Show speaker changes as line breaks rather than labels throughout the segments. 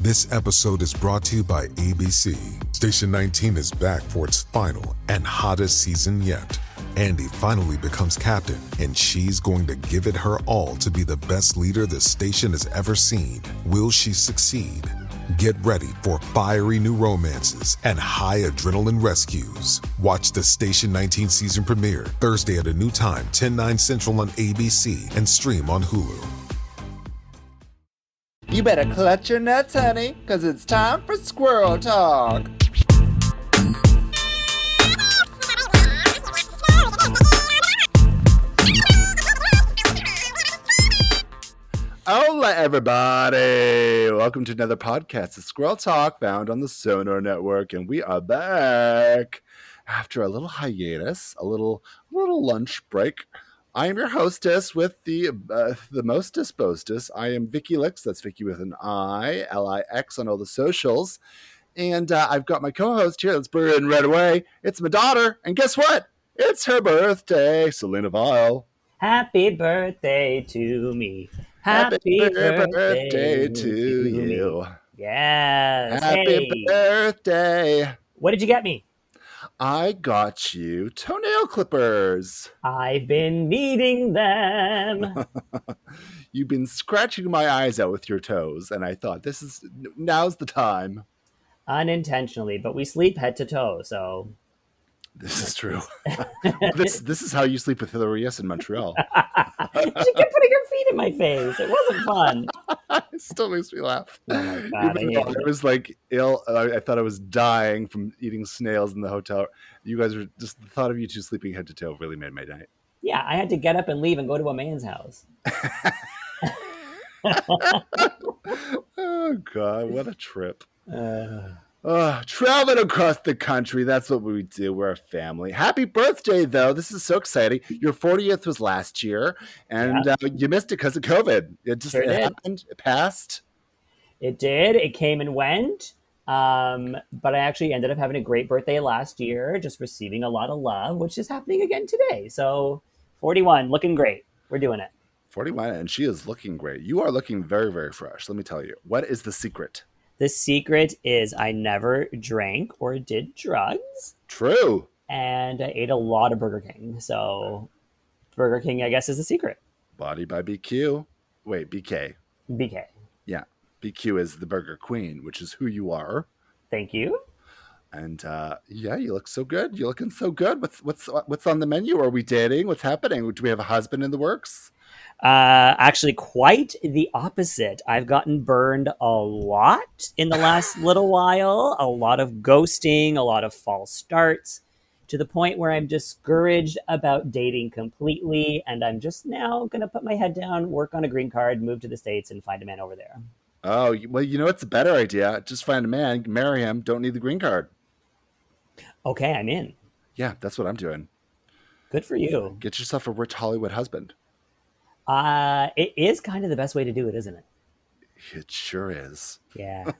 This episode is brought to you by ABC. Station 19 is back for its final and hottest season yet. Andy finally becomes captain, and she's going to give it her all to be the best leader the station has ever seen. Will she succeed? Get ready for fiery new romances and high adrenaline rescues. Watch the Station 19 season premiere Thursday at a new time, 10 9 Central on ABC, and stream on Hulu.
You better clutch your nuts, honey, because it's time for squirrel talk.
Hola, everybody. Welcome to another podcast of Squirrel Talk found on the Sonar Network. And we are back after a little hiatus, a little, a little lunch break. I am your hostess with the uh, the most dispostus. I am Vicky Lix. That's Vicky with an I, L I X on all the socials. And uh, I've got my co host here. Let's bring her in right away. It's my daughter. And guess what? It's her birthday, Selena Vile.
Happy birthday to me. Happy, birthday,
to you.
Yes.
Happy
Hey,
birthday.
what did you get me?
I got you toenail clippers.
I've been needing them.
You've been scratching my eyes out with your toes, and I thought this is now's the time.
Unintentionally, but we sleep head to toe, so
This is true. this this is how you sleep with Hilarious in Montreal.
she kept putting her feet in my face. It wasn't fun.
it still makes me laugh.
Oh my God, I
Even
hate
though I,
it.
was like ill, uh, I, I thought I was dying from eating snails in the hotel. You guys were just the thought of you two sleeping head to toe really made my night.
Yeah, I had to get up and leave and go to a man's house.
Oh God, what a trip.
Uh,
Uh, traveling across the country. That's what we do. We're a family. Happy birthday, though. This is so exciting. Your 40th was last year, and uh, you missed it because of COVID. It just
Sure
it
did.
happened. It passed.
it did. It came and went. Um, but I actually ended up having a great birthday last year, just receiving a lot of love, which is happening again today. So 41, looking great. We're doing it.
41, and she is looking great. You are looking very, very fresh. Let me tell you. What is the secret?
The secret is I never drank or did drugs,
True.
and I ate a lot of Burger King. So, Burger King, I guess, is the secret.
Body by BQ. Wait, BK.
BK,
Yeah. BQ is the Burger Queen, which is who you are.
thank you.
And uh, yeah, you look so good. You're looking so good. What's what's what's on the menu? Are we dating? What's happening? Do we have a husband in the works?
Uh, actually, quite the opposite. I've gotten burned a lot in the last little while, a lot of ghosting, a lot of false starts, to the point where I'm discouraged about dating completely. And I'm just now going to put my head down, work on a green card, move to the States, and find a man over there.
Oh, you- well, you know what's a better idea? Just find a man, marry him, don't need the green card.
Okay, I'm in.
Yeah, that's what I'm doing.
Good for you.
Get yourself a rich Hollywood husband.
Uh, it is kind of the best way to do it, isn't it?
It sure is.
Yeah.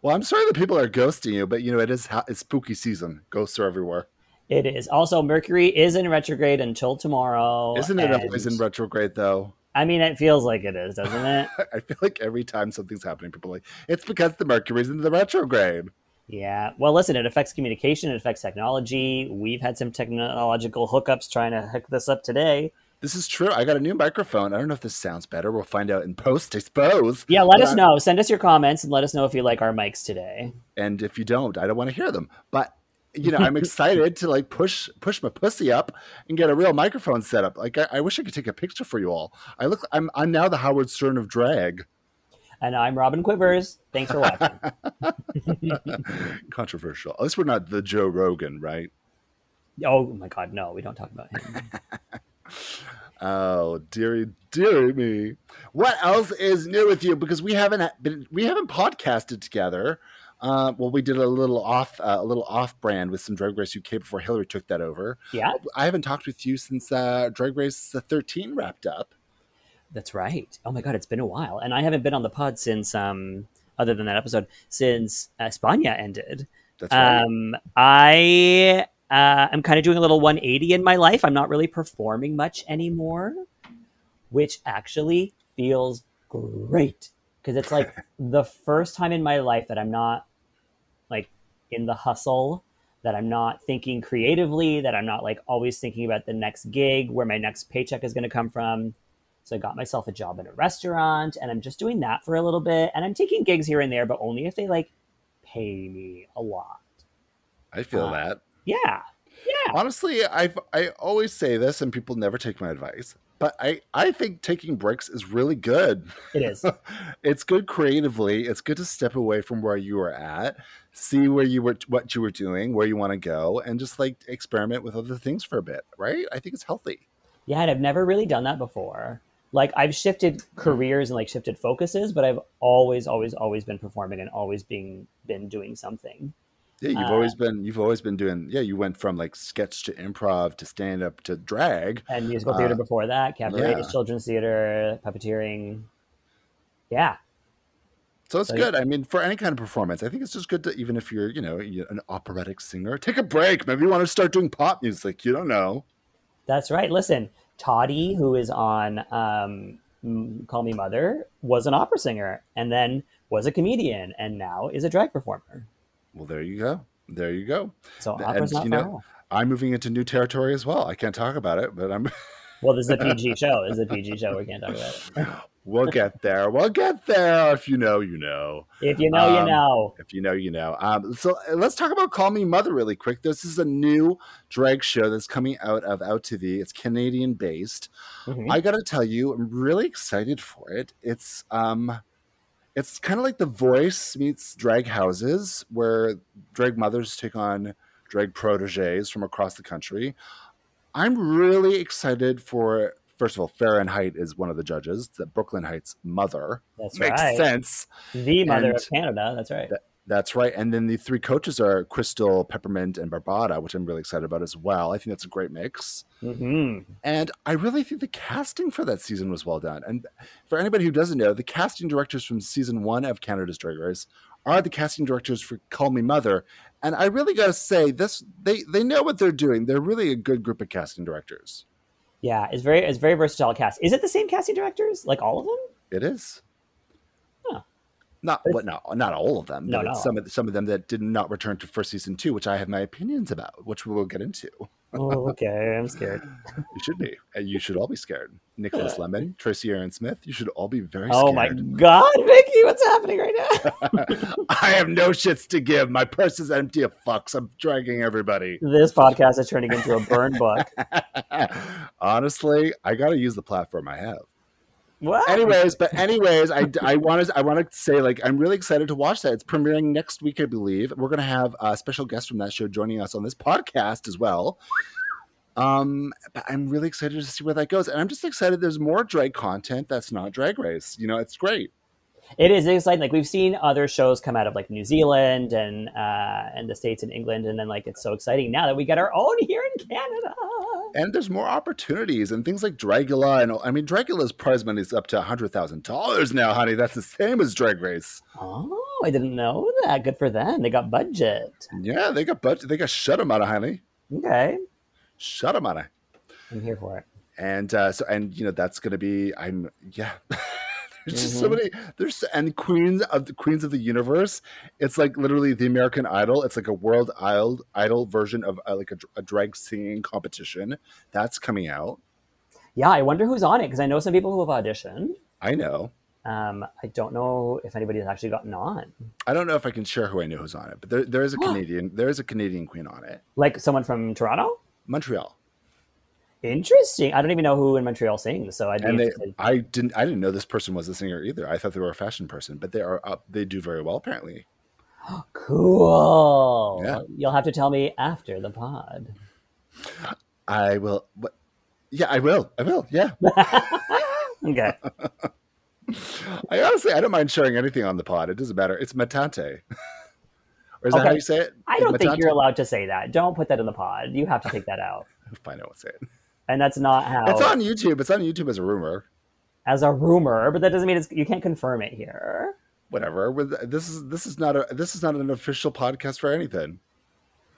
Well, I'm sorry that people are ghosting you, but you know it is ho- it's spooky season. Ghosts are everywhere.
it is. Also, Mercury is in retrograde until tomorrow.
Isn't it
and-
always in retrograde though?
I mean, it feels like it is, doesn't it?
I feel like every time something's happening, people are like it's because the Mercury's in the retrograde.
yeah. Well, listen, it affects communication, it affects technology. We've had some technological hookups trying to hook this up today.
This is true. I got a new microphone. I don't know if this sounds better. We'll find out in post, I suppose.
Yeah, let us
But-
know. Send us your comments and let us know if you like our mics today.
and if you don't i don't want to hear them but you know i'm excited to like push push my pussy up and get a real microphone set up like i, I wish i could take a picture for you all i look i'm, I'm now the howard stern of drag
And I'm Robin Quivers. Thanks for watching.
controversial at least we're not the joe rogan right
oh my God, no, we don't talk about him.
oh dearie dearie me what else is new with you because we haven't ha- been we haven't podcasted together uh, well, we did a little off, uh, a little off-brand with some Drag Race UK before Hillary took that over.
Yeah,
I haven't talked with you since uh, Drag Race 13 wrapped up.
That's right. Oh my god, it's been a while, and I haven't been on the pod since um other than that episode since uh, Spania ended.
That's right.
Um, I uh, am kind of doing a little 180 in my life. I'm not really performing much anymore, which actually feels great. because it's like the first time in my life that I'm not like in the hustle, that I'm not thinking creatively, that I'm not like always thinking about the next gig, where my next paycheck is going to come from. So I got myself a job in a restaurant and I'm just doing that for a little bit. And I'm taking gigs here and there, but only if they like pay me a lot.
I feel
Uh,
that.
Yeah. Yeah.
Honestly, I've I always say this, and people never take my advice. But I, I think taking breaks is really good.
It is.
it's good creatively. It's good to step away from where you were at, see where you were, what you were doing, where you want to go, and just like experiment with other things for a bit, right? I think it's healthy.
Yeah, and I've never really done that before. Like I've shifted careers and like shifted focuses, but I've always, always, always been performing and always being been doing something.
Yeah, you've
Uh,
always been you've always been doing. Yeah, you went from like sketch to improv to stand up to drag.
And musical
Uh,
theater before that, cabaret,
yeah.
children's theater, puppeteering. Yeah.
So it's
So, yeah.
good. I mean, for any kind of performance, I think it's just good to even if you're, you know, you- an operatic singer, take a break. Maybe you want to start doing pop music. You don't know.
That's right. Listen, Toddy, who is on um, M- Call Me Mother, was an opera singer and then was a comedian and now is a drag performer.
Well, there you go. There you go.
So
And,
opera's not
you
far
know-
off.
I'm moving into new territory as well. I can't talk about it, but I'm
Well, this is a PG show. This is a PG show. We can't talk about it.
we'll get there. We'll get there. If you know, you know.
If you know,
Um,
you know.
If you know, you know. Um, so uh, let's talk about Call Me Mother really quick. This is a new drag show that's coming out of Out TV. It's Canadian based.
Mhm.
I gotta tell you, I'm really excited for it. It's um it's kind of like the voice meets drag houses where drag mothers take on drag proteges from across the country. I'm really excited for first of all, Farron Height is one of the judges, the Brooklyn Heights mother.
That's
Makes
right.
sense.
The mother
And-
of Canada. That's right.
That's right. And then the three coaches are Crystal, Peppermint, and Barbada, which I'm really excited about as well. I think that's a great mix.
Mhm.
And I really think the casting for that season was well done. And for anybody who doesn't know, the casting directors from season one of Canada's Drag Race are the casting directors for Call Me Mother. And I really gotta say, this they they know what they're doing. They're really a good group of casting directors.
Yeah, it's very it's very versatile cast. Is it the same casting directors? Like all of them?
It is.
Huh.
Not what not not all of them,
No,
but
not
it's
all.
some of some of them that did not return to first season two, which I have my opinions about, which we will get into.
Oh, okay. I'm scared.
You should be. And you should all be scared. Nicholas Lemon, Tracy Aaron Smith, you should all be very scared.
Oh my god, Vicky, what's happening right now?
I have no shits to give. My purse is empty of fucks. I'm dragging everybody.
this podcast is turning into a burn book.
Honestly, I got to use the platform I have.
What?
Anyways, but anyways, I I want to I want to say like I'm really excited to watch that. It's premiering next week, I believe. We're gonna have a special guest from that show joining us on this podcast as well. Um, but I'm really excited to see where that goes, and I'm just excited. There's more drag content that's not Drag Race. You know, it's great.
It is exciting. Like we've seen other shows come out of like New Zealand and uh, and the states and England, and then like it's so exciting now that we get our own here in Canada.
and there's more opportunities and things like Dragula. And I mean, Dragula's prize money is up to hundred thousand dollars now, honey. That's the same as Drag Race.
Oh, I didn't know that. Good for them. They got budget.
Yeah, they got budget. They got shut them out of honey.
Okay,
Shut them out of.
I'm here for it.
And uh, so, and you know, that's gonna be. I'm yeah. There's just so
Mhm.
many. There's and Queens of the Queens of the Universe. It's like literally the American Idol. It's like a world idol idol version of uh, like a, dr- a drag singing competition that's coming out.
Yeah, I wonder who's on it because I know some people who have auditioned.
I know.
Um, I don't know if anybody's actually gotten on.
I don't know if I can share who I know who's on it, but there, there is a Canadian there is a Canadian queen on it.
Like someone from Toronto?
Montreal.
Interesting. I don't even know who in Montreal sings, so I'd be
And they,
interested.
I didn't I didn't know this person was a singer either. I thought they were a fashion person, but they are up they do very well apparently.
Cool.
Yeah.
You'll have to tell me after the pod.
I will what yeah, I will. I will. Yeah.
Okay.
I honestly I don't mind sharing anything on the pod. It doesn't matter. It's matante. or is that how
Okay.
you say it?
I
It's
don't think
matante?
you're allowed to say that. Don't put that in the pod. You have to take that out.
Fine, I won't say it.
And that's not how
It's on YouTube. It's on YouTube as a rumor.
as a rumor, but that doesn't mean it's you can't confirm it here.
whatever. With this is this is not a this is not an official podcast for anything.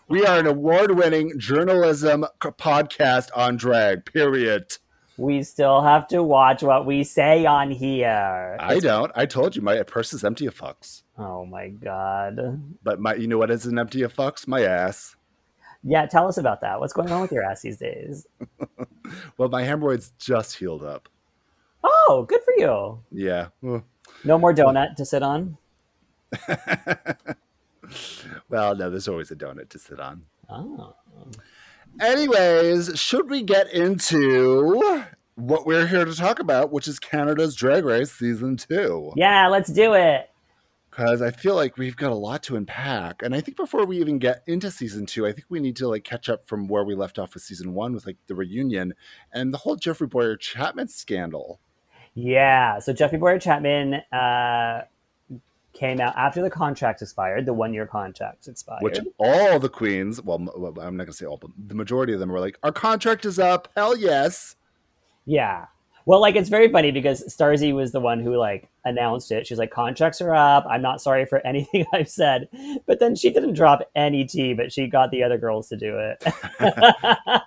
We are an award-winning journalism c- podcast on drag. Period.
We still have to watch what we say on here.
I don't. I told you my purse is empty of fucks.
oh my god.
But my, you know what isn't empty of fucks? My ass.
Yeah, tell us about that. What's going on with your ass these days?
Well, my hemorrhoids just healed up.
Oh, good for you.
Yeah. Mm.
No more donut to sit on.
Well, no, there's always a donut to sit on.
Oh.
Anyways, should we get into what we're here to talk about, which is Canada's Drag Race season two?
Yeah, let's do it.
Because I feel like we've got a lot to unpack, and I think before we even get into season two, I think we need to like catch up from where we left off with season one, with like the reunion and the whole Jeffrey Boyer Chapman scandal.
Yeah. So Jeffrey Boyer Chapman uh, came out after the contract expired, the one year contract expired.
Which all the queens, well, m- well, I'm not gonna say all, but the majority of them were like, "Our contract is up, hell yes."
yeah. Well, like it's very funny because Starzy was the one who like announced it. She's like, contracts are up. I'm not sorry for anything I've said. But then she didn't drop any tea, but she got the other girls to do it.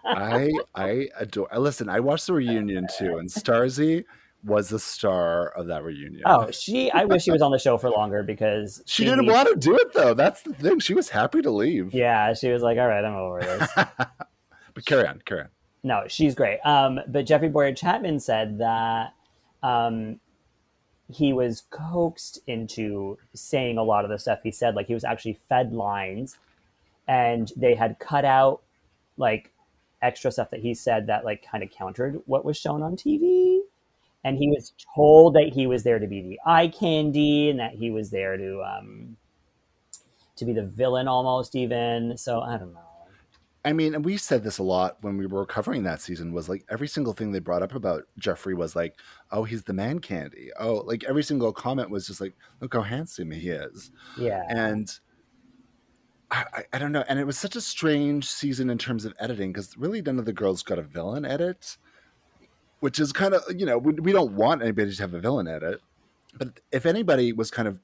I I adore. Listen, I watched the reunion too, and Starzy was the star of that reunion.
oh, she I wish she was on the show for longer because
she didn't want to do it though. That's the thing. She was happy to leave.
Yeah, she was like, All right, I'm over this.
But carry on, carry on.
No, she's great. Um, but Jeffrey Boyer Chapman said that um, he was coaxed into saying a lot of the stuff he said. Like he was actually fed lines, and they had cut out like extra stuff that he said that like kind of countered what was shown on TV. And he was told that he was there to be the eye candy, and that he was there to um, to be the villain almost even. So I don't know.
I mean, and we said this a lot when we were covering that season was like every single thing they brought up about Jeffrey was like, oh, he's the man candy. Oh, like every single comment was just like, look how handsome he is.
Yeah.
and I, I, I don't know. And it was such a strange season in terms of editing because really none of the girls got a villain edit, which is kind of you know we, we don't want anybody to have a villain edit, but if anybody was kind of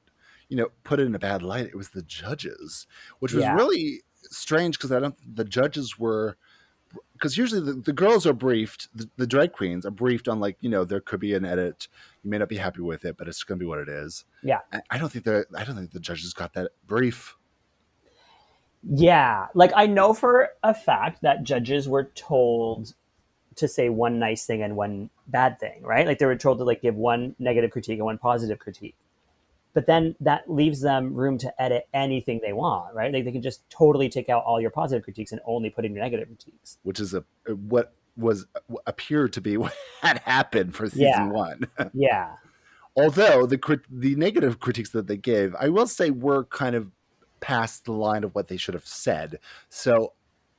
you know put in a bad light, it was the judges, which was
Yeah.
really strange because I don't the judges were. Because usually the, the girls are briefed, the, the drag queens are briefed on like you know there could be an edit, you may not be happy with it, but it's going to be what it is.
yeah.
I- I don't think the I don't think the judges got that brief.
Yeah. Like I know for a fact that judges were told to say one nice thing and one bad thing, right? Like they were told to like give one negative critique and one positive critique. But then that leaves them room to edit anything they want, right? Like they can just totally take out all your positive critiques and only put in your negative critiques.
which is a what was what appeared to be what had happened for season
Yeah.
one.
Yeah.
Although the crit- the negative critiques that they gave, I will say, were kind of past the line of what they should have said. So,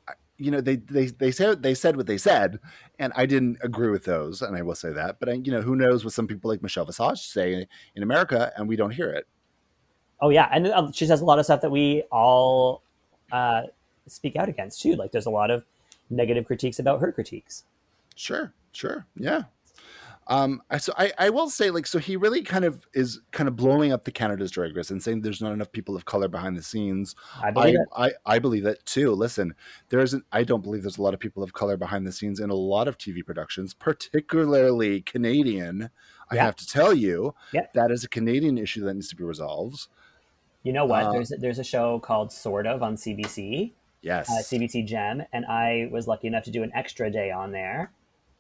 I- you know, they they they said they said what they said, and I didn't agree with those, and I will say that. But I, you know, who knows what some people like Michelle Visage say in America, and we don't hear it.
Oh yeah, and uh, she says a lot of stuff that we all uh, speak out against too. Like there's a lot of negative critiques about her critiques.
Sure, sure, yeah. Um, I, so I, I will say like so he really kind of is kind of blowing up the Canada's Drag Race and saying there's not enough people of color behind the scenes.
I believe
I,
it.
I I believe that too. Listen, there isn't. I don't believe there's a lot of people of color behind the scenes in a lot of TV productions, particularly Canadian. I
Yeah.
have to tell you
Yeah.
that is a Canadian issue that needs to be resolved.
You know what?
Uh,
there's a, there's a show called Sort of on CBC,
Yes,
uh, CBC Gem, and I was lucky enough to do an extra day on there,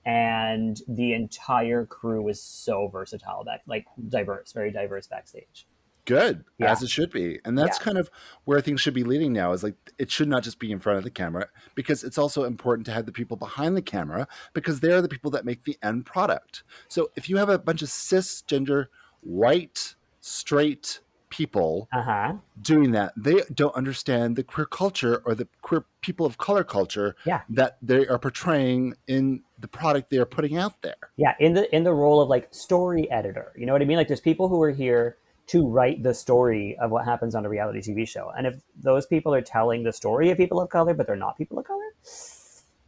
and the entire crew was so versatile back, like diverse, very diverse backstage.
good
Yeah.
as it should be and that's kind of where things should be leading now is like it should not just be in front of the camera because it's also important to have the people behind the camera because they're the people that make the end product so if you have a bunch of cisgender white straight people
Uh huh.
doing that they don't understand the queer culture or the queer people of color culture
Yeah.
that they are portraying in the product they are putting out there
Yeah, in the in the role of like story editor. You know what I mean? Like there's people who are here to write the story of what happens on a reality TV show. And if those people are telling the story of people of color, but they're not people of color,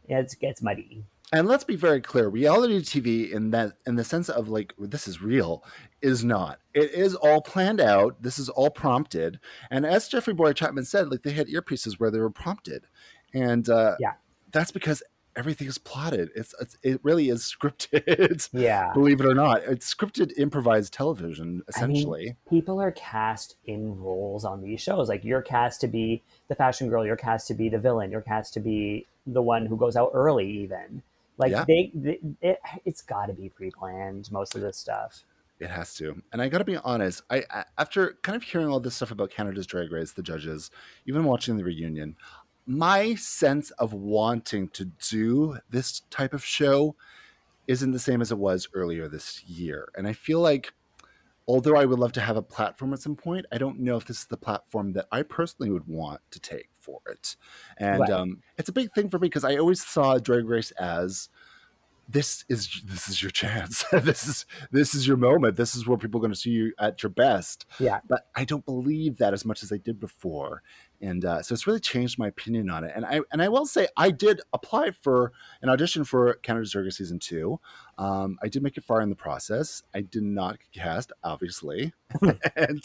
it gets muddy.
and let's be very clear reality tv in that in the sense of like this is real is not it is all planned out this is all prompted and as jeffrey boyer chapman said like they had earpieces where they were prompted and uh
Yeah.
that's because everything is plotted. It's, it's it really is scripted.
Yeah.
Believe it or not, it's scripted improvised television
I mean,
essentially.
people are cast in roles on these shows. Like you're cast to be the fashion girl, you're cast to be the villain, you're cast to be the one who goes out early, even. Like
Yeah.
they, they it, it's got to be pre-planned most of this stuff.
It has to. And I got to be honest, I I- after kind of hearing all this stuff about Canada's Drag Race, the judges, even watching the reunion, my sense of wanting to do this type of show isn't the same as it was earlier this year. And I feel like although I would love to have a platform at some point, I don't know if this is the platform that I personally would want to take for it. And
Right.
um, it's a big thing for me because I always saw Drag Race as this is this is your chance. this is this is your moment. This is where people are going to see you at your best.
Yeah.
But I don't believe that as much as I did before, and uh, so it's really changed my opinion on it. And I and I will say I did apply for an audition for Canada's Drag Race season two. Um, I did make it far in the process. I did not get cast, obviously, and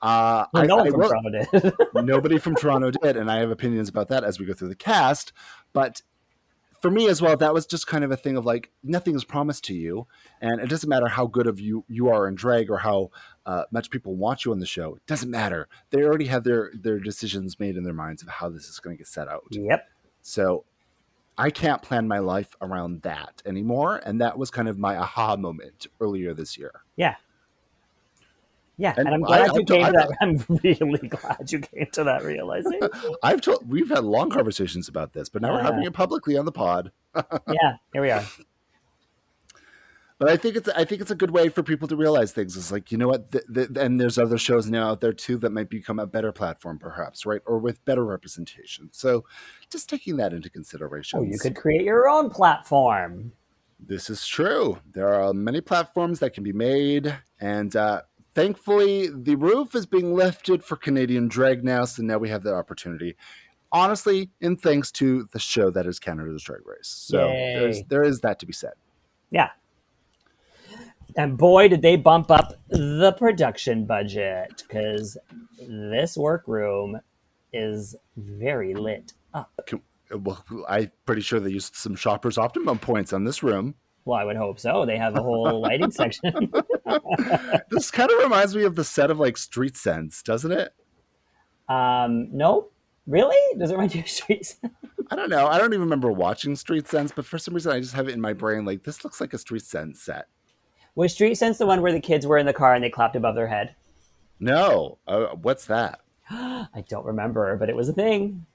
uh,
Well,
I,
no
I
one from
will-
Toronto did.
nobody from Toronto did, and I have opinions about that as we go through the cast. But for me as well, that was just kind of a thing of like nothing is promised to you, and it doesn't matter how good of you you are in drag or how uh, much people want you on the show. It doesn't matter. They already have their their decisions made in their minds of how this is going to get set out.
yep.
So I can't plan my life around that anymore, and that was kind of my aha moment earlier this year.
Yeah. Yeah,
And
and, I'm
I-
glad
I
you
don't-
came
I
to that. I'm really glad you came to that realization.
I've told we've had long conversations about this, but now we're
Yeah.
having it publicly on the pod.
yeah, here we are.
But I think it's I think it's a good way for people to realize things. It's like you know what, th- th- and there's other shows now out there too that might become a better platform, perhaps, right, or with better representation. So, just taking that into consideration.
Oh, you could create your own platform.
This is true. There are many platforms that can be made, and uh, thankfully, the roof is being lifted for Canadian drag now. So now we have that opportunity. Honestly, and thanks to the show that is Canada's Drag Race. So
Yay.
there's, there is that to be said.
Yeah. And boy, did they bump up the production budget because this workroom is very lit up.
Well, I'm pretty sure they used some shoppers optimum points on this room.
Well, I would hope so. They have a whole lighting section.
this kind of reminds me of the set of like Street Sense, doesn't it?
Um, no, really? Does it run to your streets?
I don't know. I don't even remember watching Street Sense, but for some reason, I just have it in my brain like this looks like a Street Sense set.
Was Street Sense the one where the kids were in the car and they clapped above their head?
No, uh, what's that?
I don't remember, but it was a thing.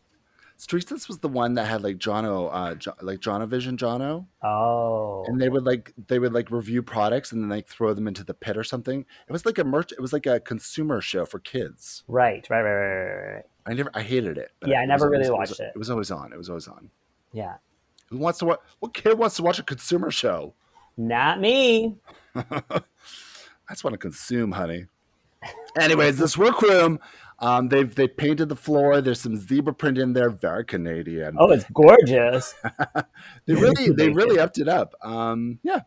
Street Sense was the one that had like Jono, uh, jo- like Jono Vision, Jono,
Oh,
and they would like they would like review products and then like throw them into the pit or something. It was like a merch. It was like a consumer show for kids.
right, right, right, right, right, right.
I never, I hated it.
Yeah, I
it was
never really
always-
watched it.
It was always on. It was always on.
Yeah,
Who wants to watch? What kid wants to watch a consumer show?
not me.
I just want to consume, honey. Anyways, this workroom, um, they've they painted the floor. There's some zebra print in there, very Canadian.
Oh, it's gorgeous.
they really they really upped it up. Um, yeah.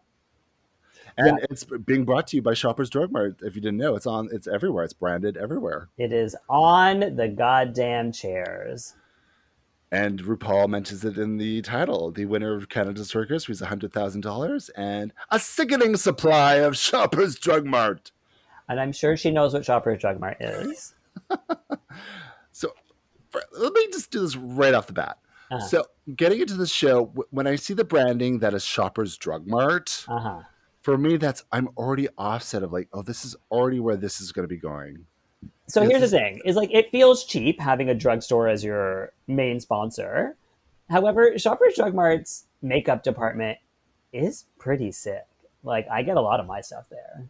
And it's being brought to you by Shoppers Drug Mart. If you didn't know, it's on. It's everywhere. It's branded everywhere.
It is on the goddamn chairs.
And RuPaul mentions it in the title. The winner of Canada's Circus was hundred thousand dollars and a sickening supply of Shoppers Drug Mart.
And I'm sure she knows what Shopper's Drug Mart is.
So for- let me just do this right off the bat.
Uh-huh.
So getting into the show, wh- when I see the branding that is Shoppers Drug Mart,
Uh huh.
for me that's I'm already offset of like, oh, this is already where this is going to be going.
So here's the thing: is like it feels cheap having a drugstore as your main sponsor. However, Shoppers Drug Mart's makeup department is pretty sick. Like I get a lot of my stuff there.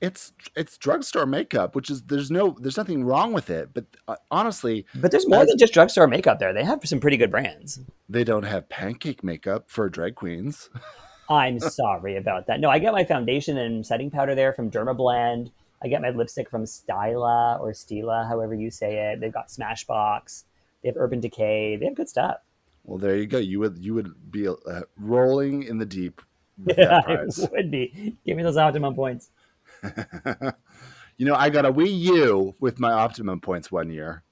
It's it's drugstore makeup, which is there's no there's nothing wrong with it, but uh, honestly,
But there's more than just drugstore makeup there. They have some pretty good brands.
they don't have pancake makeup for drag queens.
I'm sorry about that. No, I get my foundation and setting powder there from Dermablend. I get my lipstick from Styla or Stila, however you say it. They've got Smashbox. They have Urban Decay. They have good stuff.
Well, there you go. You would you would be uh, rolling in the deep with
Yeah,
that
I
prize.
would be. Give me those optimum points.
You know, I got a Wii U with my Optimum points one year.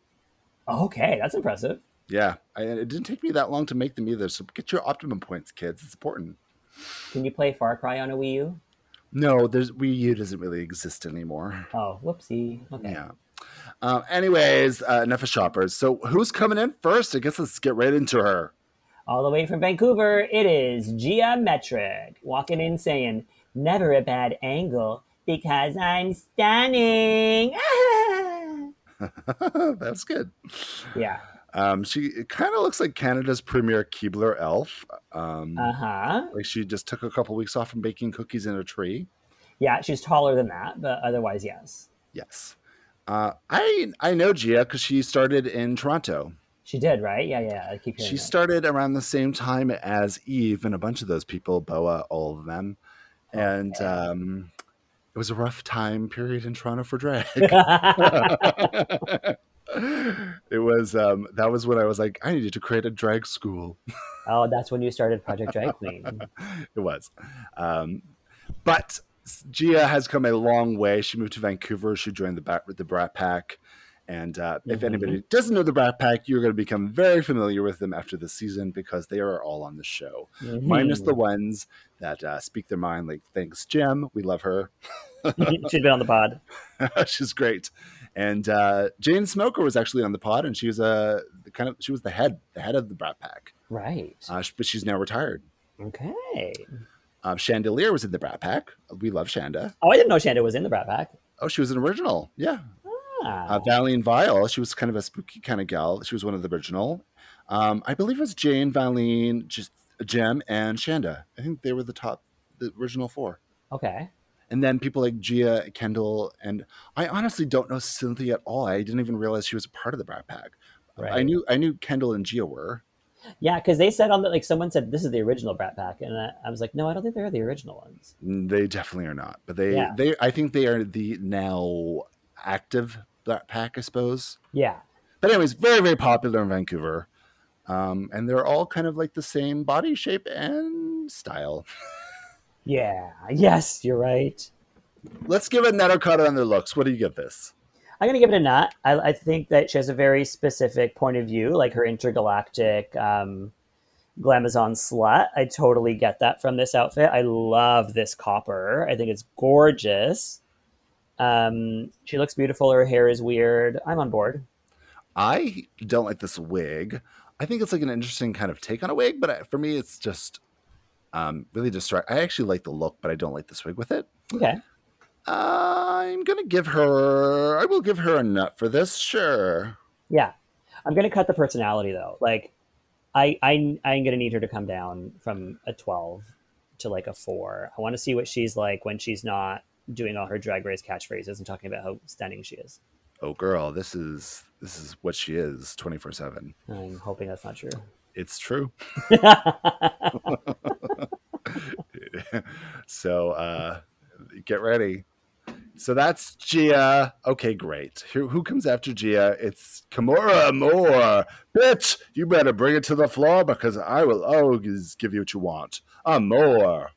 Okay, that's impressive.
Yeah, I, and it didn't take me that long to make them either. So get your optimum points, kids. It's important.
Can you play Far Cry on a Wii U?
No, there's Wii U doesn't really exist anymore.
Oh, whoopsie. Okay.
Yeah. Um, anyways, uh, enough of shoppers. So who's coming in first? I guess let's get right into her.
All the way from Vancouver, it is Geometric walking in saying, Never a bad angle because I'm stunning.
That's good.
yeah.
Um, she kind of looks like Canada's premier Keebler elf. Um,
Uh huh.
like she just took a couple weeks off from baking cookies in a tree.
Yeah, she's taller than that, but otherwise, yes.
Yes. Uh, I I know Gia because she started in Toronto.
She did, right? Yeah, yeah. I keep hearing
She
that.
started around the same time as Eve and a bunch of those people, Boa, all of them. And um, it was a rough time period in Toronto for drag. it was um, that was when I was like, I needed to create a drag school.
oh, that's when you started Project Drag Queen.
it was. Um, but Gia has come a long way. She moved to Vancouver. She joined the Brat, the Brat Pack. And uh, if
Mhm.
anybody doesn't know the Brat Pack, you're going to become very familiar with them after this season because they are all on the show,
Hmm.
minus the ones that uh, speak their mind. Like, thanks, Jem. We love her.
she's Mm-hmm. been on the pod.
She's great. And uh, Jane Smoker was actually on the pod, and she was a kind of she was the head, the head of the Brat Pack.
Right.
Uh, sh- but she's now retired.
Okay.
Um, Chandelier was in the Brat Pack. We love Shanda.
Oh, I didn't know Shanda was in the Brat Pack.
Oh, she was an original. Yeah.
Ah.
Uh, Valley and Vile. She was kind of a spooky kind of gal. She was one of the original. Um, I believe it was Jane, Valine, just Jem, and Shanda. I think they were the top, the original four.
okay.
And then people like Gia, Kendall, and I honestly don't know Cynthia at all. I didn't even realize she was a part of the Brat Pack. I
Right.
knew I knew Kendall and Gia were.
Yeah, because they said on the like someone said this is the original Brat Pack, and I, I was like, no, I don't think they're the original ones.
Mm, They definitely are not, but they
Yeah.
they I think they are the now active Brat Pack, I suppose.
Yeah.
But anyways, very very popular in Vancouver, um, and they're all kind of like the same body shape and style.
Yeah. Yes, you're right.
Let's give it an cut on their looks. What do you give this?
I'm gonna give it a nut. I, I think that she has a very specific point of view, like her intergalactic um, glamazon slut. I totally get that from this outfit. I love this copper. I think it's gorgeous. Um, she looks beautiful. Her hair is weird. I'm on board.
I don't like this wig. I think it's like an interesting kind of take on a wig, but I- for me, it's just um, really distract. I actually like the look, but I don't like this wig with it.
Okay.
I'm gonna give her. I will give her a nut for this. Sure.
Yeah. I'm gonna cut the personality though. Like, I I I'm gonna need her to come down from a 12 to like a four. I want to see what she's like when she's not doing all her drag race catchphrases and talking about how stunning she is.
Oh, girl, this is this is what she is, twenty four seven.
I'm hoping that's not true.
It's true. so uh, get ready. So that's Gia. Okay, great. Who, who comes after Gia? It's Kimura Moore. Bitch, you better bring it to the floor because I will always give you what you want. A more.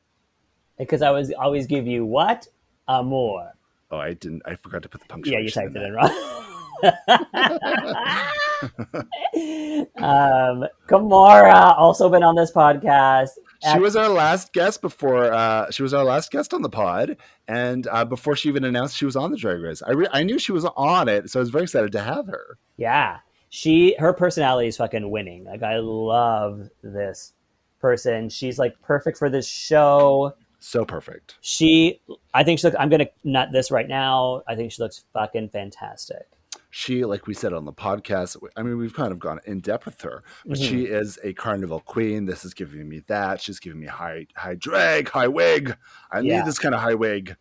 Because I was always give you what? Amor.
Oh, I didn't. I forgot to put the punctuation.
Yeah, you
in
typed it
there.
in wrong. um, Kamara also been on this podcast.
She was our last guest before. Uh, she was our last guest on the pod, and uh, before she even announced she was on the Drag Race, I re- I knew she was on it, so I was very excited to have her.
Yeah. She her personality is fucking winning. Like I love this person. She's like perfect for this show.
So perfect.
She I think she looks I'm gonna nut this right now. I think she looks fucking fantastic.
She, like we said on the podcast, I mean, we've kind of gone in depth with her, but
Mhm.
she is a carnival queen. This is giving me that. She's giving me high, high drag, high wig. I
Yeah.
need this kind of high wig.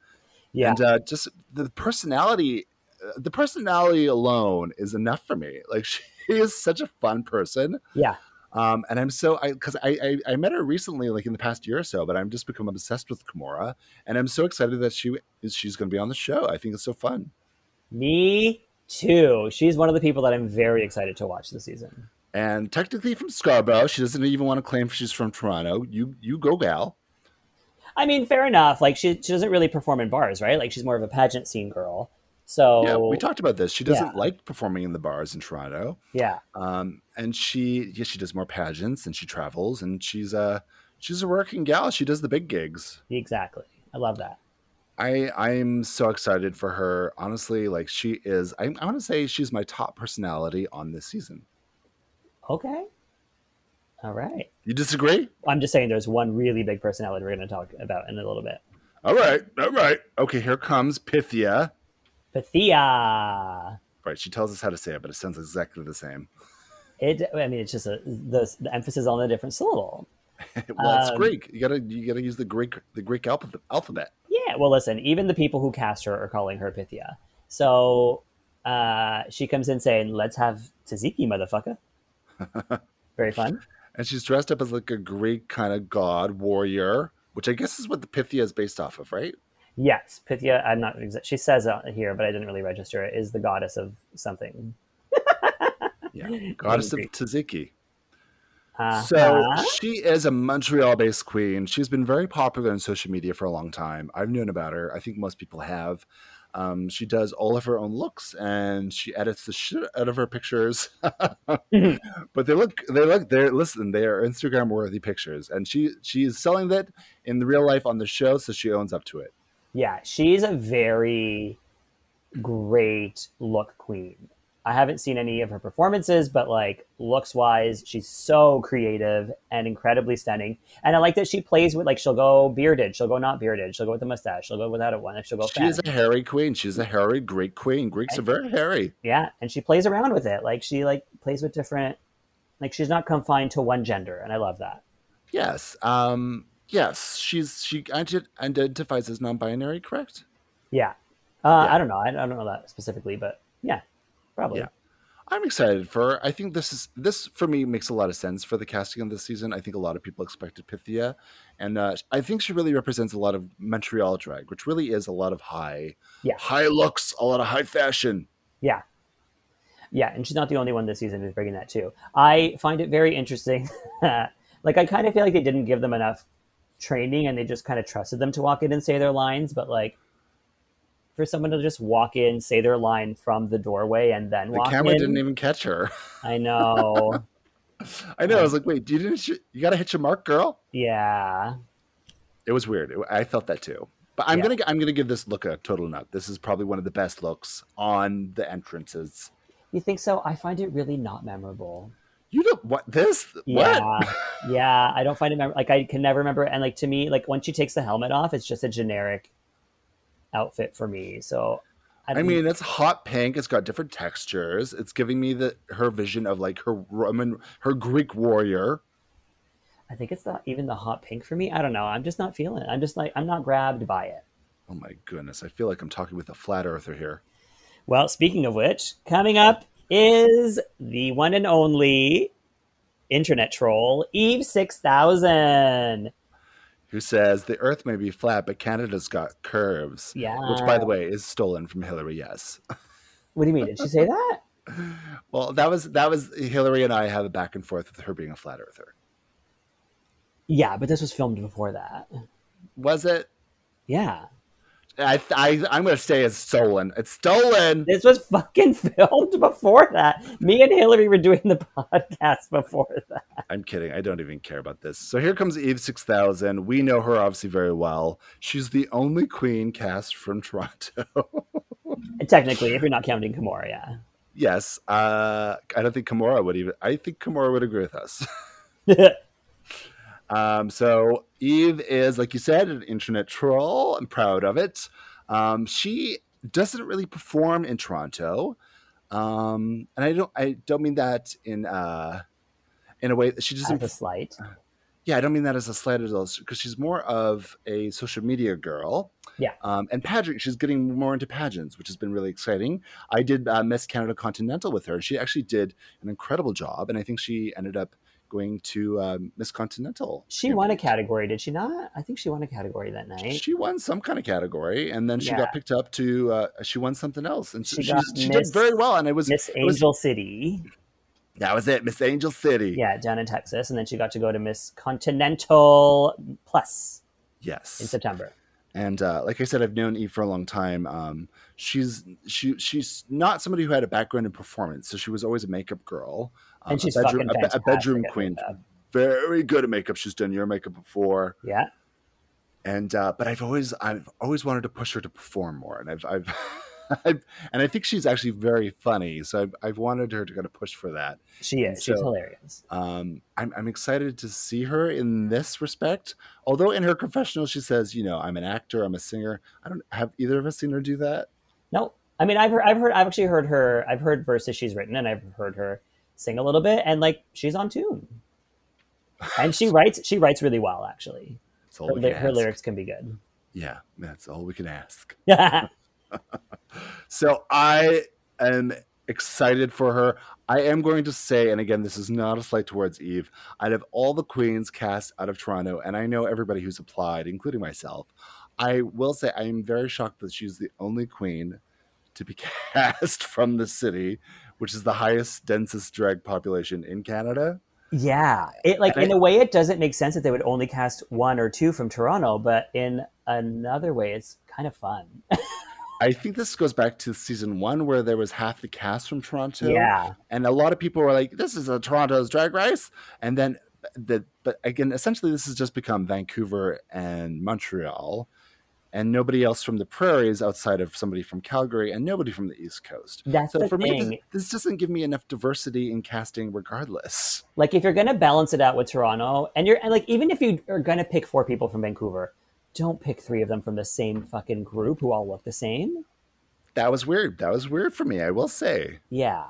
Yeah.
And uh, just the personality, uh, the personality alone is enough for me. Like she is such a fun person.
yeah.
Um, and I'm so I because I, I I met her recently, like in the past year or so, but I'm just become obsessed with Kimora, and I'm so excited that she is she's going to be on the show. I think it's so fun.
Me too. She's one of the people that I'm very excited to watch this season.
And technically from Scarborough, she doesn't even want to claim she's from Toronto. You you go, gal.
I mean, fair enough. Like she she doesn't really perform in bars, right? Like she's more of a pageant scene girl. So
yeah, we talked about this. She
Oh. Yeah.
doesn't like performing in the bars in Toronto.
yeah.
um, and she yeah she does more pageants and she travels and she's a she's a working gal she does the big gigs
Exactly. I love that.
i i'm so excited for her honestly like she is i, I want to say she's my top personality on this season
Okay. All right.
you disagree
I'm just saying there's one really big personality we're going to talk about in a little bit.
all right all right okay here comes pythia
Pathia.
right she tells us how to say it but it sounds exactly the same
It. I mean, it's just a, the, the emphasis on the different syllable.
well it's
Um,
greek you gotta you gotta use the greek the greek alpha- alphabet
Yeah. Well, listen. Even the people who cast her are calling her Pythia. So uh, she comes in saying, "Let's have tzatziki, motherfucker." Very fun.
and she's dressed up as like a greek kind of god warrior which i guess is what the pythia is based off of right
Yes, Pythia. I'm not. exa- She says uh, here, but I didn't really register it. Is the goddess of something.
Yeah, goddess of
Greek.
Tzatziki.
Uh,
So she is a Montreal-based queen. She's been very popular on social media for a long time. I've known about her. I think most people have. Um, she does all of her own looks, and she edits the shit out of her pictures. but they look, they look, they're listen, they are Instagram-worthy pictures, and she she is selling that in the real life on the show, so she owns up to it.
Yeah, she's a very great look queen. I haven't seen any of her performances, but like looks wise, she's so creative and incredibly stunning. And I like that she plays with like she'll go bearded, she'll go not bearded, she'll go with a mustache, she'll go without it one, and she'll go
She is
fat.
a hairy queen. She's a hairy Greek queen. Greeks are very hairy.
yeah, and she plays around with it. Like she like plays with different like she's not confined to one gender, and I love that.
Yes. Um, yes. She's she ident- identifies as non-binary, correct?
Yeah. Uh,
Yeah.
I don't know. I I don't know that specifically, but yeah, probably.
Yeah. I'm excited for. her. I think this is this for me makes a lot of sense for the casting of this season. I think a lot of people expected Pythia, and uh, I think she really represents a lot of Montreal drag, which really is a lot of high,
Yeah.
high looks, a lot of high fashion.
Yeah. Yeah, and she's not the only one this season who's bringing that too. I find it very interesting. like, I kind of feel like they didn't give them enough training and they just kind of trusted them to walk in and say their lines. But, like, for someone to just walk in, say their line from the doorway, and then
The
walk
camera
in,
didn't even catch her.
I know.
I know. I was like, wait, you didn't? You, you gotta hit your mark, girl.
yeah.
It was weird. It- I felt that too. But I'm
Yeah.
gonna I'm gonna give this look a total nut. This is probably one of the best looks on the entrances.
You think so? I find it really not memorable.
You don't what this? What?
Yeah, yeah. I don't find it mem- like I can never remember. And like to me, like once she takes the helmet off, it's just a generic outfit for me. So
I mean, it's hot pink. It's got different textures. It's giving me the her vision of like her Roman, her Greek warrior.
I think it's not even the hot pink for me. I don't know. I'm just not feeling. It. I'm just like I'm not grabbed by it.
Oh my goodness! I feel like I'm talking with a flat earther here.
Well, speaking of which, coming up is the one and only internet troll Eve six thousand.
Who says the Earth may be flat, but Canada's got curves?
Yeah.
Which, by the way, is stolen from Hillary. Yes.
What do you mean? Did she say that?
Well, that was that was Hillary and I have a back and forth with her being a flat earther.
Yeah, but this was filmed before that.
Was it?
Yeah.
I, I I'm going to say it's stolen. It's stolen.
This was fucking filmed before that. Me and Hillary were doing the podcast before that.
I'm kidding. I don't even care about this. So here comes Eve 6000. We know her obviously very well. She's the only queen cast from Toronto.
Technically, if you're not counting Kimura, yeah.
yes. Uh, I don't think Kimura would even, I think Kimura would agree with us. Um, so Eve is, like you said, an internet troll. I'm proud of it. Um, she doesn't really perform in Toronto, um, and I don't. I don't mean that in uh, in a way that she doesn't.
As a slight.
yeah, I don't mean that as a slight at all, because she's more of a social media girl.
Yeah.
Um, and pageant, she's getting more into pageants, which has been really exciting. I did uh, Miss Canada Continental with her. She actually did an incredible job, and I think she ended up going to um, Miss Continental.
She won a category, did she not? I think she won a category that night.
She won some kind of category, and then she
Yeah.
got picked up to. Uh, she won something else, and
She
she,
got
she
Miss-
did very well. And it was
Miss
it was-
Angel City.
that was it, Miss Angel City.
Yeah, down in Texas. And then she got to go to Miss Continental Plus in
Yes,
September.
And uh, like I said, I've known Eve for a long time. Um, she's she she's not somebody who had a background in performance, so she was always a makeup girl, um,
And she's
a bedroom
fucking
a, be- a
fantastic
bedroom
at
queen,
makeup.
very good at makeup. She's done your makeup before,
Yeah.
and uh, but I've always I've always wanted to push her to perform more, and I've I've. I've, and I think she's actually very funny, so I've, I've wanted her to kind of push for that.
She is. She's
So-
hilarious.
Um, I'm, I'm excited to see her in this respect. Although in her confessional, she says, you know, I'm an actor, I'm a singer. I don't have either of us seen her do that.
No, I mean, I've heard, I've heard, I've actually heard her. I've heard verses she's written, and I've heard her sing a little bit, and like she's on tune. And she writes, she writes really well, actually.
That's all
Her,
we
ly-
can
her
ask.
lyrics can be good.
Yeah, that's all we can ask.
yeah,
So I am excited for her. I am going to say, and again, this is not a slight towards Eve. Out of all the queens cast out of Toronto, and I know everybody who's applied, including myself, I will say I am very shocked that she's the only queen to be cast from the city, which is the highest, densest drag population in Canada.
it like
And I-
in a way it doesn't make sense that they would only cast one or two from Toronto, but in another way, it's kind of fun.
I think this goes back to season one where there was half the cast from Toronto.
yeah,
and a lot of people were like, "This is a Toronto's Drag Race," and then the but again, essentially, this has just become Vancouver and Montreal, and nobody else from the prairies outside of somebody from Calgary and nobody from the East Coast.
that's
So
the
for
thing.
me, this, this doesn't give me enough diversity in casting, regardless.
Like if you're gonna balance it out with Toronto, and you're and like even if you are gonna pick four people from Vancouver, don't pick three of them from the same fucking group who all look the same.
That was weird. That was weird for me. I will say.
Yeah.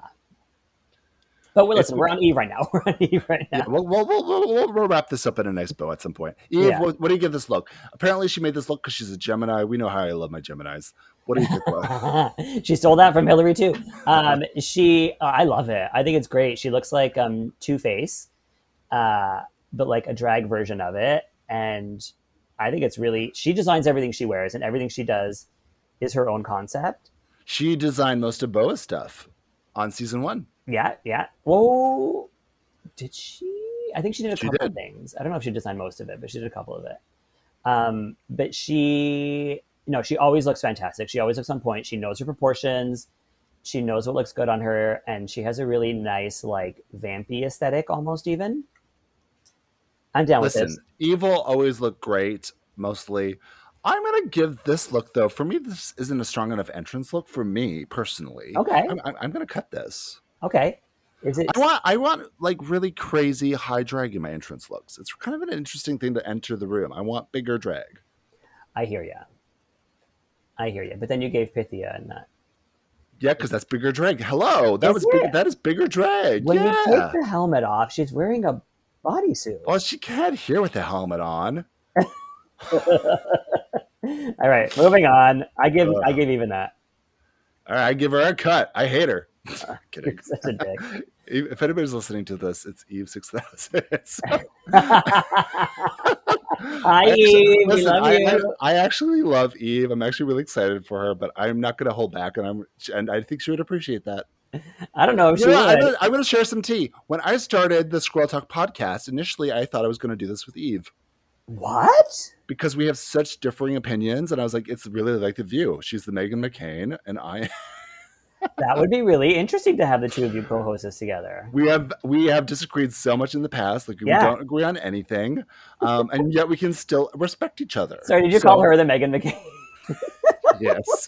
But we
It's-
listen, we're on Eve right now. We're on Eve right now.
Yeah, we'll, we'll, we'll, we'll, we'll- we'll wrap this up in a nice bow at some point. Eve,
Yeah.
what, what do you give this look? Apparently, she made this look because she's a Gemini. We know how I love my Geminis. What do you think? Will?
she stole that from Hillary too. Um, she, uh, I love it. I think it's great. She looks like um, Two Face, uh, but like a drag version of it. And I think it's really she designs everything she wears and everything she does is her own concept.
She designed most of Boa's stuff on season one.
Yeah, yeah. Whoa, did she? I think she did a
She
couple
did.
of things. I don't know if she designed most of it, but she did a couple of it. Um, but she, no, she always looks fantastic. She always looks on point. She knows her proportions. She knows what looks good on her, and she has a really nice, like, vampy aesthetic, almost even. I'm down with
Listen,
this.
evil always look great, mostly. I'm gonna give this look though. For me, this isn't a strong enough entrance look for me personally.
Okay.
I'm, I'm, I'm gonna cut this.
Okay, is it?
I want, I want like really crazy high drag in my entrance looks. It's kind of an interesting thing to enter the room. I want bigger drag.
I hear ya. I hear ya. But then you gave Pythia and that.
Yeah, because that's bigger drag. Hello, that
Is
was big,
it?
that is bigger drag.
When
yeah.
you take the helmet off, she's wearing a bodysuit.
well, she can't hear with the helmet on.
All right, moving on. I give
Ugh.
I give even that.
All right, I give her a cut. I hate her. Kidding.
You're such a dick.
Eve- if anybody's listening to this, it's Eve six thousand.
Hi, Eve. we love
I,
you.
I, I actually love Eve. I'm actually really excited for her, but I'm not going to hold back, and I'm and I think she would appreciate that.
I, don't know if she
You know what? I'm
would.
gonna- I'm going to share some tea. When I started the Squirrel Talk podcast, initially I thought I was going to do this with Eve
What?
because we have such differing opinions, and I was like, it's really like the View. She's the Megan McCain, and I
That would be really interesting to have the two of you co-host us together.
we have we have disagreed so much in the past. Like
Yeah.
we don't agree on anything, um, and yet we can still respect each other.
Sorry, did you
So-
call her the Megan McCain?
Yes,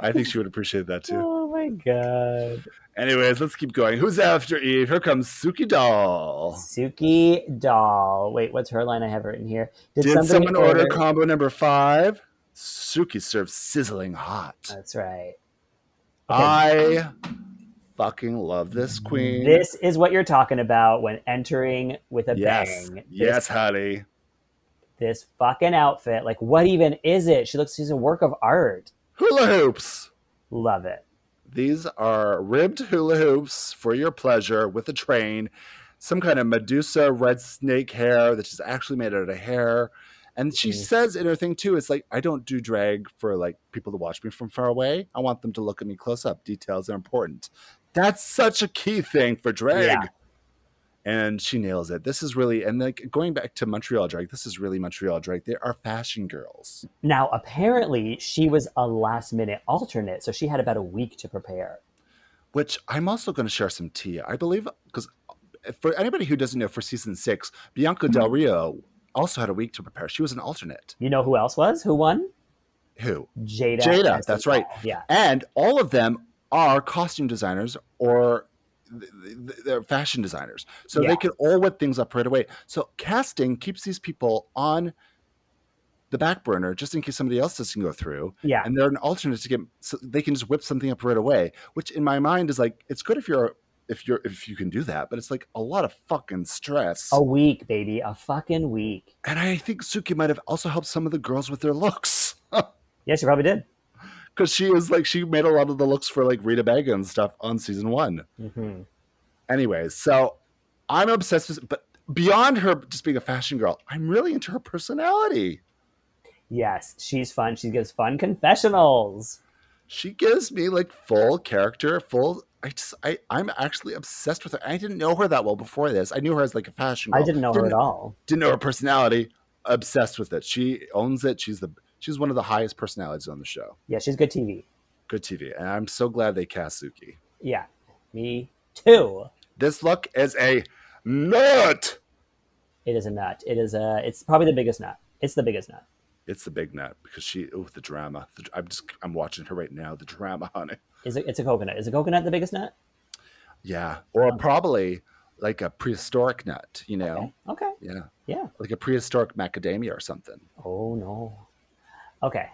I think she would appreciate that too.
oh my god.
Anyways, let's keep going. Who's after Eve? Here comes Suki Doll.
Suki doll. Wait, what's her line I have written here?
Did
somebody
someone order combo number five? Suki serves sizzling hot.
That's right.
I fucking love this queen.
This is what you're talking about when entering with a
yes,
bang.
yes, honey.
This fucking outfit. Like what even is it? She looks she's a work of art.
Hula hoops.
Love it.
These are ribbed hula hoops for your pleasure with a train, some kind of Medusa red snake hair that is actually made out of hair. And she
Mhm.
says in her thing too, it's like, I don't do drag for like people to watch me from far away. I want them to look at me close up. Details are important. That's such a key thing for drag.
Yeah.
and she nails it. This is really and like going back to Montreal Drag. This is really Montreal Drag. They are fashion girls.
Now, apparently, she was a last minute alternate, so she had about a week to prepare.
which I'm also going to share some tea. I believe because for anybody who doesn't know, for season six, Bianca Del Rio also had a week to prepare. She was an alternate.
You know who else was? Who won?
Who
Jada.
Jada,
as
that's
well.
right.
Yeah.
and all of them are costume designers or th- th- they're fashion designers, so
Yeah.
they can all whip things up right away. So casting keeps these people on the back burner just in case somebody else doesn't go through
Yeah.
and they're an alternate to get so they can just whip something up right away which in my mind is like it's good if you're if you're if you can do that but it's like a lot of fucking stress
A week, baby. A fucking week.
and i think suki might have also helped some of the girls with their looks
Yeah, she probably did.
because she is like she made a lot of the looks for like rita Baga and stuff on season one
hmm
anyways so i'm obsessed with but beyond her just being a fashion girl i'm really into her personality
Yes, she's fun. She gives fun confessionals.
she gives me like full character, full. I just, I, I'm actually obsessed with her. I didn't know her that well before this. I knew her as like a fashion. Girl.
I didn't know her at all.
Didn't know her personality. Obsessed with it. She owns it. She's the, she's one of the highest personalities on the show.
Yeah, she's good TV.
Good TV, and I'm so glad they cast Suki.
Yeah, me too.
This look is a nut.
It is a nut. It is a. It's probably the biggest nut. It's the biggest nut.
It's the big nut because she, oh, the drama. The, I'm just, I'm watching her right now. The drama on it.
Is it? It's a coconut. Is a coconut the biggest nut?
Yeah, or probably like a prehistoric nut. You know,
Okay. Okay.
yeah,
Yeah.
like a prehistoric macadamia or something.
Oh no. Okay.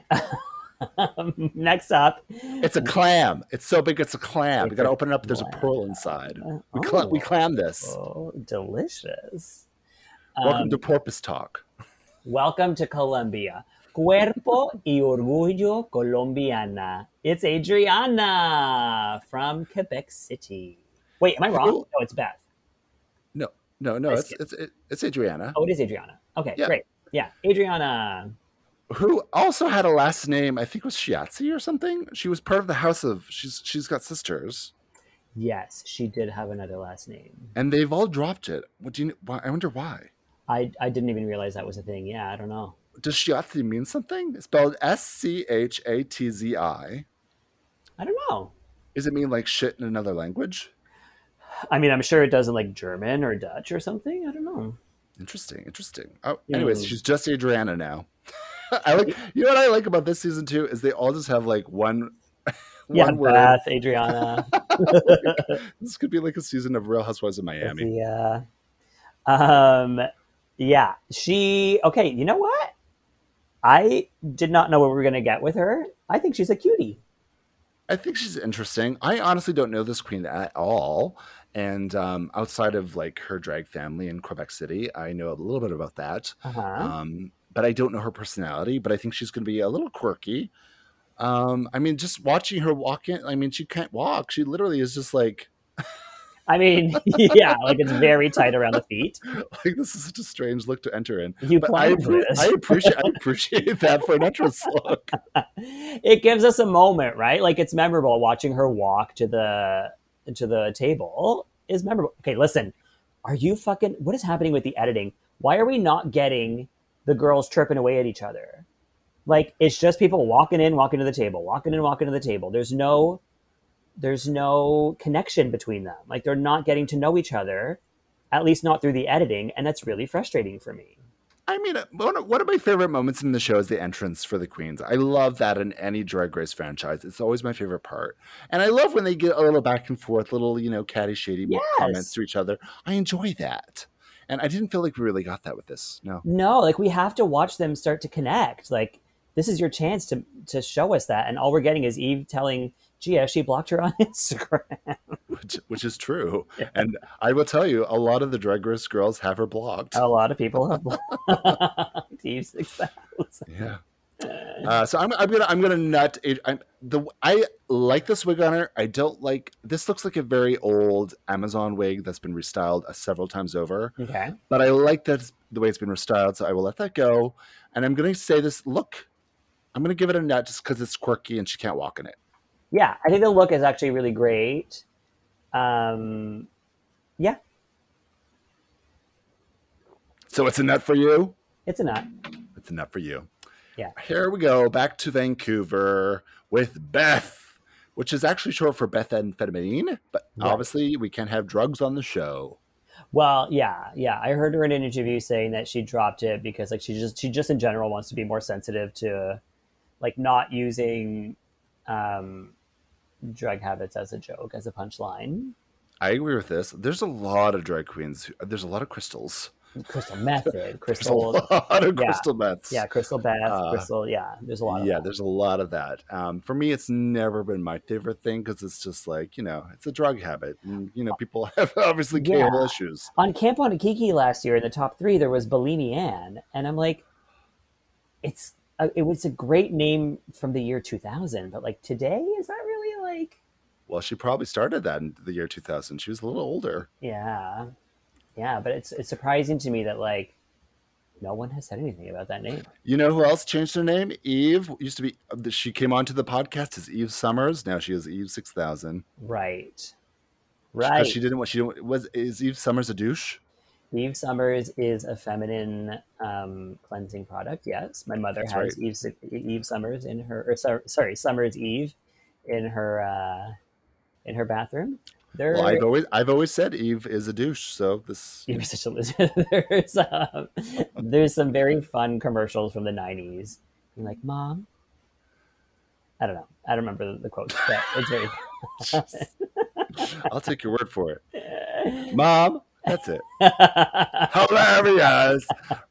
Next up.
It's a clam. It's so big, it's a clam.
It's
we got to
a
open it up. There's a
clam.
pearl inside. We,
Oh.
cla- we clam this.
Oh, delicious.
Welcome
Um,
to Porpoise Talk.
Welcome to Colombia. Cuerpo y Orgullo Colombiana. It's Adriana from Quebec City. Wait, am I wrong?
Who-
No, it's Beth.
No, no, no.
I
It's
see.
it's it- it's Adriana,
Oh, it is Adriana. Okay,
Yeah.
great. Yeah, Adriana.
who also had a last name. I think was Shiatsi or something. She was part of the house of. She's she's got sisters,
Yes, she did have another last name.
and they've all dropped it. What do you? Why, I wonder why.
I, I didn't even realize that was a thing. Yeah, I don't know.
Does Shiatsi mean something? It's spelled S C H A T Z I.
I don't know.
Does it mean like shit in another language?
I mean, I'm sure it does in like German or Dutch or something. I don't know.
Interesting, interesting. Oh, anyways,
Mm.
she's just Adriana now. I like you know what I like about this season too is they all just have like one
Yeah,
one word.
Beth, Adriana.
This could be like a season of Real Housewives of Miami.
Yeah. Um, yeah. She. Okay. You know what? I did not know what we were gonna get with her. I think she's a cutie.
I think she's interesting. I honestly don't know this queen at all. And um, outside of like her drag family in Quebec City, I know a little bit about that.
Uh-huh.
Um, but I don't know her personality, but I think she's going to be a little quirky. Um, I mean, just watching her walk in, I mean, she can't walk. She literally is just like,
I mean, yeah. Like it's very tight around the feet.
like this is such a strange look to enter in.
You
But I,
planned
appre-
this.
I appreciate I appreciate that for an entrance look.
it gives us a moment, right? Like it's memorable watching her walk to the to the table is memorable. Okay, listen. Are you fucking what is happening with the editing? Why are we not getting the girls tripping away at each other? Like it's just people walking in, walking to the table, walking in, walking to the table. There's no there's no connection between them. Like they're not getting to know each other, at least not through the editing, and that's really frustrating for me.
I mean, one of, one of my favorite moments in the show is the entrance for the queens. I love that in any Drag Race franchise. It's always my favorite part, and I love when they get a little back and forth, little you know, catty shady
Yes.
comments to each other. I enjoy that, and I didn't feel like we really got that with this. No,
No, like we have to watch them start to connect. Like this is your chance to to show us that, and all we're getting is Eve telling Gia she blocked her on Instagram.
which which is true. And I will tell you, a lot of the Drag Race girls have her blocked.
A lot of people have blocked Eve's success.
Yeah. Uh, so I'm, I'm gonna I'm gonna nut. Ad- I'm, the I like this wig on her. I don't like this. Looks like a very old Amazon wig that's been restyled uh, several times over.
Okay,
But I like that it's- the way it's been restyled. So I will let that go. And I'm gonna say this look. I'm gonna give it a nut just because it's quirky and she can't walk in it.
yeah, I think the look is actually really great. Um, yeah,
So it's a nut for you.
It's a nut.
It's a nut for you.
Yeah.
Here we go back to Vancouver with Beth, which is actually short for methamphetamine, but
Right.
obviously we can't have drugs on the show.
Well, yeah, yeah. I heard her in an interview saying that she dropped it because like she just she just in general wants to be more sensitive to like not using um drug habits as a joke, as a punchline.
I agree with this. There's a lot of drag queens. who- There's a lot of crystals.
Crystal method,
There's a
crystal
lot of
yeah,
crystal meths.
yeah, crystal bath,
Uh,
crystal yeah, there's a lot of
yeah,
that.
there's a lot of that. Um, for me, it's never been my favorite thing because it's just like you know, it's a drug habit, and you know, people have obviously
Yeah.
cable issues.
on Camp on Kiki last year in the top three, there was Bellini Ann, and I'm like, it's a, it was a great name from the year 2000, but like today, is that really like?
Well, she probably started that in the year 2000. She was a little older.
Yeah, yeah, but it's it's surprising to me that like no one has said anything about that name.
You know who else changed her name? Eve used to be. She came onto the podcast as Eve Summers. Now she is Eve 6000.
Right, right.
Because she didn't. What she didn't was is Eve Summers a douche?
Eve Summers is a feminine um, cleansing product. Yes, my mother
That's
has Eve Eve Summers in her, or sor- sorry, Summers Eve in her uh, in her bathroom. There,
Well, I've always I've always said Eve is a douche. So this
you're such a loser. there's um, there's some very fun commercials from the '90s. You're like, mom. I don't know. I don't remember the, the quote, but it's very.
I'll take your word for it. Mom, that's it. Hilarious.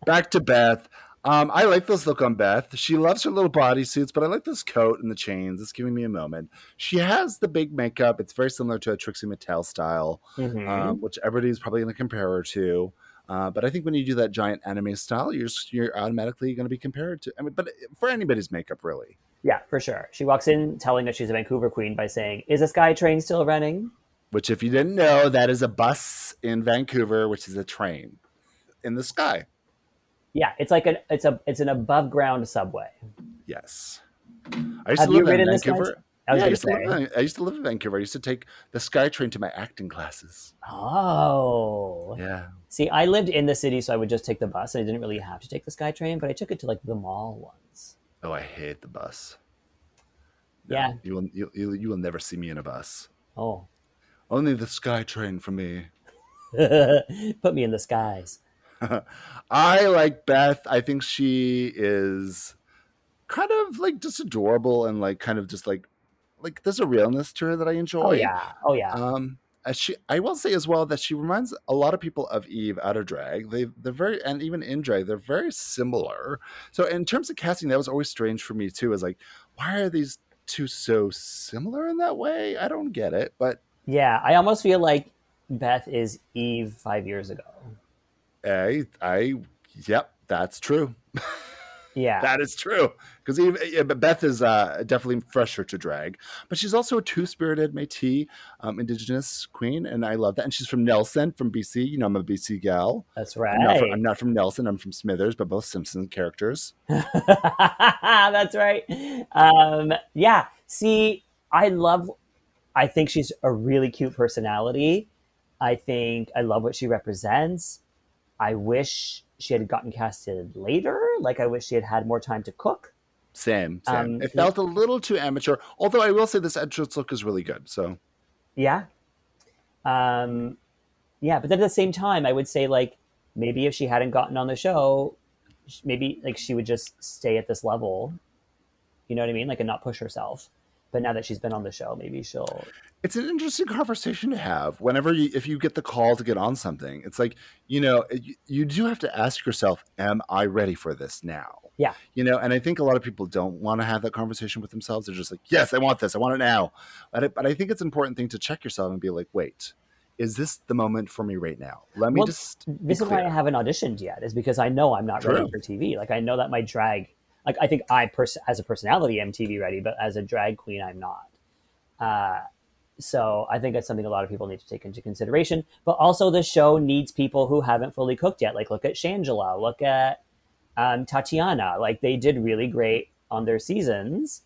Back to Beth. Um, I like this look on Beth. She loves her little bodysuits, but I like this coat and the chains. It's giving me a moment. She has the big makeup. It's very similar to a Trixie Mattel style,
Mhm.
um, which everybody's probably going to compare her to. Uh, but I think when you do that giant anime style, you're s- you're automatically going to be compared to. I mean, but uh, for anybody's makeup, really.
yeah, for sure. She walks in telling that she's a Vancouver queen by saying, "Is a sky train still running?"
Which, if you didn't know, that is a bus in Vancouver, which is a train in the sky.
Yeah, it's like an it's a it's an above ground subway.
Yes. I used to
Have you
live in
ridden this
Vancouver. Yeah,
I was
I,
gonna
used to
say.
live in, I used to live in Vancouver. I used to take the SkyTrain to my acting classes.
Oh,
Yeah.
see, I lived in the city, so I would just take the bus, and I didn't really have to take the SkyTrain. but I took it to like the mall once.
Oh, I hate the bus.
Yeah.
You will you, you, you will never see me in a bus.
Oh,
Only the SkyTrain for me.
put me in the skies.
I like Beth. I think she is kind of like just adorable and like kind of just like like there's a realness to her that I enjoy.
Oh yeah, oh yeah.
Um, as she, I will say as well that she reminds a lot of people of Eve out of drag. They, they're very, and even in drag, they're very similar. So in terms of casting, that was always strange for me too. Is like, why are these two so similar in that way? I don't get it. But
yeah, I almost feel like Beth is Eve five years ago.
I, I, yep, that's true.
Yeah,
That is true. Because Eve, yeah, but Beth is uh, definitely fresher to drag, but she's also a two spirited Métis um, Indigenous queen, and I love that. And she's from Nelson, from BC. You know, I'm a BC gal.
that's right.
I'm not, from, I'm not from Nelson. I'm from Smithers, but both Simpson characters.
That's right. Um, yeah. See, I love. I think she's a really cute personality. I think I love what she represents. I wish she had gotten casted later. Like I wish she had had more time to cook.
Same, same.
Um,
it felt a little too amateur. Although I will say this entrance look is really good. So
Yeah. Um, yeah, but then at the same time, I would say like maybe if she hadn't gotten on the show, sh- maybe like she would just stay at this level. You know what I mean? Like and not push herself. But now that she's been on the show, maybe she'll.
it's an interesting conversation to have whenever you, if you get the call to get on something. It's like you know you, you do have to ask yourself, "Am I ready for this now?"
Yeah.
You know, and I think a lot of people don't want to have that conversation with themselves. They're just like, "Yes, I want this. I want it now." But I, but I think it's an important thing to check yourself and be like, "Wait, is this the moment for me right now? Let me
Well,
just." be
This is why I
clear.
haven't auditioned yet, is because I know I'm not ready
True.
for TV. Like I know that my drag, like I think I pers- as a personality am TV ready, but as a drag queen, I'm not. Uh, so I think that's something a lot of people need to take into consideration. But also, the show needs people who haven't fully cooked yet. Like look at Shangela, look at um, Tatiana. Like they did really great on their seasons.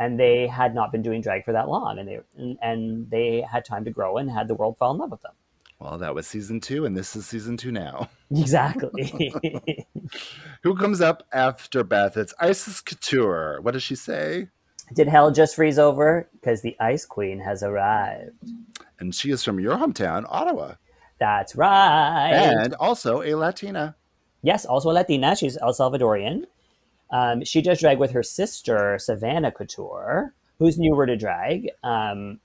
And they had not been doing drag for that long, and they and, and they had time to grow and had the world fall in love with them.
Well, that was season two, and this is season two now.
Exactly.
Who comes up after Beth? It's Isis Couture. What does she say?
Did hell just freeze over? Because the Ice Queen has arrived.
And she is from your hometown, Ottawa,
That's right.
and also a Latina.
Yes, also a Latina. She's El Salvadorian. Um, she does drag with her sister, Savannah Couture, who's newer to drag. Um,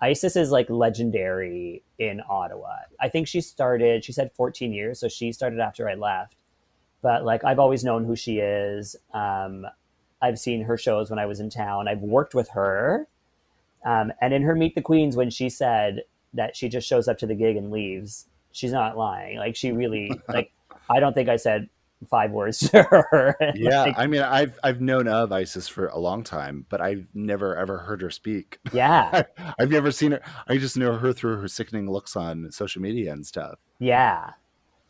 Isis is like legendary in Ottawa. I think she started, she said 14 years, so she started after I left. But like, I've always known who she is. Um, I've seen her shows when I was in town, I've worked with her. Um, and in her Meet the Queens, when she said that she just shows up to the gig and leaves, she's not lying. Like, she really, like, I don't think I said five words to her.
Yeah,
Like,
I mean, I've I've known of Isis for a long time, but I've never ever heard her speak.
yeah.
I've never seen her. I just know her through her sickening looks on social media and stuff.
Yeah.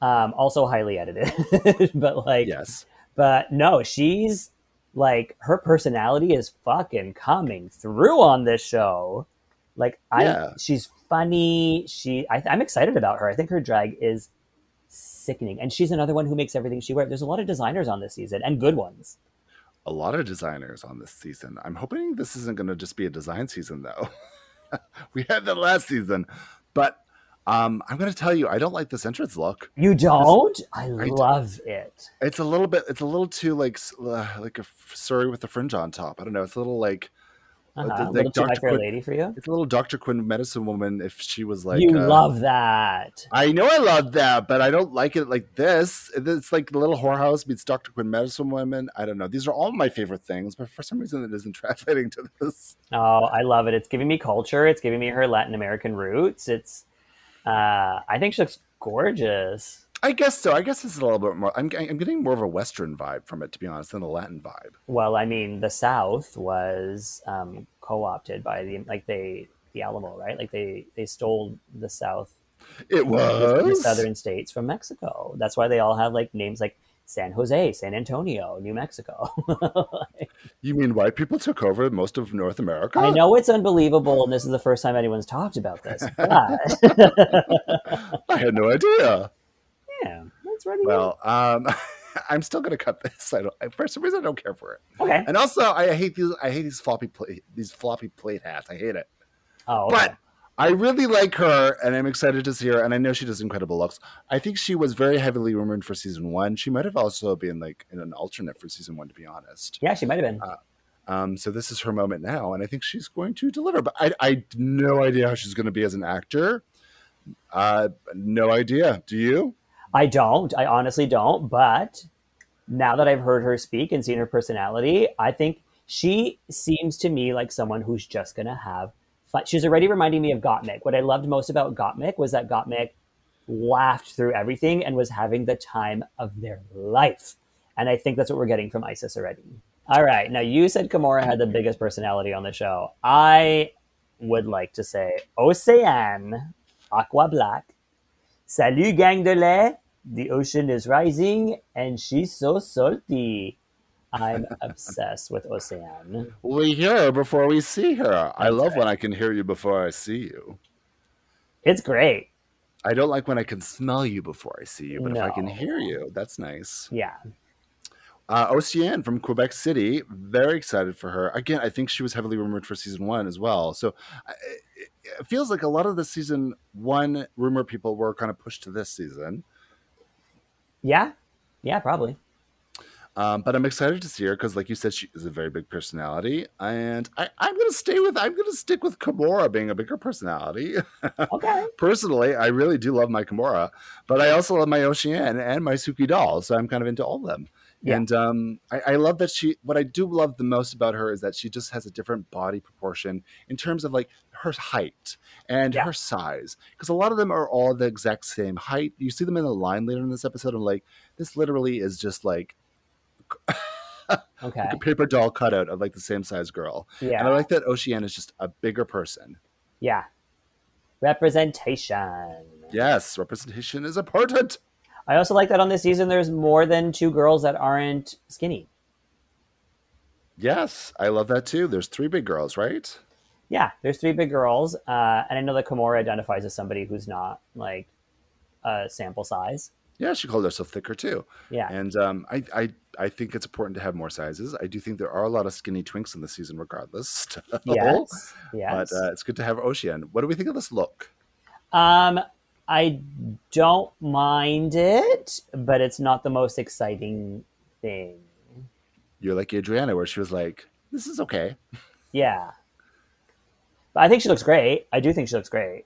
Um, also highly edited. but like
Yes.
but no, she's like her personality is fucking coming through on this show. Like I
Yeah.
she's funny. She I, I'm excited about her. I think her drag is sickening. And she's another one who makes everything she wears. There's a lot of designers on this season and good ones.
a lot of designers on this season. I'm hoping this isn't going to just be a design season, though. we had that last season, but um, I'm going to tell you, I don't like this entrance look.
You don't? I
I d-
love it.
It's a little bit, it's a little too like s- uh, like a f- sorry with the fringe on top. I don't know. It's a little like
Uh-huh.
did
a
they
little too much
Dr.
for a
Quinn-
lady for you.
it's a little Dr. Quinn medicine woman. If she was like,
you
uh,
love that.
I know I love that, but I don't like it like this. It's like the little whorehouse meets Dr. Quinn medicine woman. I don't know. These are all my favorite things, but for some reason it isn't translating to this.
Oh, I love it. It's giving me culture. It's giving me her Latin American roots. It's uh I think she looks gorgeous.
I guess so. I guess it's a little bit more. I'm, I'm getting more of a Western vibe from it, to be honest, than a Latin vibe.
Well, I mean, the South was um co-opted by the like they the Alamo, right? Like they they stole the South
It
the
was.
southern states from Mexico. That's why they all have like names like San Jose, San Antonio, New Mexico.
You mean white people took over most of North America?
I know it's unbelievable and this is the first time anyone's talked about this. But
I had no idea.
yeah, that's really
Well, um, I'm still gonna cut this. I don't. I- For some reason, I don't care for it.
okay.
And also, I hate these. I hate these floppy plate. These floppy plate hats. I hate it.
Oh, okay.
But I really like her, and I'm excited to see her. And I know she does incredible looks. I think she was very heavily rumored for season one. She might have also been like an alternate for season one, to be honest.
yeah, she might have been.
Um, so this is her moment now, and I think she's going to deliver. But I, I no idea how she's going to be as an actor. Uh, no idea. Do you?
I don't. I honestly don't. But now that I've heard her speak and seen her personality, I think she seems to me like someone who's just going to have fun. She's already reminding me of Gottmik. What I loved most about Gottmik was that Gottmik laughed through everything and was having the time of their life. And I think that's what we're getting from Isis already. All right. Now, you said Kimura had the biggest personality on the show. I would like to say Ocean, Aqua Black, Salut, gang de lait. The ocean is rising, and she's so salty. I'm obsessed with Ocean.
We hear her before we see her. I love when I can hear you before I see you.
It's great.
I don't like when I can smell you before I see you, but if I can
No.
hear you, that's nice.
Yeah.
Uh, Oceane from Quebec City, very excited for her. Again, I think she was heavily rumored for season one as well. So I- it, it feels like a lot of the season one rumor people were kind of pushed to this season.
Yeah. Yeah, probably.
Um, but I'm excited to see her because, like you said, she is a very big personality, and I, I'm going to stay with I'm going to stick with Kimura being a bigger personality.
Okay.
Personally, I really do love my Kimura, but I also love my Ocean and my Suki doll, so I'm kind of into all of them.
Yeah.
And um, I, I love that she. What I do love the most about her is that she just has a different body proportion in terms of like her height and
Yeah.
her size, because a lot of them are all the exact same height. You see them in the line later in this episode. I'm like, this literally is just like
Okay.
like a paper doll cutout of like the same size girl. And I
Yeah.
like that Oceana is just a bigger person.
Yeah. Representation.
Yes, representation is important.
I also like that on this season, there's more than two girls that aren't skinny.
Yes, I love that too. There's three big girls, right?
yeah, there's three big girls, uh, and I know that Kimura identifies as somebody who's not like uh, sample size.
Yeah, she called herself thicker too.
Yeah,
And um, I, I, I think it's important to have more sizes. I do think there are a lot of skinny twinks in the season, regardless. still.
yes, yes.
But uh, it's good to have Ocean. What do we think of this look?
um, I don't mind it, but it's not the most exciting thing.
You're like Adriana, where she was like, "This is okay."
Yeah, but I think she looks great. I do think she looks great.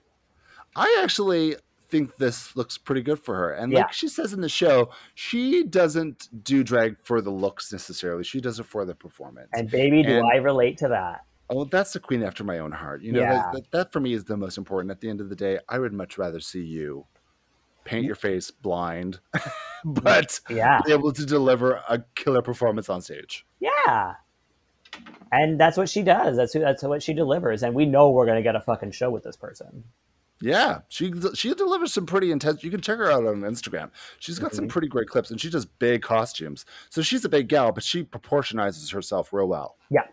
I actually think this looks pretty good for her. And
Yeah.
like she says in the show, she doesn't do drag for the looks necessarily. She does it for the performance.
And baby, do
And-
I relate to that?
oh, that's the queen after my own heart. You know,
Yeah.
that, that, that for me is the most important. At the end of the day, I would much rather see you paint your face blind, but
Yeah,
be able to deliver a killer performance on stage.
yeah. And that's what she does. That's who. That's what she delivers. And we know we're gonna get a fucking show with this person.
Yeah, she she delivers some pretty intense. You can check her out on Instagram. She's got
Mm-hmm.
some pretty great clips, and she does big costumes. So she's a big gal, but she proportionizes herself real well.
Yeah.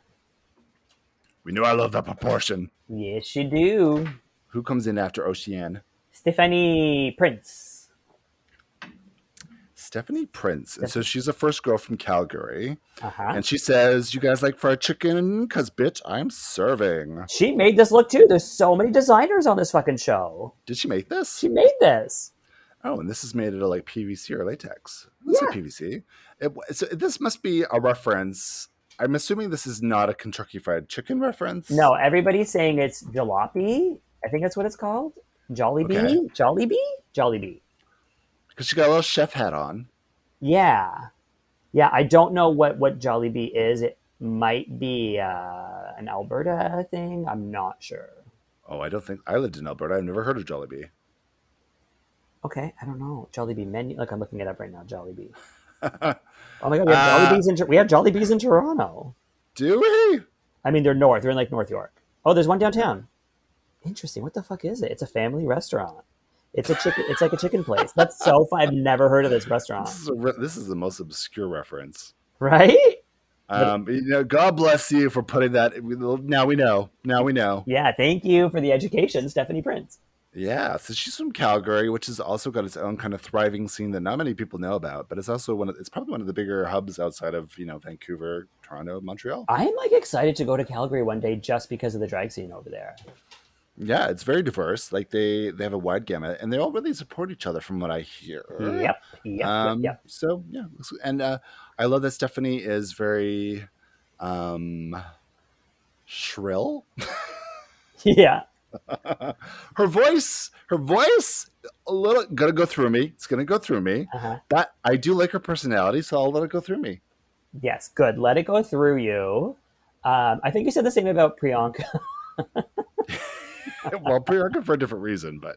We know I love that proportion.
Yes, you do.
Who comes in after Ocean?
Stephanie Prince.
Stephanie Prince, and so she's a first girl from Calgary,
Uh-huh.
and she says, "You guys like fried chicken? Cause bitch, I'm serving."
She made this look too. There's so many designers on this fucking show.
Did she make this?
She made this.
Oh, and this is made out of like PVC or latex. This
Yeah.
is PVC. It, w- so this must be a reference. I'm assuming this is not a Kentucky Fried Chicken reference.
No, everybody's saying it's jalopy. I think that's what it's called. Jolly Bee?
Okay.
Jolly Bee? Jolly Bee.
because she got a little chef hat on.
Yeah. Yeah, I don't know what, what Jolly Bee is. It might be uh, an Alberta thing. I'm not sure.
Oh, I don't think I lived in Alberta. I've never heard of Jollibee.
Okay, I don't know. Jolly Bee menu. Look, I'm looking it up right now. Jolly Bee. Oh my God, we have Jolly
Uh,
Bees in, Tor- we have Jolly Bees in Toronto.
Do we?
I mean, they're north. They're in like North York. Oh, there's one downtown. Interesting. What the fuck is it? It's a family restaurant. It's a chicken. It's like a chicken place. That's so fun. I've never heard of this restaurant.
This is, a re- this is the most obscure reference.
Right?
Um, you know, God bless you for putting that. Now we know. Now we know.
Yeah. Thank you for the education, Stephanie Prince.
Yeah, so she's from Calgary, which has also got its own kind of thriving scene that not many people know about, but it's also one of it's probably one of the bigger hubs outside of, you know, Vancouver, Toronto, Montreal.
I am like excited to go to Calgary one day just because of the drag scene over there.
Yeah, it's very diverse. Like they they have a wide gamut and they all really support each other from what I hear.
Mm, Yep. Yep.
Hmm. Um,
yep.
so yeah, looks- and uh, I love that Stephanie is very um shrill.
Yep. Yeah.
her voice, her voice a little gonna go through me. It's gonna go through me.
Uh-huh.
That I do like her personality, so I'll let it go through me.
Yes. Good. Let it go through you. Um, I think you said the same about Priyanka.
well, Priyanka for a different reason, but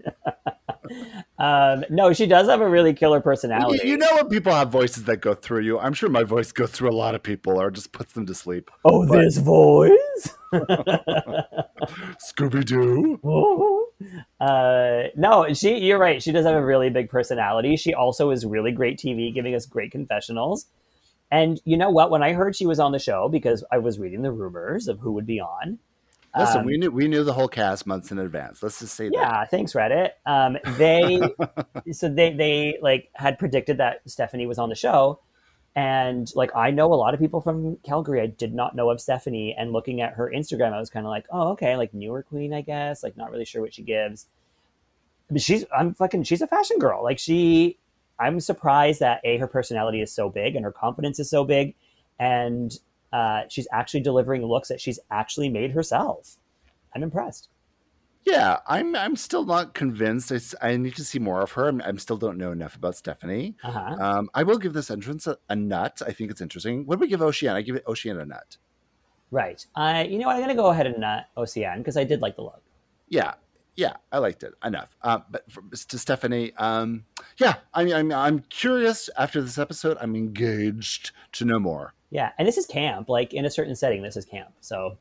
Um, no, she does have a really killer personality.
you, you know when people have voices that go through you, I'm sure my voice goes through a lot of people or just puts them to sleep.
oh,
but-
this voice.
Scooby Doo.
uh, no, she. You're right. She does have a really big personality. She also is really great TV, giving us great confessionals. And you know what? When I heard she was on the show, because I was reading the rumors of who would be on.
Listen,
um,
we knew we knew the whole cast months in advance. Let's just say that.
yeah, thanks Reddit. Um, they so they they like had predicted that Stephanie was on the show, and like I know a lot of people from Calgary. I did not know of Stephanie, and looking at her Instagram, I was kind of like, oh okay, like newer queen, I guess. Like not really sure what she gives. But she's I'm fucking she's a fashion girl. Like she, I'm surprised that a her personality is so big and her confidence is so big, and uh, she's actually delivering looks that she's actually made herself. I'm impressed.
Yeah, I'm I'm still not convinced. I, s- I need to see more of her. I'm, I'm still don't know enough about Stephanie.
Uh huh.
Um, I will give this entrance a, a nut. I think it's interesting. What do we give Ocean? I give it Ocean a nut.
Right. I, you know, what, I'm gonna go ahead and not OCN because I did like the look.
yeah yeah i liked it enough uh, but for, to stephanie um yeah I mean, I'm, I'm curious after this episode i'm engaged to know more
Yeah, and this is camp, like in a certain setting. This is camp. So,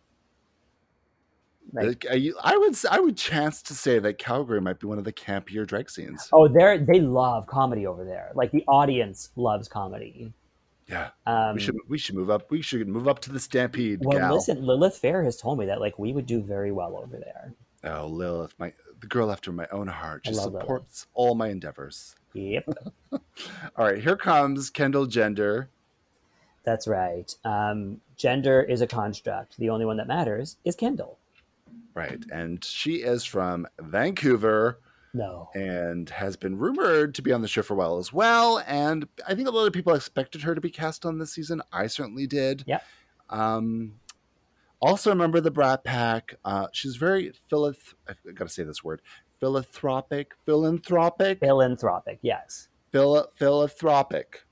Right.
Like, I, I would s- i would chance to say that calgary might be one of the campier drag scenes
oh, they are they love comedy over there. Like the audience loves comedy.
Yeah.
Um,
we should we should move up. We should move up to the Stampede.
well,
gal.
listen, Lilith Fair has told me that like we would do very well over there.
Oh, Lilith, my the girl after my own heart.
I
She
love Lilith.
supports all my endeavors.
Yep,
All right, here comes Kendall Gender.
that's right. Um, gender is a construct. The only one that matters is Kendall.
Right, and she is from Vancouver
No.
and has been rumored to be on the show for a while as well. And I think a lot of people expected her to be cast on this season. I certainly did.
Yep.
Um, also, remember the Brat Pack. Uh, she's very philith. I got to say this word. Philanthropic, philanthropic,
Philanthropic, yes.
phil- philanthropic.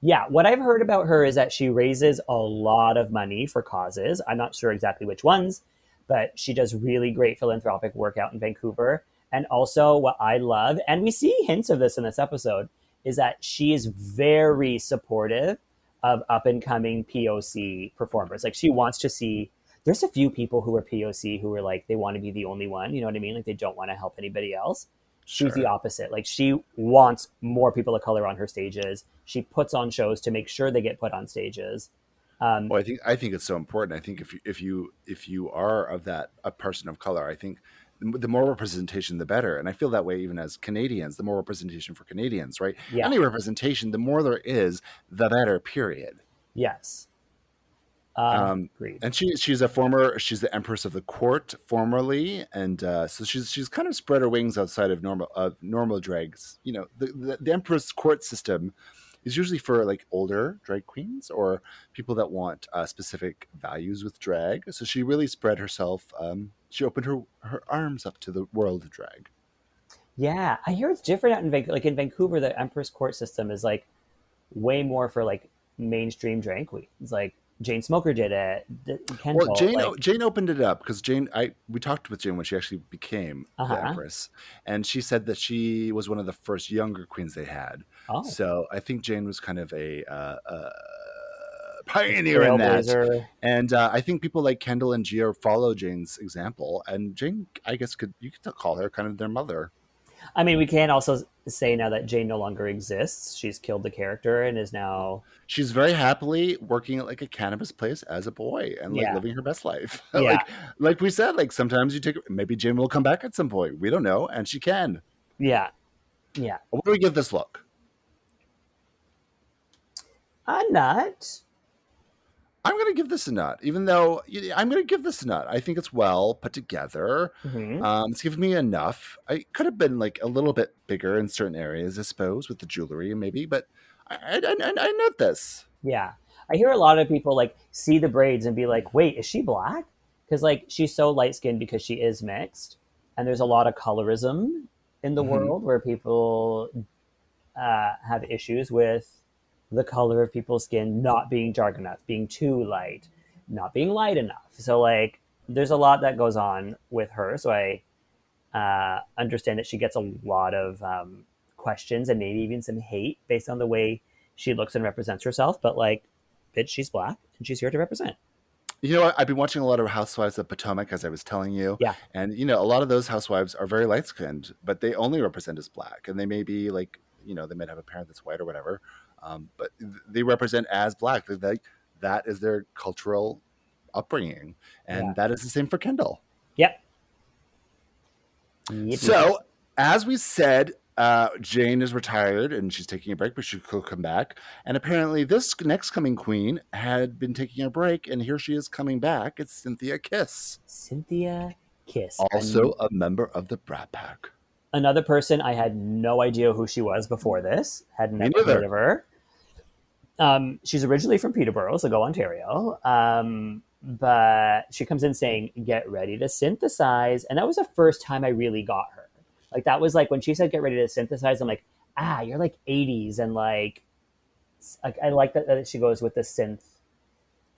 Yeah, what I've heard about her is that she raises a lot of money for causes. I'm not sure exactly which ones, but she does really great philanthropic work out in Vancouver. And also, what I love, and we see hints of this in this episode, is that she is very supportive of up and coming POC performers. Like, she wants to see, there's a few people who are POC who are like, they want to be the only one. You know what I mean? Like, they don't want to help anybody else she's the opposite. Like she wants more people of color on her stages. She puts on shows to make sure they get put on stages. Um,
Well, I think I think it's so important. I think if you if you if you are of that a person of color, I think the more representation, the better. And I feel that way even as Canadians. The more representation for Canadians, right?
Yeah.
Any representation, the more there is, the better. Period.
yes. Um,
Um,
agreed.
And she she's a former she's the Empress of the Court formerly, and uh, so she's she's kind of spread her wings outside of normal of normal drags. You know, the, the the Empress Court system is usually for like older drag queens or people that want uh, specific values with drag. So she really spread herself. Um, she opened her her arms up to the world of drag.
yeah, I hear it's different out in Vancouver. Like in Vancouver, the Empress Court system is like way more for like mainstream drag queens. Like Jane Smoker did it. D- Kendall,
Well, Jane
like-
Jane opened it up because Jane, I we talked with Jane when she actually became the
Uh-huh.
Empress, and she said that she was one of the first younger queens they had.
oh,
So I think Jane was kind of a uh, uh, pioneer in that,
Trailblazer.
and uh, I think people like Kendall and Gia follow Jane's example. And Jane, I guess, could you could call her kind of their mother.
I mean, we can also say now that Jane no longer exists. She's killed the character and is now
She's very happily working at like a cannabis place as a boy and like
Yeah.
living her best life.
Yeah.
like, like we said, like sometimes you take maybe Jane will come back at some point. We don't know, and she can.
yeah, yeah.
What do we give this look?
A nut.
I'm going to give this a nut, even though yeah, I'm going to give this a nut. I think it's well put together.
Mhm.
Um, it's given me enough. I could have been like a little bit bigger in certain areas, I suppose, with the jewelry maybe, but I I, I, I note this.
Yeah. I hear a lot of people like see the braids and be like, wait, is she black? Because like she's so light skinned because she is mixed. And there's a lot of colorism in the
Mhm.
world where people uh, have issues with the color of people's skin not being dark enough, being too light, not being light enough. So like there's a lot that goes on with her. So I uh, understand that she gets a lot of um, questions and maybe even some hate based on the way she looks and represents herself. But like, bitch, she's black and she's here to represent.
You know, what? I've been watching a lot of Housewives of Potomac, as I was telling you.
Yeah.
And, you know, a lot of those housewives are very light skinned, but they only represent as black. And they may be like, you know, they might have a parent that's white or whatever, um, but th- they represent as black. They're Like, that is their cultural upbringing. And
Yeah.
that is the same for Kendall.
Yep. Yippee.
So, as we said, uh, Jane is retired and she's taking a break, but she could come back. And apparently, this next coming queen had been taking a break, and here she is coming back. It's Cynthia Kiss,
Cynthia Kiss,
also a member of the Brat Pack.
An- another person I had no idea who she was before this. Had
Me
never heard
neither.
of her. Um, she's originally from Peterborough, so go Ontario. Um, but she comes in saying, "Get ready to synthesize," and that was the first time I really got her. Like that was like when she said, "Get ready to synthesize." I'm like, "Ah, you're like '80s," and like, s- I, I like that, that she goes with the synth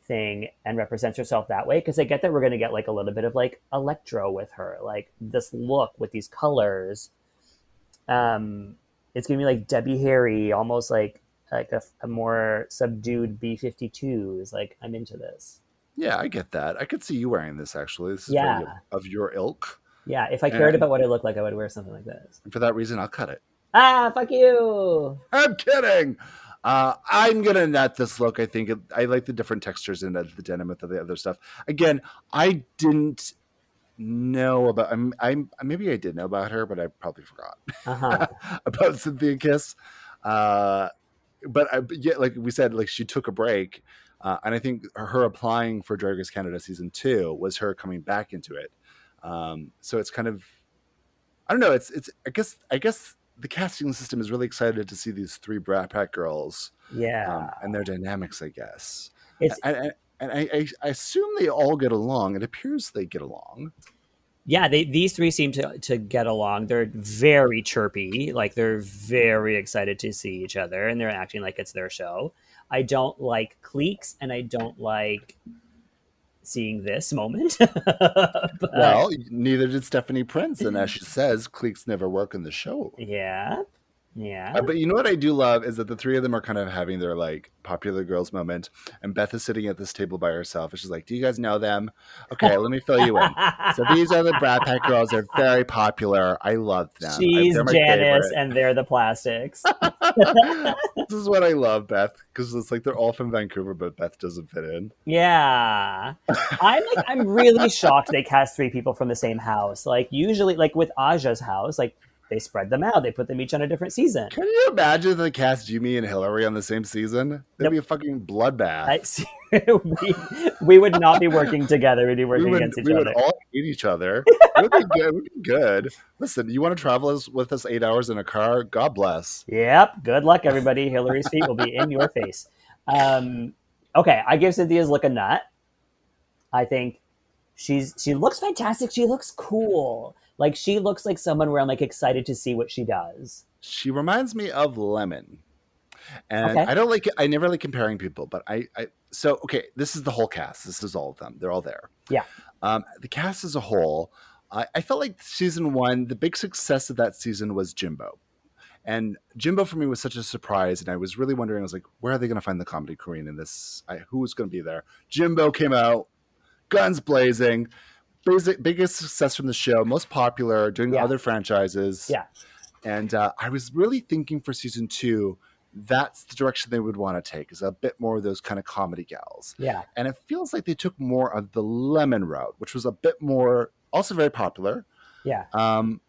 thing and represents herself that way because I get that we're going to get like a little bit of like electro with her, like this look with these colors. Um, it's gonna be like Debbie Harry, almost like like a, a more subdued B fifty two. Is like I'm into this.
Yeah, I get that. I could see you wearing this actually. This is very
Yeah.
of your ilk.
Yeah, if I cared
And-
about what I look like, I would wear something like this.
And for that reason, I'll cut it.
Ah, fuck you.
I'm kidding. Uh, I'm gonna nut this look. I think it, I like the different textures in it, the denim with the other stuff. Again, I didn't know about. I'm, I'm maybe I did know about her, but I probably forgot
Uh-huh.
about Cynthia Kiss. Uh, but I, but yet, like we said, like she took a break, uh, and I think her applying for Drag Race Canada season two was her coming back into it. Um, so it's kind of, I don't know. It's it's I guess I guess the casting system is really excited to see these three Brat Pack girls
Yeah.
um, and their dynamics, I guess.
it's
And, and, and I, I, I assume they all get along. It appears they get along.
yeah they, these three seem to, to get along they're very chirpy like they're very excited to see each other and they're acting like it's their show i don't like cliques and i don't like seeing this moment But-
well, neither did Stephanie Prince, and as she says, cliques never work in the show.
yeah yeah
Uh, But you know what I do love is that the three of them are kind of having their like popular girls moment, and Beth is sitting at this table by herself, and she's like, "Do you guys know them? Okay, let me fill you in. So these are the Brad Pack girls. They're very popular. I love them. I-
she's
they're my
janice
favorite."
and they're the plastics
this is what I love, Beth, because it's like they're all from Vancouver, but Beth doesn't fit in.
Yeah. I'm like I'm really shocked they cast three people from the same house. Like usually like with Aja's house, like they spread them out. They put them each on a different season.
Can you imagine if they cast Jimmy and Hillary on the same season? That'd
Yep.
be a fucking bloodbath.
I, we, we would not be working together. We'd be working
we would,
against each
we would
other.
all hate each other. It would be good. It would be good. Listen, you want to travel us, with us eight hours in a car? God bless.
Yep. Good luck, everybody. Hillary's feet will be in your face. Um, okay, I give Cynthia's look a nut. I think she's she looks fantastic. She looks cool. Like she looks like someone where I'm like excited to see what she does.
She reminds me of Lemon. And
Okay.
I don't like I never like comparing people, but I, I so okay, this is the whole cast. This is all of them. They're all there.
Yeah.
Um, the cast as a whole, I, I felt like season one, the big success of that season was Jimbo. And Jimbo for me was such a surprise, and I was really wondering, I was like, where are they gonna find the comedy queen in this? I, who's gonna be there? Jimbo came out, guns blazing, basic, biggest success from the show, most popular, doing
Yeah.
other franchises.
Yeah.
And uh, I was really thinking for season two, that's the direction they would want to take is a bit more of those kind of comedy gals.
Yeah.
And it feels like they took more of the lemon route, which was a bit more, also very popular,
Yeah.
um,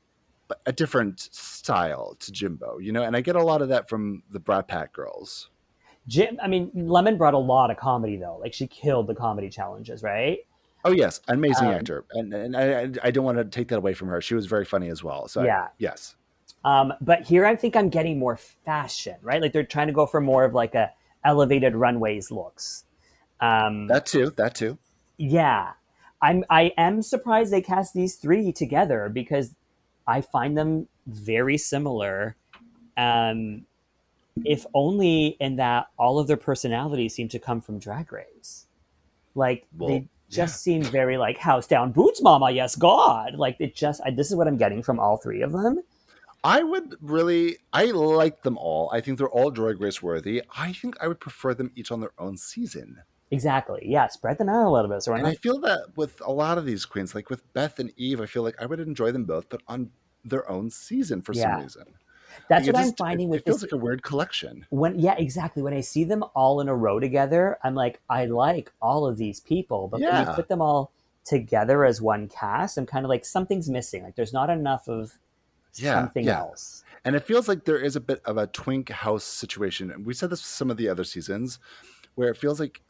but a different style to Jimbo, you know? And I get a lot of that from the Brat Pack girls.
Jim, I mean, Lemon brought a lot of comedy though. Like she killed the comedy challenges, right?
Oh yes, amazing
Um,
actor, and and I, I- I don't want to take that away from her. She was very funny as well. So I-
Yeah.
yes,
Um, but here, I think I'm getting more fashion, right? Like they're trying to go for more of like a elevated runways looks. Um,
that too, that too.
yeah, I'm. I am surprised they cast these three together because I find them very similar. Um, if only in that all of their personalities seem to come from Drag Race. Like
Well,
they just seem very like house down boots, mama. Yes, God. Like it just. I, this is what I'm getting from all three of them.
I would really, I like them all. I think they're all Drag Race worthy. I think I would prefer them each on their own season.
Exactly. Yeah, spread them out a little bit. So we're
And
not
I feel that with a lot of these queens, like with Beth and Eve, I feel like I would enjoy them both, but on their own season for
Yeah.
some reason.
That's
Like,
what
it
I'm
just-
finding
it,
with
it feels
this.
like a weird collection.
when yeah, exactly. When I see them all in a row together, I'm like, I like all of these people, but when
Yeah.
you put them all together as one cast, I'm kind of like something's missing. Like there's not enough of
Yeah,
something
yeah.
else.
And it feels like there is a bit of a twink house situation. And we said this with some of the other seasons where it feels like,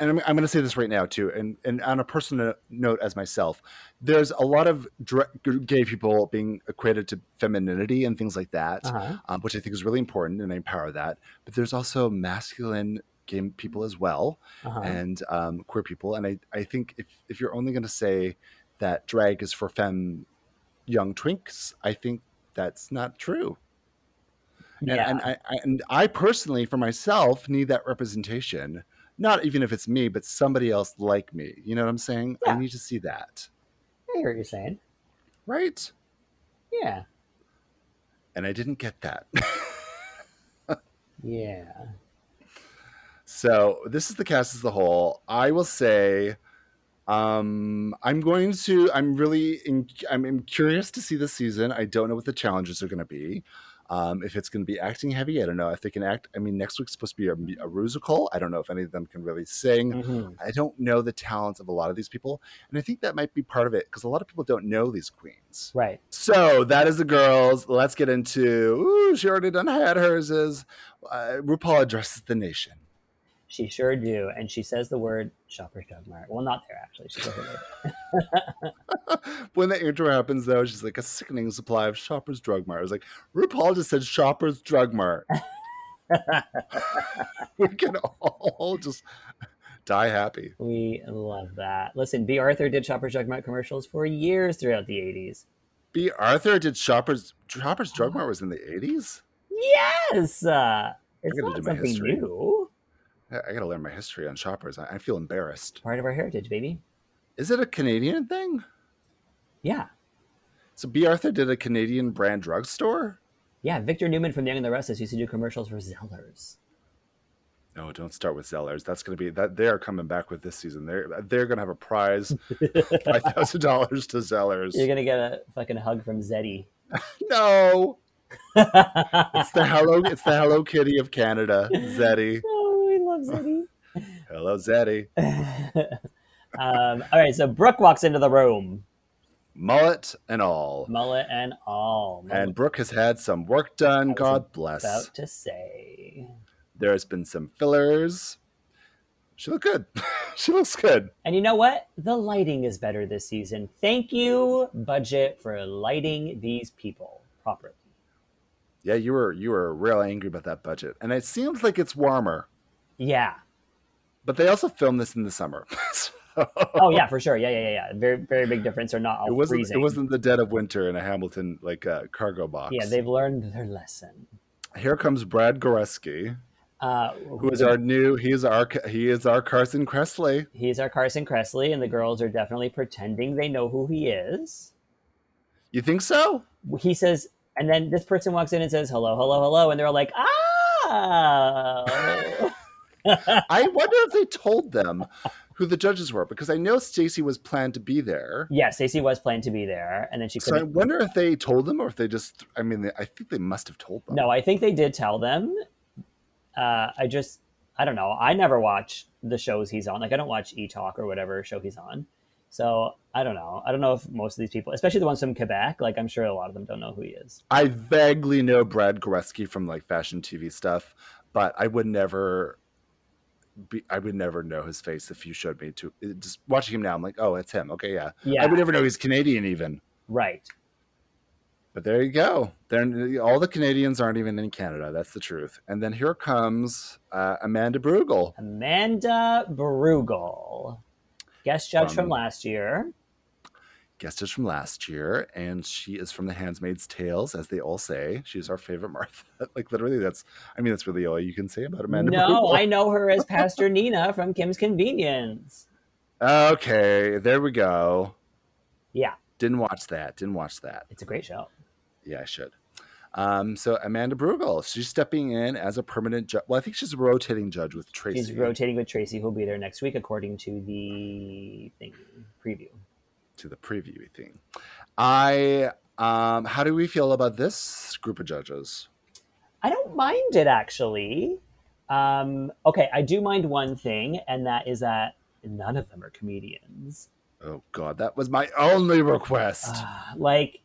and I'm, I'm going to say this right now too, and, and on a personal note as myself, there's a lot of dra- gay people being equated to femininity and things like that,
Uh-huh.
um, which I think is really important and I empower that. But there's also masculine gay people as well
Uh-huh.
and um, queer people. And I, I think if, if you're only going to say that drag is for femme young twinks, I think that's not true. And,
yeah.
and, I, I, and I personally, for myself, need that representation. Not even if it's me, but somebody else like me. You know what I'm saying?
Yeah.
I need to see that.
I hear what you're saying.
Right.
Yeah.
And I didn't get that.
Yeah.
So this is the cast as a whole. I will say, um, I'm going to. I'm really. In, I'm, I'm curious to see this season. I don't know what the challenges are going to be. Um, if it's going to be acting heavy, I don't know if they can act. I mean, next week's supposed to be a, a musical. I don't know if any of them can really sing.
Mhm.
I don't know the talents of a lot of these people. And I think that might be part of it because a lot of people don't know these queens.
Right.
So that is the girls. Let's get into. Ooh, she already done had hers. Is uh, RuPaul addresses the nation.
She sure do. And she says the word shopper's drug mart. Well, not there, actually. She doesn't.
when the intro happens, though, she's like a sickening supply of Shoppers Drug Mart. I was like, RuPaul just said Shoppers Drug Mart. we can all just die happy.
we love that. Listen, B. Arthur did shopper's drug mart commercials for years throughout the 80s.
B. Arthur did Shoppers Shoppers Drug Mart was in the eighties.
Yes. Uh, it's
gotta
not
do my
something
history.
new.
I got to learn my history on Shoppers. I, I feel embarrassed.
Part of our heritage, baby.
Is it a Canadian thing?
Yeah.
So B. Arthur did a Canadian brand drugstore.
Yeah. Victor Newman from Young and the Restless used to do commercials for Zellers.
No, don't start with Zellers. That's going to be that they are coming back with this season. They're they're going to have a prize, five thousand dollars to Zellers.
You're going to get a fucking hug from Zeddy.
No, it's the Hello, it's the Hello Kitty of Canada, Zeddy.
Oh, we love Zeddy.
Hello, Zeddy.
um, all right. So Brooke walks into the room,
Mullet and all.
mullet and all.
And Brooke has had some work done. God bless.
about to say.
There's been some fillers. She looked good. she looks good.
And you know what? The lighting is better this season. Thank you, budget, for lighting these people properly.
Yeah, you were you were real angry about that budget, and it seems like it's warmer.
Yeah.
But they also filmed this in the summer. so
Oh yeah, for sure. Yeah, yeah, yeah, yeah. Very, very big difference. Or not all
it wasn't
freezing.
it wasn't the dead of winter in a Hamilton like uh, cargo box.
Yeah, they've learned their lesson.
Here comes Brad Goreski,
Uh,
who is our new he is our he is our Carson Kressley.
he's our Carson Kressley, and the girls are definitely pretending they know who he is.
You think so?
He says, and then this person walks in and says, "Hello, hello, hello," and they're all like, "Ah."
I wonder if they told them who the judges were because I know Stacy was planned to be there.
yeah, Stacey was planned to be there, and then she
So I
couldn't.
wonder if they told them or if they just I mean I think they must have told them.
No, I think they did tell them. Uh, I just, I don't know. I never watch the shows he's on. Like, I don't watch E Talk or whatever show he's on. So I don't know. I don't know if most of these people, especially the ones from Quebec, like I'm sure a lot of them don't know who he is.
I vaguely know Brad Goreski from like fashion TV stuff, but I would never be, I would never know his face if you showed me to it- just watching him now. I'm like, oh, it's him. Okay, yeah.
Yeah,
I would never know he's Canadian even.
right.
But there you go. They're, all the Canadians aren't even in Canada. That's the truth. And then here comes uh, Amanda Brugel.
Amanda Brugel, guest judge from
From-
last year.
guest is from last year, and she is from The Handmaid's Tales, as they all say. She's our favorite Martha. like literally, that's I mean, that's really all you can say about Amanda.
No,
Brugel.
I know her as Pastor Nina from Kim's Convenience.
okay, there we go.
Yeah,
Didn't watch that. Didn't watch that.
it's a great show.
Yeah, I should. Um, so Amanda Brugel, she's stepping in as a permanent judge. Well, I think she's a rotating judge with Tracy.
She's rotating with Tracy, who'll be there next week, according to the thing preview.
to the preview thing. I um, how do we feel about this group of judges?
I don't mind it actually. Um, okay, I do mind one thing, and that is that none of them are comedians.
Oh God, that was my only request.
Ah, like,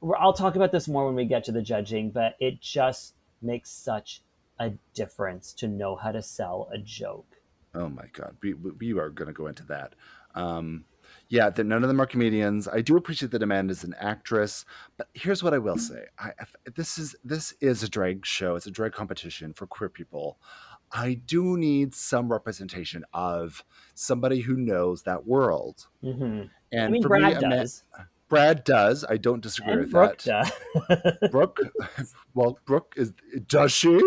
we're, I'll talk about this more when we get to the judging, but it just makes such a difference to know how to sell a joke.
Oh my god, we we we are going to go into that. Um, yeah, that none of them are comedians. I do appreciate that Amanda is an actress, but here's what I will say: I, if- this is this is a drag show. It's a drag competition for queer people. I do need some representation of somebody who knows that world.
Mhm.
Mm-hmm. And
I mean,
for
Brad
me, Ama-
does,
Brad does. I don't disagree
and
with
Brooke
that.
does.
Brooke, well, Brooke is does she?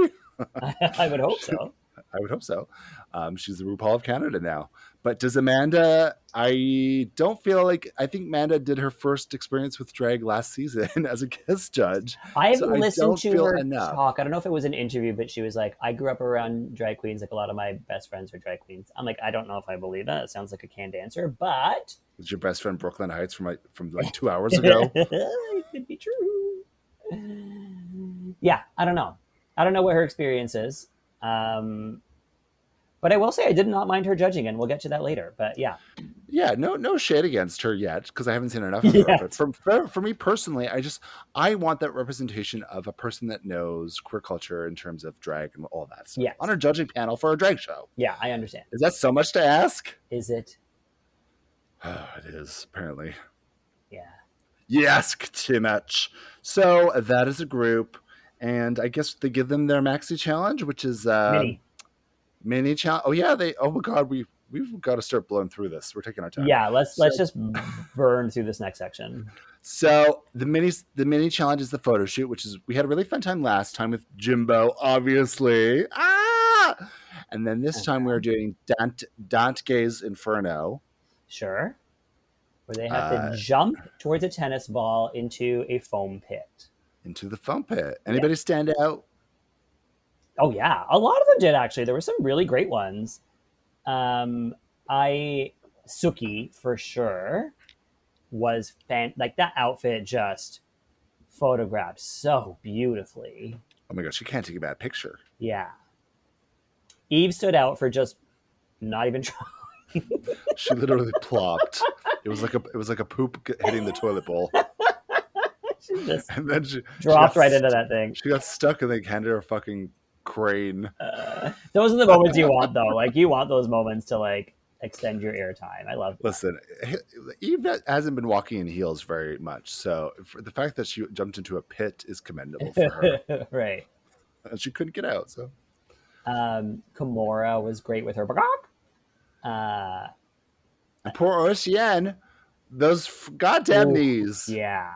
I would hope so.
I would hope so. Um, she's the RuPaul of Canada now. But does Amanda? I don't feel like I think Amanda did her first experience with drag last season as a guest judge.
I
So I
listened
don't
to
feel
her
enough.
talk. I don't know if it was an interview, but she was like, "I grew up around drag queens. Like a lot of my best friends are drag queens." I'm like, I don't know if I believe that. It sounds like a canned answer, but
Was your best friend Brooklyn Heights from like from like two hours ago?
it could be true. yeah, I don't know. I don't know what her experience is. Um, but I will say I did not mind her judging, and we'll get to that later. But yeah,
Yeah, no, no shade against her yet because I haven't seen enough of her.
Yet.
But for, for for me personally, I just I want that representation of a person that knows queer culture in terms of drag and all that stuff
Yes.
on a judging panel for a drag show.
yeah, I understand.
Is that so much to ask?
Is it?
it is apparently.
Yeah.
Yes, too much. So that is a group, and I guess they give them their maxi challenge, which is uh,
Mini.
mini challenge. Oh yeah, they. Oh my god, we we've got to start blowing through this. We're taking our time.
Yeah, let's let's
So-
just burn through this next section.
So the mini the mini challenge is the photo shoot, which is we had a really fun time last time with Jimbo, obviously. Ah, and then
Oh,
this time we were doing Dante, Dante's Inferno.
Sure. Where they have
Uh,
to jump towards a tennis ball into a foam pit.
Into the foam pit. Anybody stand out?
Oh yeah, a lot of them did actually. There were some really great ones. Um, I Suki for sure was fan like that outfit just photographed so beautifully.
Oh my gosh, you can't take a bad picture.
Yeah, Eve stood out for just not even trying.
She literally plopped. It was like a it was like a poop g- hitting the toilet bowl,
She just
and then she
dropped
she got
right into
st-
that thing.
She got stuck, and they handed her a fucking crane.
Uh, those are the moments you want though. Like you want those moments to like extend your airtime. I love.
Listen, Eve hasn't been walking in heels very much, so for the fact that she jumped into a pit is commendable for her.
that. right.
and she couldn't get out, so
Um, Kimura was great with her. Uh,
and poor Ocean, those f- goddamn
Ooh,
knees.
yeah,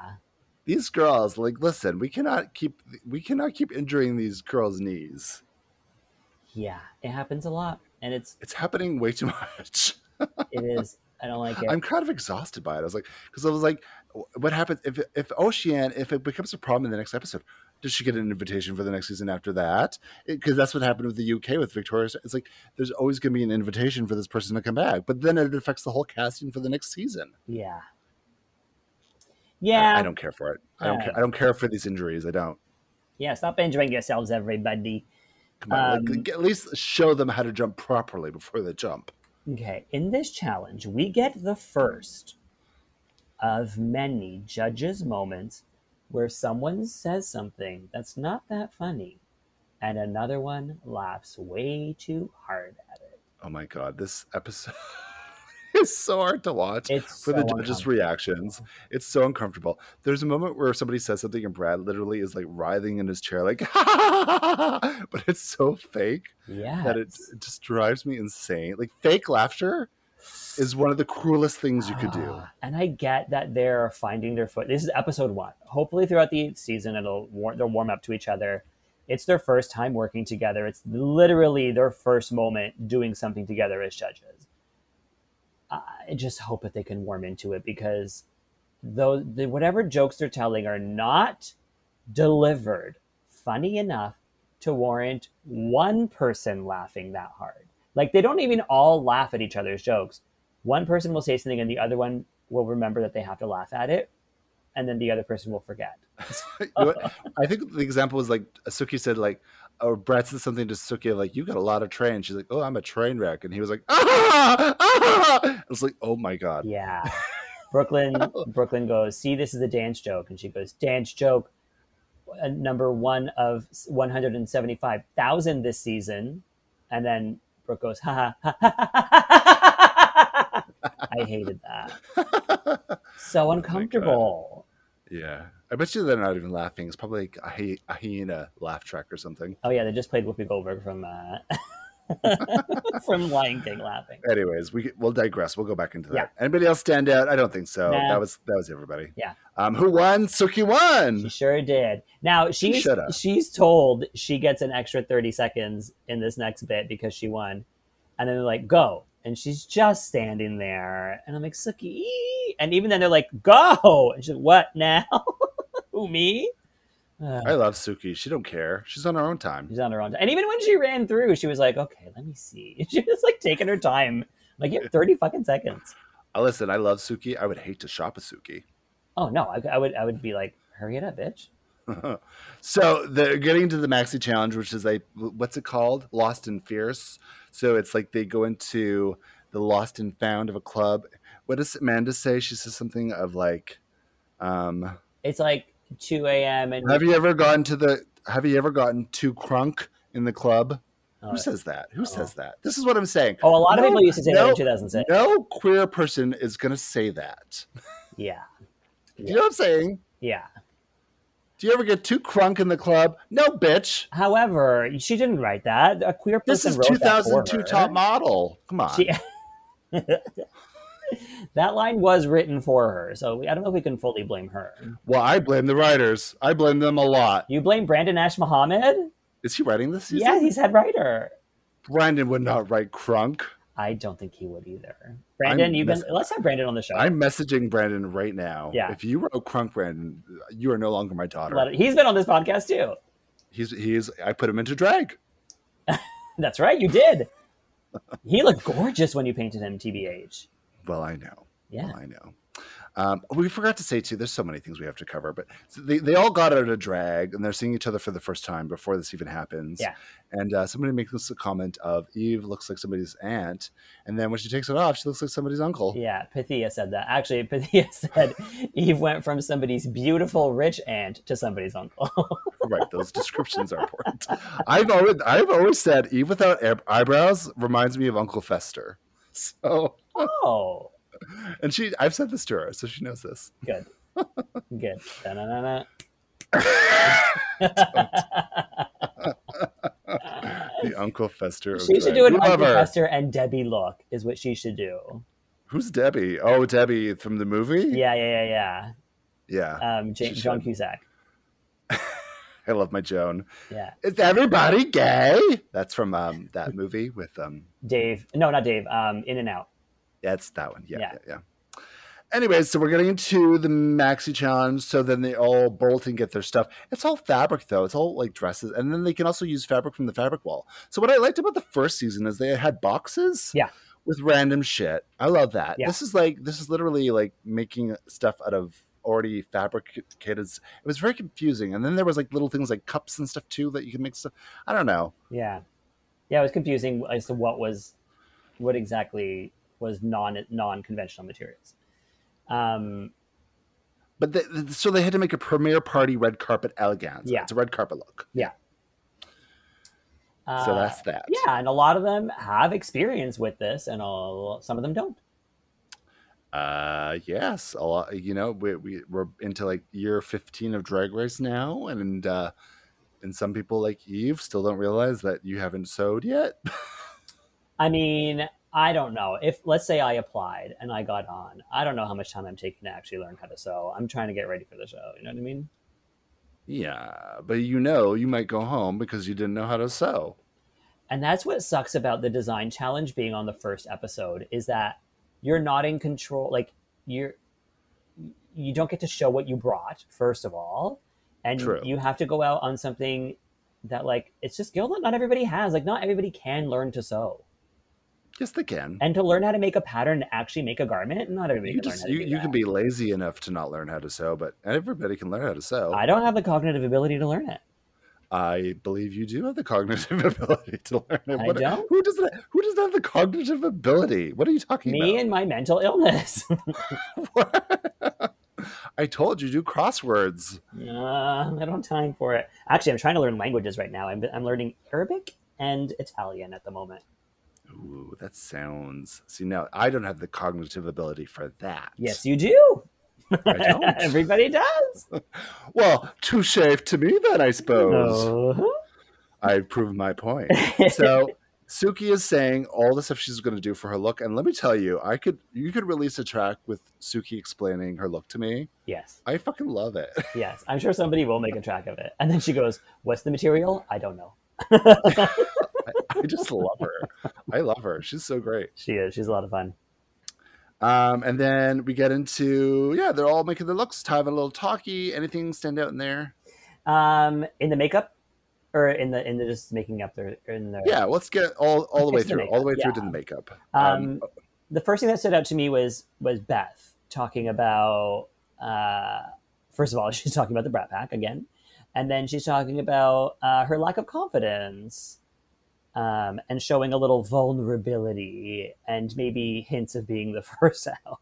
These girls, like, listen, we cannot keep we cannot keep injuring these girls' knees.
yeah, it happens a lot, and it's
It's happening way too much.
it is. I don't like it.
I'm kind of exhausted by it. I was like, because I was like, wh- what happens if if Ocean if it becomes a problem in the next episode? Does she get an invitation for the next season after that? Because that's what happened with the UK with Victoria. It's like there's always going to be an invitation for this person to come back, but then it affects the whole casting for the next season.
yeah,
I-
yeah,
I, don't care for it. I don't.
Yeah.
Care, I don't care for these injuries. I don't.
yeah. Stop injuring yourselves, everybody.
Come on, like,
Um,
g- at least show them how to jump properly before they jump.
Okay, in this challenge, we get the first of many judges' moments where someone says something that's not that funny, and another one laughs way too hard at it.
Oh my god, this episode is so hard to watch.
It's
for the
so
judges'
uncomfortable.
reactions. It's so uncomfortable. There's a moment where somebody says something and Brad literally is like writhing in his chair, like, but it's so fake
Yeah,
that it, it just drives me insane. Like, fake laughter is one of the cruelest things you could do.
Ah, And I get that they're finding their foot. This is episode one. Hopefully, throughout the season, it'll war- they'll warm up to each other. It's their first time working together. It's literally their first moment doing something together as judges. I just hope that they can warm into it because though the, whatever jokes they're telling are not delivered funny enough to warrant one person laughing that hard. Like they don't even all laugh at each other's jokes. One person will say something and the other one will remember that they have to laugh at it, and then the other person will forget.
You know what? I think the example was like Suki said, like, or Brad said something to Suki, like, you got a lot of train. She's like, oh, I'm a train wreck. And he was like, ah, ah. I was like, oh my God.
Yeah. Brooklyn Brooklyn goes, "See, this is a dance joke." And she goes, "Dance joke uh, number 1 of 175,000 this season." And then Brooke goes, "Ha ha." ha, ha, ha, ha, ha." I hated that. So uncomfortable.
Yeah. I bet you they're not even laughing. It's probably like a, hy- a hyena laugh track or something.
Oh, yeah, they just played Whoopi Goldberg from uh, from Lion King laughing.
Anyways, we we'll digress. We'll go back into that.
Yeah.
Anybody else stand out? I don't think so.
Nah.
That was that was everybody.
Yeah.
Um, who won? Suki won.
She sure did. Now
She
she's
shoulda.
she's told she gets an extra thirty seconds in this next bit because she won, and then they're like, "Go," and she's just standing there, and I'm like, "Suki," and even then they're like, "Go," and she's like, "What now? Who me?" Uh,
I love Suki. She don't care. She's on her own time.
she's on her own. And even when she ran through, she was like, "Okay, let me see." She was like taking her time. I'm like, you have thirty fucking seconds.
Uh, listen, I love Suki. I would hate to shop with Suki.
Oh no, I, I would I would be like, "Hurry it up, bitch."
so they're getting into the maxi challenge, which is a what's it called? Lost and Fierce. So it's like they go into the lost and found of a club. What does Amanda say? She says something of like, um,
It's like 2 a.m. and
"Have you ever gone to the? Have you ever gotten too crunk in the club?"
Oh,
Who says that? Who says that? This is what I'm saying.
oh, a lot of people used to say that
No,
in 2006.
No queer person is going to say that.
Yeah,
Do you know what I'm saying?
yeah.
Do you ever get too crunk in the club? No, bitch.
However, she didn't write that. A queer
This
person
is
wrote that for
2002
her.
top model. Come on.
She- that line was written for her, so we- I don't know if we can fully blame her.
Well, I blame the writers. I blame them a lot.
You blame Brandon Ash Mohammed?
Is he writing this season?
Yeah, he's head writer.
Brandon would not write crunk.
I don't think he would either. Brandon,
I'm
you've been.
mess-
Let's have Brandon on the show.
I'm messaging Brandon right now.
Yeah.
If you wrote crunk, Brandon, you are no longer my daughter.
Let it- he's been on this podcast too.
He's he's. I put him into drag.
That's right, you did. he looked gorgeous when you painted him, TBH.
Well, I know.
Yeah.
Well, I know. Um, we forgot to say too. There's so many things we have to cover, but so they, they all got out of drag and they're seeing each other for the first time before this even happens.
Yeah.
And uh, somebody makes us a comment of Eve looks like somebody's aunt, and then when she takes it off, she looks like somebody's uncle.
Yeah, Pythia said that. Actually, Pythia said Eve went from somebody's beautiful rich aunt to somebody's uncle.
Right. Those descriptions are important. I've always I've always said Eve without eb- eyebrows reminds me of Uncle Fester. So
oh,
and she I've said this to her, so she knows this.
good. Good. Da-na-na-na.
The Uncle Fester. of
She should
drag.
do an
We love
Uncle
her.
Fester and Debbie look is what she should do.
Who's Debbie? Oh, Debbie from the movie.
Yeah, yeah, yeah,
Yeah.
yeah. Um, J-
She
John
should.
Cusack.
I love my Joan.
Yeah,
Is everybody gay? That's from um, that movie with um.
Dave. No, not Dave. Um, In and Out.
That's that one. Yeah, yeah,
Yeah.
yeah. Anyway, so we're getting into the maxi challenge. So then they all bolt and get their stuff. It's all fabric though. It's all like dresses, and then they can also use fabric from the fabric wall. So what I liked about the first season is they had boxes.
Yeah.
With random shit. I love that.
Yeah.
This is like this is literally like making stuff out of already fabricated. s- It was very confusing, and then there was like little things like cups and stuff too that you can make stuff. I don't know.
Yeah, yeah. It was confusing as to what was, what exactly was non non conventional materials. Um,
But the, the- so they had to make a premiere party red carpet elegance.
Yeah.
It's a red carpet look.
uh,
so that's that.
yeah, and a lot of them have experience with this, and all, some of them don't.
Uh, yes. A lot, you know, we, we, we're into like year 15 of Drag Race now. And, uh, and some people like Eve still don't realize that you haven't sewed yet.
I mean, I don't know. If let's say I applied and I got on, I don't know how much time I'm taking to actually learn how to sew. I'm trying to get ready for the show. You know what I mean?
yeah. But you know, you might go home because you didn't know how to sew.
And that's what sucks about the design challenge being on the first episode is that you're not in control. Like you're, you don't get to show what you brought first of all, and
True.
you have to go out on something that like it's just skill that not everybody has. Like not everybody can learn to sew
Yes, they can.
and to learn how to make a pattern to actually make a garment. Not everybody
You
can
just,
learn how to
you,
do
you
that.
can be lazy enough to not learn how to sew, but everybody can learn how to sew.
I don't have the cognitive ability to learn it.
I believe you do have the cognitive ability to learn it.
I
What-
don't.
Who doesn't? Who doesn't have the cognitive ability? What are you talking
Me
about?
and my mental illness. uh,
I told you do crosswords.
I don't have time for it. Actually, I'm trying to learn languages right now. I'm, I'm learning Arabic and Italian at the moment.
Ooh, that sounds. See, now I don't have the cognitive ability for that.
Yes, you do.
I don't.
Everybody does.
well, too safe to me then, I suppose.
Uh-huh.
I've proven my point. So Suki is saying all the stuff she's going to do for her look, and let me tell you, I could you could release a track with Suki explaining her look to me.
Yes,
I fucking love it.
yes. I'm sure somebody will make a track of it. And then she goes, What's the material? I don't know.
I just love her. I love her. She's so great.
She is. She's a lot of fun.
Um, and then we get into yeah, they're all making their looks, having a little talkie. Anything stand out in there?
Um, in the makeup or in the in the just making up their in their
Yeah, let's get all all the way
It's the
through, all the way through
makeup,
to the makeup.
Um, the first thing that stood out to me was was Beth talking about. Uh, first of all, she's talking about the Brat Pack again, And then she's talking about uh, her lack of confidence um, and showing a little vulnerability and maybe hints of being the first out.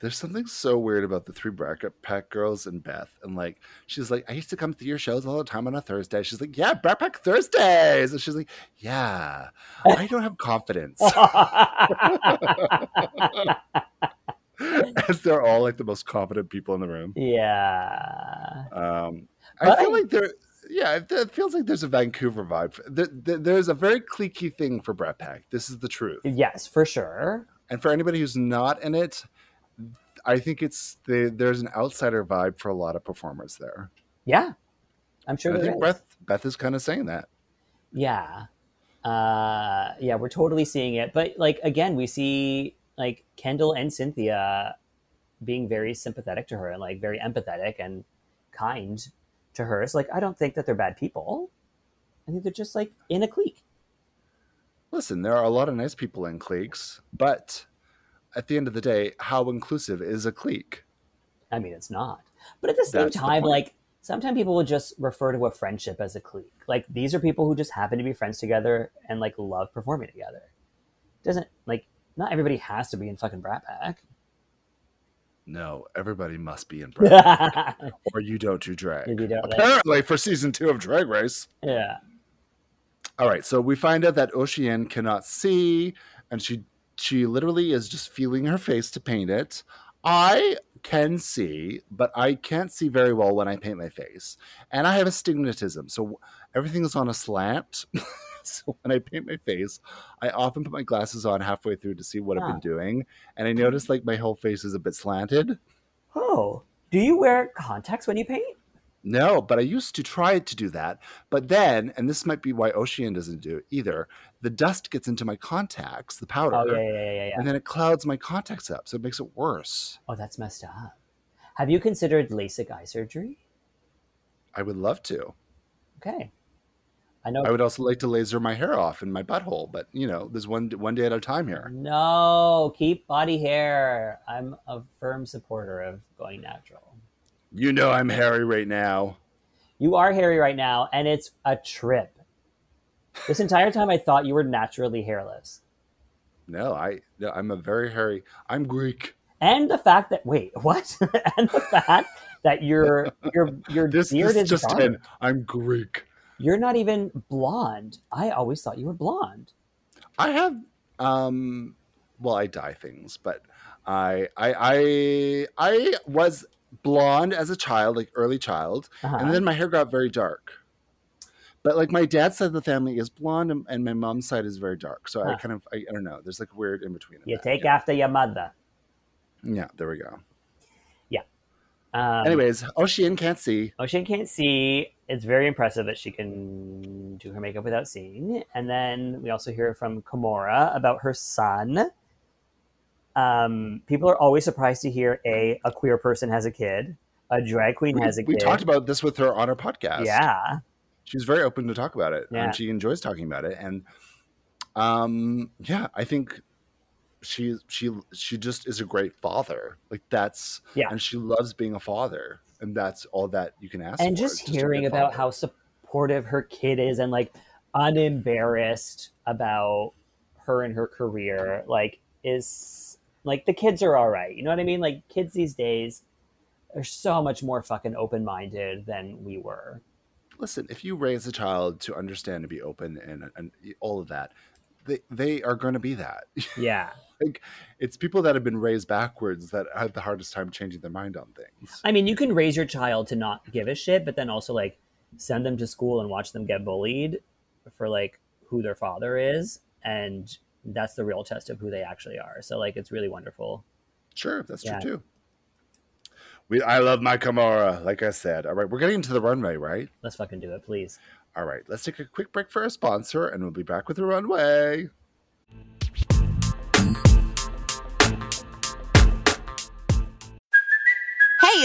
There's something so weird about the three bracket pack girls and Beth. And like, she's like, I used to come to your shows all the time on a Thursday. She's like, Yeah, Backpack Thursdays. And she's like, Yeah, I don't have confidence. As they're all like the most confident people in the room.
yeah.
Um, I
But
feel
I-
like there, yeah, it, it feels like there's a Vancouver vibe. There, there- there's a very cliquey thing for Brat Pack. This is the truth.
Yes, for sure.
And for anybody who's not in it, I think it's the, there's an outsider vibe for a lot of performers there.
Yeah. I'm sure
And I
there
think
is.
Beth, Beth is kind of saying that.
yeah uh yeah we're totally seeing it but like again we see like kendall and cynthia being very sympathetic to her and like very empathetic and kind to her it's like i don't think that they're bad people i think they're just like in a clique
Listen, there are a lot of nice people in cliques, but at the end of the day, how inclusive is a clique?
i mean it's not but at the same
That's the
time
point.
like sometimes people will just refer to a friendship as a clique like these are people who just happen to be friends together and like love performing together doesn't like not everybody has to be in fucking brat pack
No, everybody must be in Brat,
if
or you don't do drag.
you don't like,
Apparently, for season two of Drag Race.
yeah
All right, so we find out that Ocean cannot see, and she she literally is just feeling her face to paint it. I can see, but I can't see very well when I paint my face, and I have astigmatism, so everything is on a slant. so when I paint my face, I often put my glasses on halfway through to see what I've
Ah.
been doing, and I notice like my whole face is a bit slanted.
Oh, do you wear contacts when you paint?
No, but I used to try to do that. But then, and this might be why Ocean doesn't do it either, the dust gets into my contacts, the powder,
Oh yeah, yeah, yeah, yeah, yeah.
and then it clouds my contacts up. So it makes it worse.
Oh, that's messed up. Have you considered LASIK eye surgery?
I would love to.
Okay, I know.
I would also like to laser my hair off in my butthole, but you know, there's one one day at a time
Mm-hmm.
here.
No, keep body hair. I'm a firm supporter of going natural.
You know, I'm hairy right now.
You are hairy right now, and it's a trip. This entire time, I thought you were naturally hairless.
No, I no, I'm a very hairy. I'm Greek.
And the fact that wait, what? and the fact that your your your
This,
beard
this
is
just
dark.
in. I'm Greek.
You're not even blonde. I always thought you were blonde.
I have um well I dye things, but I I I I was blonde as a child, like early child,
Uh-huh.
and then my hair got very dark. But like my dad's side of the family is blonde and- and my mom's side is very dark. So I
Huh.
kind of I, I don't know. There's like a weird in between.
you take after your mother.
Yeah, there we go.
Um,
Anyways, Ocean can't see.
Ocean can't see. It's very impressive that she can do her makeup without seeing. And then we also hear from Kimora about her son. Um, people are always surprised to hear a a queer person has a kid, a drag queen
We,
has a
we
kid.
talked about this with her on our podcast.
yeah,
she's very open to talk about it
Yeah.
and she enjoys talking about it and um yeah i think she she she just is a great father like that's
Yeah.
and she loves being a father and that's all that you can ask
and
for,
just
is a
hearing
good
about
father.
how supportive her kid is and like unembarrassed about her and her career like is like the kids are all right you know what i mean like kids these days are so much more fucking open-minded than we were
listen if you raise a child to understand and be open and and all of that they they are going to be that
yeah
it's people that have been raised backwards that have the hardest time changing their mind on things
i mean you can raise your child to not give a shit but then also like send them to school and watch them get bullied for like who their father is and that's the real test of who they actually are so like it's really wonderful
Sure, that's
Yeah.
true too. We, I love my Kamara, like I said. All right, we're getting to the runway, right?
let's fucking do it please
All right, let's take a quick break for our sponsor, and we'll be back with the runway.
Hey,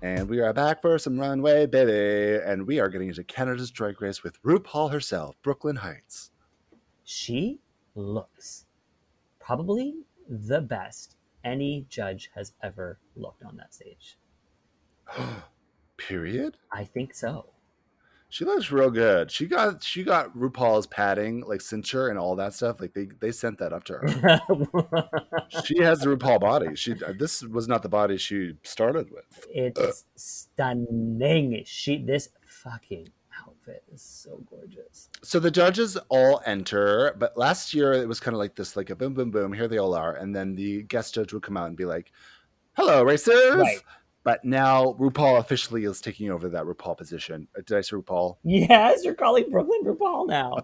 And we are back for some runway, baby. And we are getting into Canada's drag race with RuPaul herself, Brooklyn Heights.
She looks probably the best any judge has ever looked on that stage.
Period.
I think so.
She looks real good. She got she got RuPaul's padding, like cincher and all that stuff. Like they they sent that up to her. she has the RuPaul body. She this was not the body she started with.
it's stunning. She this fucking outfit is so gorgeous.
So the judges all enter, but last year it was kind of like this, like a boom, boom, boom. Here they all are, and then the guest judge would come out and be like, "Hello, racers."
Right.
But now RuPaul officially is taking over that RuPaul position. Uh, Did I say RuPaul?
Yes, you're calling Brooklyn RuPaul now.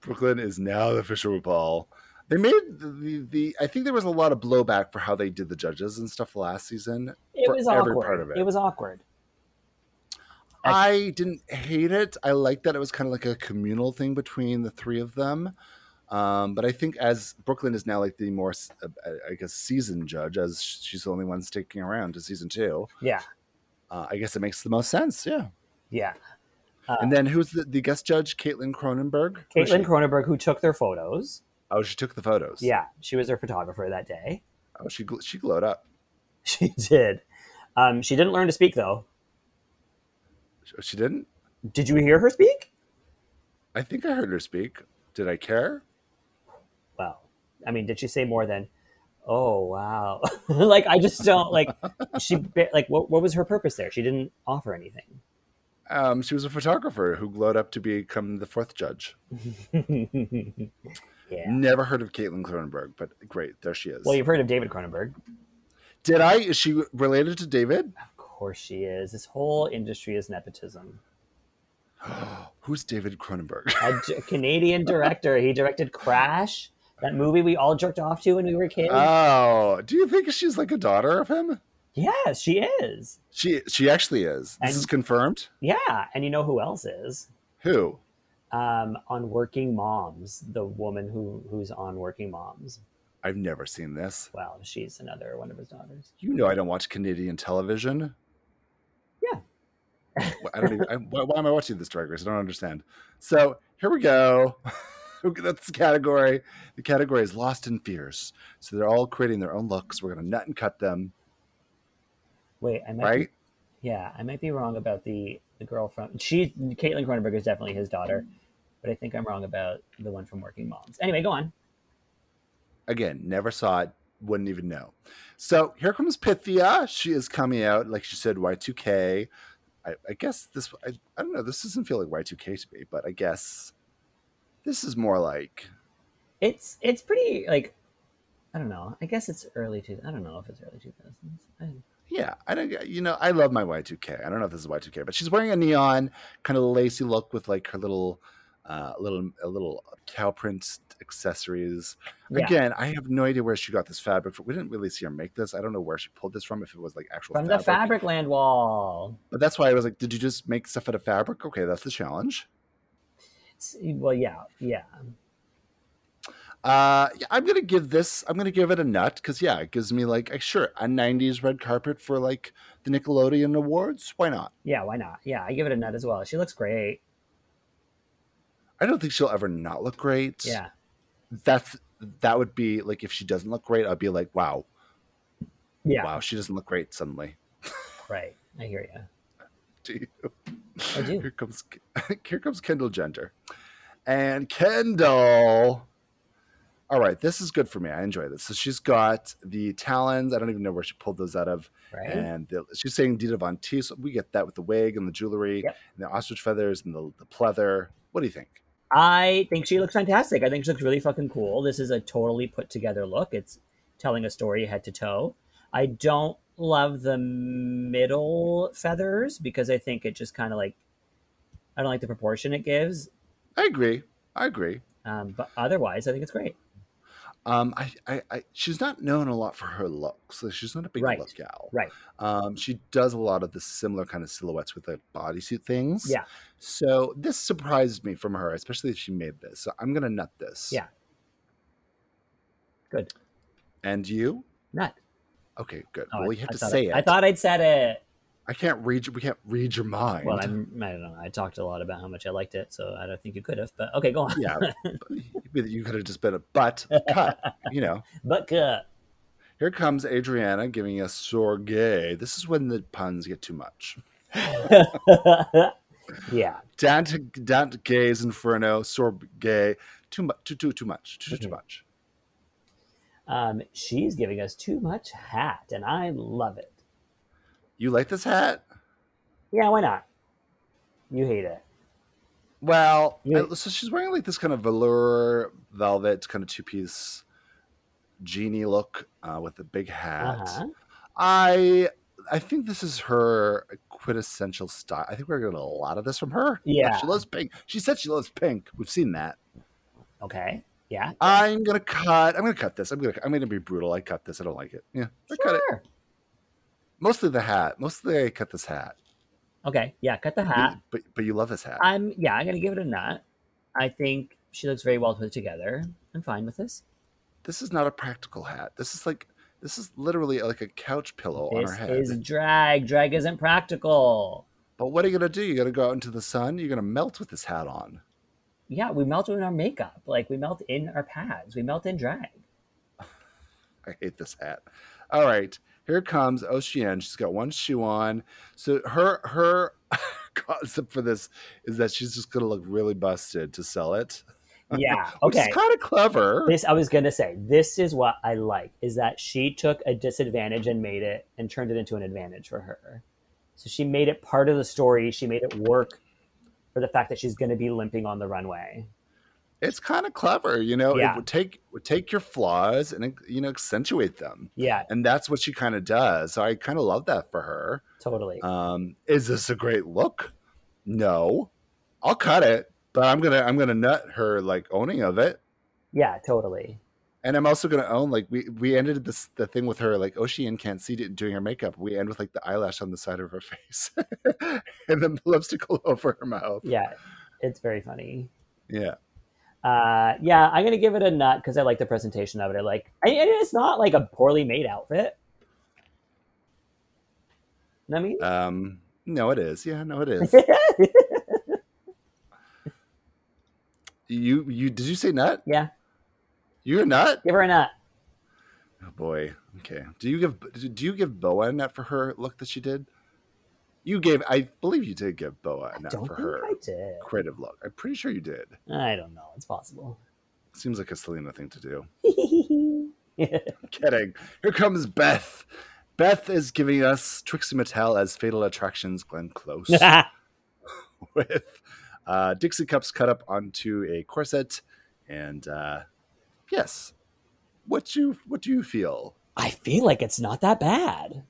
Brooklyn is now the official RuPaul. They made the, the, the I think there was a lot of blowback for how they did the judges and stuff last season.
It
for
was
every
awkward.
part of it.
it was awkward.
I didn't hate it. I liked that it was kind of like a communal thing between the three of them. Um, but I think as Brooklyn is now like the more, s- uh, I guess, seasoned judge, as she's the only one sticking around to season two,
Yeah,
uh, I guess it makes the most sense. Yeah.
yeah.
and then who's the, the guest judge? Caitlin Cronenberg. Who is
Uh, Caitlin
she?
Cronenberg, who took their photos.
oh, she took the photos.
Yeah, she was their photographer that day.
Oh, she gl- she glowed up.
She did. Um, she didn't learn to speak though.
She- Oh, She didn't.
Did you hear her speak?
I think I heard her speak. Did I care?
Well, I mean, did she say more than, "Oh wow"? like I just don't like. She ba- like what? What was her purpose there? She didn't offer anything.
Um, she was a photographer who glowed up to become the fourth judge.
Yeah.
Never heard of Caitlin Cronenberg, but great, there she is.
Well, you've heard of David Cronenberg.
Did I? Is she related to David?
Of course she is. This whole industry is nepotism.
Who's David Cronenberg?
A d- Canadian director. He directed Crash, that movie we all jerked off to when we were kids.
Oh, do you think she's like a daughter of him?
yes, she is.
She she actually is. This
And-
is confirmed.
Yeah, and you know who else is?
Who?
Um, on Working Moms, the woman who who's on Working Moms.
I've never seen this.
Well, she's another one of his daughters.
You know I don't watch Canadian television.
Yeah.
Wh- I don't even. I, why, why am I watching this Drag Race? I don't understand. So here we go. Okay, That's the category. The category is Lost in Fears. So they're all creating their own looks. We're gonna nut and cut them,
Wait, I might.
right?
yeah, I might be wrong about the the girl from she. Caitlin Cronenberg is definitely his daughter, but I think I'm wrong about the one from Working Moms. Anyway, go on.
again, never saw it, wouldn't even know. So here comes Pythia. She is coming out, like she said, Y2K. I, I guess this, I, I don't know, this doesn't feel like Y2K to me, but I guess this is more like,
it's it's pretty like I don't know. I guess it's early two. I don't know if it's early two thousands.
yeah, I don't, get- you know, I love my Y2K. I don't know if this is Y2K, but she's wearing a neon kind of lacy look with like her little, uh, little, a little cow print accessories.
Yeah.
Again, I have no idea where she got this fabric from. We didn't really see her make this. I don't know where she pulled this from, if it was like actual
From the fabric land wall.
But that's why I was like, did you just make stuff out of fabric? Okay, that's the challenge.
It's- well, yeah, yeah.
Uh, yeah, I'm gonna give this. I'm gonna give it a nut because yeah, it gives me like, uh, sure, a '90s red carpet for like the Nickelodeon Awards. Why not?
Yeah, why not? Yeah, I give it a nut as well. She looks great.
I don't think she'll ever not look great.
Yeah.
that's that would be like if she doesn't look great, I'd be like, wow,
Yeah.
wow, she doesn't look great suddenly.
Right. I hear you.
Do you?
I do.
Here comes here comes Kendall Gender, and Kendall. All right, this is good for me. I enjoy this. So she's got the talons. I don't even know where she pulled those out of.
Right.
And the, she's saying Dita Von T. So we get that with the wig and the jewelry
Yep.
and the ostrich feathers and the, the pleather. What do you think?
I think she looks fantastic. I think she looks really fucking cool. This is a totally put together look. It's telling a story head to toe. I don't love the middle feathers because I think it just kind of like I don't like the proportion it gives.
I agree. I agree.
Um, but otherwise, I think it's great.
Um, I, I, I, she's not known a lot for her looks. So she's not a big
Right.
look gal.
Right.
Um, she does a lot of the similar kind of silhouettes with like bodysuit things.
Yeah.
So this surprised me from her, especially if she made this. So I'm gonna nut this.
Yeah. Good.
And you?
Nut.
Okay, good.
Oh,
well,
I-
you have
I
to
thought
say it.
I thought I'd said it.
I can't read. We can't read your mind.
Well, I'm, I don't know. I talked a lot about how much I liked it, so I don't think you could have. But okay, go on.
yeah. but you could have just been a butt cut. You know.
But uh,
Here comes Adriana giving us Sorgay. This is when the puns get too much.
yeah,
Dante, Dante Gay's Inferno, Sorgay. Too much. Too, too, too much. Too, too, too
Mhm.
much.
um, she's giving us too much hat, and I love it.
You like this hat?
Yeah, why not? You hate it.
Well,
Yeah.
I- so she's wearing like this kind of velour velvet kind of two piece genie look uh, with a big hat.
Uh-huh.
I I think this is her quintessential style. I think we're getting a lot of this from her.
Yeah.
she loves pink. She said she loves pink. We've seen that.
Okay. Yeah.
I'm gonna cut. I'm gonna cut this. I'm gonna. I'm gonna be brutal. I cut this. I don't like it. Yeah, I cut it.
Sure.
Mostly the hat. Mostly I cut this hat.
Okay. Yeah. Cut the
You-
hat.
But but you love this hat.
I'm. Yeah. I'm gonna give it a nut. I think she looks very well put together. I'm fine with this.
this is not a practical hat. This is like this is literally like a couch pillow on her
this
head.
is drag. Drag isn't practical.
But what are you gonna do? You're gonna go out into the sun. You're gonna melt with this hat on.
Yeah, we melt in our makeup. Like we melt in our pads. We melt in drag.
I hate this hat. All right, here comes Ocean. She's got one shoe on. So her her concept for this is that she's just gonna look really busted to sell it,
Yeah.
which
Okay.
is kind of clever.
This I was gonna say. This is what I like is that she took a disadvantage and made it and turned it into an advantage for her. So she made it part of the story. She made it work for the fact that she's gonna be limping on the runway.
it's kind of clever, you know.
Yeah.
It would take would take your flaws and you know accentuate them,
Yeah,
and that's what she kind of does. So I kind of love that for her.
totally.
Um, is this a great look? No, I'll cut it, but I'm gonna I'm gonna nut her like owning of it.
yeah, totally.
And I'm also gonna own like we we ended this the thing with her like Ocean can't see it doing her makeup. We end with like the eyelash on the side of her face and the lipstick all over her mouth.
Yeah, it's very funny.
Yeah,
Uh, yeah, I'm gonna give it a nut because I like the presentation of it. I like, I, and it's not like a poorly made outfit. Know what I mean,
um, no, it is. Yeah, no, it is. you you did you say nut?
yeah,
You're a nut.
give her a nut.
Oh boy. Okay. Do you give do you give Boa a nut for her look that she did? You gave. I believe you did give Boa a nut
Don't
for
think
her
I did.
creative look. I'm pretty sure you did.
I don't know. It's possible.
Seems like a Selena thing to do.
yeah,
kidding. Here comes Beth. Beth is giving us Trixie Mattel as Fatal Attractions Glenn Close with uh, Dixie cups cut up onto a corset, and uh, yes, what you what do you feel?
I feel like it's not that bad.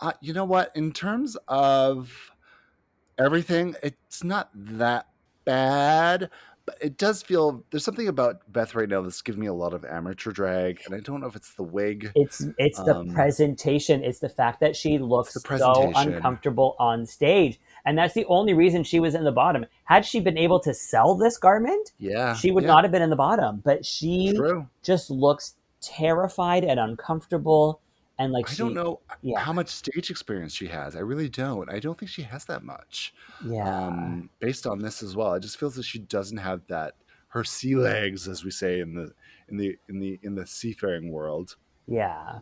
Uh, you know what? In terms of everything, it's not that bad, but it does feel there's something about Beth right now that's giving me a lot of amateur drag, and I don't know if it's the wig.
It's it's the
Um,
presentation. It's the fact that she looks
the
so
presentation.
uncomfortable on stage, and that's the only reason she was in the bottom. Had she been able to sell this garment,
Yeah,
she would
yeah,
not have been in the bottom. But she
True.
just looks terrified and uncomfortable, and like
I
she,
don't know
Yeah.
how much stage experience she has. I really don't. I don't think she has that much.
Yeah.
Um, based on this as well, it just feels that she doesn't have that her sea legs, as we say in the in the in the in the seafaring world.
yeah.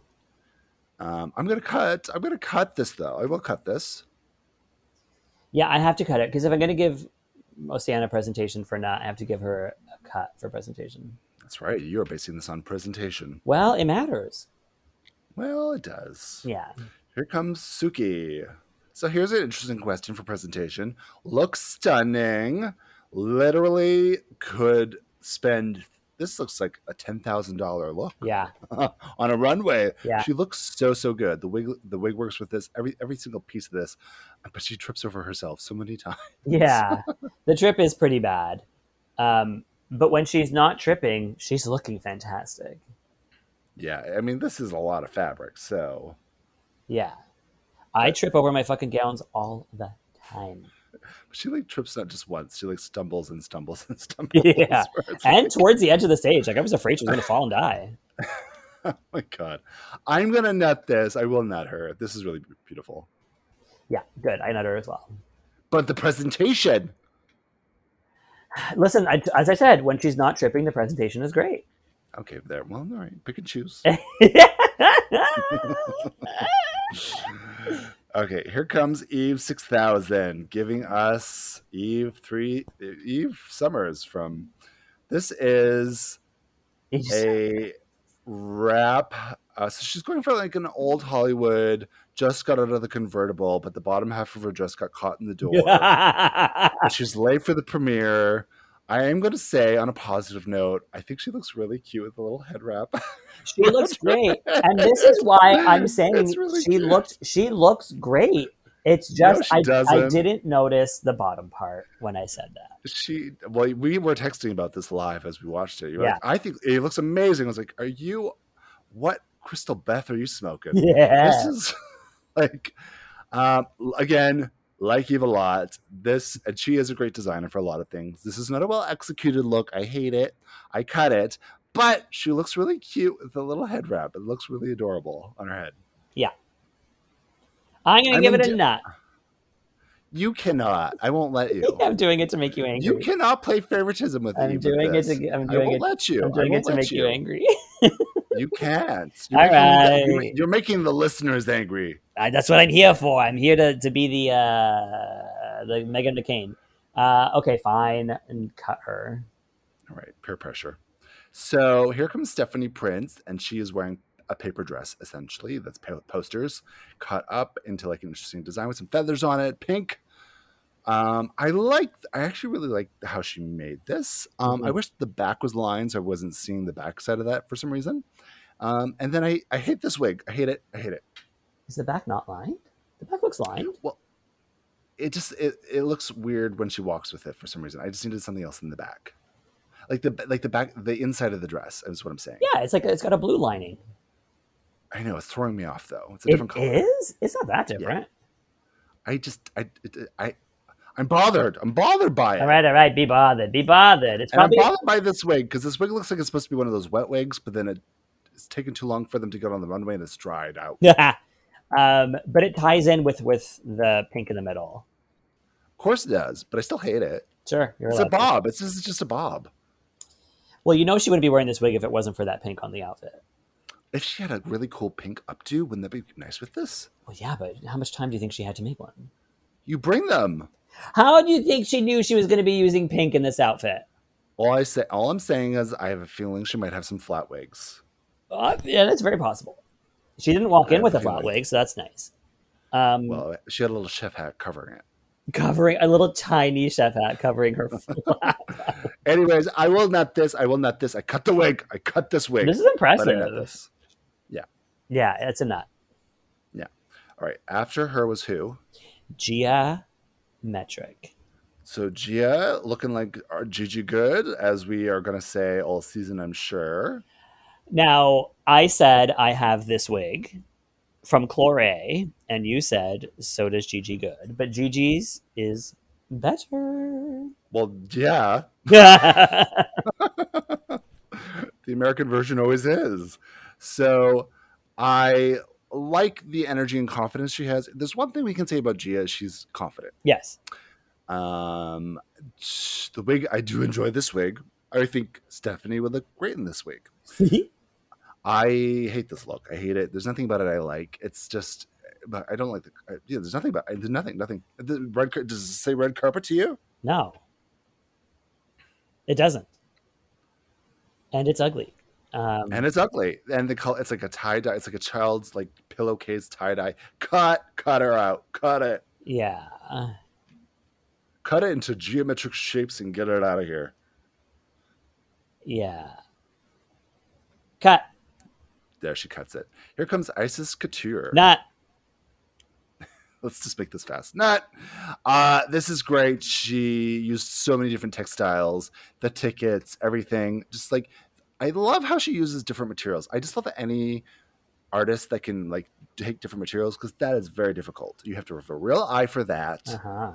Um, I'm gonna cut. I'm gonna cut this though. I will cut this.
Yeah, I have to cut it because if I'm going to give Oceana presentation for not, I have to give her a cut for presentation.
That's right. You're basing this on presentation.
Well, it matters.
Well, it does.
Yeah.
Here comes Suki. So here's an interesting question for presentation. Looks stunning. Literally could spend this looks like a ten thousand dollar look
Yeah.
on a runway.
Yeah.
She looks so so good. The wig the wig works with this every every single piece of this, but she trips over herself so many times.
Yeah. the trip is pretty bad. Um, but when she's not tripping, she's looking fantastic.
Yeah, I mean this is a lot of fabric, so
Yeah. I trip over my fucking gowns all the time.
she like trips not just once. She like stumbles and stumbles and stumbles.
Yeah.
where it's
And towards the edge of the stage, like I was afraid she was going to fall and die.
like, oh my god, I'm gonna nut this. I will nut her. This is really beautiful.
Yeah, good. I nut her as well.
But the presentation.
Listen, I, as I said, when she's not tripping, the presentation is great.
Okay, there. Well, all right. Pick and choose. okay, here comes Eve six thousand, giving us Eve three Eve Summers from. This is a wrap. Uh, so she's going for like an old Hollywood. Just got out of the convertible, but the bottom half of her dress got caught in the door.
yeah,
And she's late for the premiere. I am going to say, on a positive note, I think she looks really cute with the little head wrap.
she looks great, and this is why I'm saying
It's really
she
cute.
looks she looks great. It's
No,
just
she
I, I
doesn't.
didn't notice the bottom part when I said that.
she, well, we were texting about this live as we watched it. You were
Yeah.
like, I think it looks amazing. I was like, Are you, what Crystal Beth are you smoking?
Yeah,
This is like, um, again, like Eve a lot. This, and she is a great designer for a lot of things. This is not a well executed look. I hate it. I cut it. But she looks really cute with the little head wrap. It looks really adorable on her head.
I'm gonna
I'm
give
gonna
it a
do-
nut.
You cannot. I won't let you.
I'm doing it to make you angry.
You cannot play favoritism with me.
I'm
with
doing it
this.
to I'm
I
doing
won't
it.
let you.
I'm
I
doing
won't
it to
let
make you angry.
You can't.
All
making the-
right.
you're making the listeners angry.
I, that's what I'm here for. I'm here to, to be the uh, the Megan McCain. Uh, okay, fine, and cut her.
All right, peer pressure. So here comes Stephanie Prince, and she is wearing a paper dress essentially. That's pa- posters cut up into like an interesting design with some feathers on it, pink. Um, I like. I actually really like how she made this. Um, I
Mhm.
wish the back was lined, so I wasn't seeing the back side of that for some reason. Um, and then I, I hate this wig. I hate it. I hate it.
Is the back not lined? The back looks lined.
Well, it just it, it looks weird when she walks with it for some reason. I just needed something else in the back, like the like the back the inside of the dress. Is what I'm saying.
Yeah, it's like it's got a blue lining.
I know it's throwing me off though. It's a
It
different color.
is. It's not that different.
I just I it- I I'm bothered. I'm bothered by it.
All right, all right. Be bothered. Be bothered. It's
And I'm
probably
bothered by this wig because this wig looks like it's supposed to be one of those wet wigs, but then it, it's taken too long for them to get on the runway and it's dried out.
um, but it ties in with with the pink in the middle.
Of course it does, but I still hate it.
Sure, you're
It's a
allowed to.
bob. It's just, it's just a bob.
Well, you know she wouldn't be wearing this wig if it wasn't for that pink on the outfit.
If she had a really cool pink updo, wouldn't that be nice with this?
Well, yeah, but how much time do you think she had to make one?
You bring them.
How do you think she knew she was going to be using pink in this outfit?
All I say, all I'm saying is, I have a feeling she might have some flat wigs.
Uh, yeah, that's very possible. She didn't walk
I
in with a
feel
flat
like-
wig, so that's nice. Um,
Well, she had a little chef hat covering it.
covering a little tiny chef hat covering her. flat.
Anyways, I will not this. I will not this. I cut the wig. I cut this wig.
this is
but I nut
impressive.
this.
Yeah, it's a nut.
All right. After her was who?
Geometric.
So Gia looking like our Gigi Good, as we are going to say all season, I'm sure.
Now, I said I have this wig from Clore, and you said so does Gigi Good, but Gigi's is better.
Well, yeah, the American version always is. So I like the energy and confidence she has. There's one thing we can say about Gia: she's confident.
yes.
Um, the wig, I do enjoy this wig. I think Stephanie would look great in this wig. I hate this look. I hate it. There's nothing about it I like. It's just, but I don't like the. I- Yeah, there's nothing about. There's nothing. Nothing. The red. car- Does it say red carpet to you?
No, it doesn't, and it's ugly. Um,
And it's ugly. And the color. It's like a tie dye. It's like a child's like pillowcase tie dye. Cut. Cut her out. Cut it.
yeah,
Cut it into geometric shapes and get it out of here.
yeah. Cut.
There she cuts it. Here comes Isis Couture.
Not.
let's just make this fast. Not. Uh, this is great. She used so many different textiles, the tickets, everything. Just like, I love how she uses different materials. I just love any artist that can like take different materials because that is very difficult. You have to have a real eye for that.
Uh huh.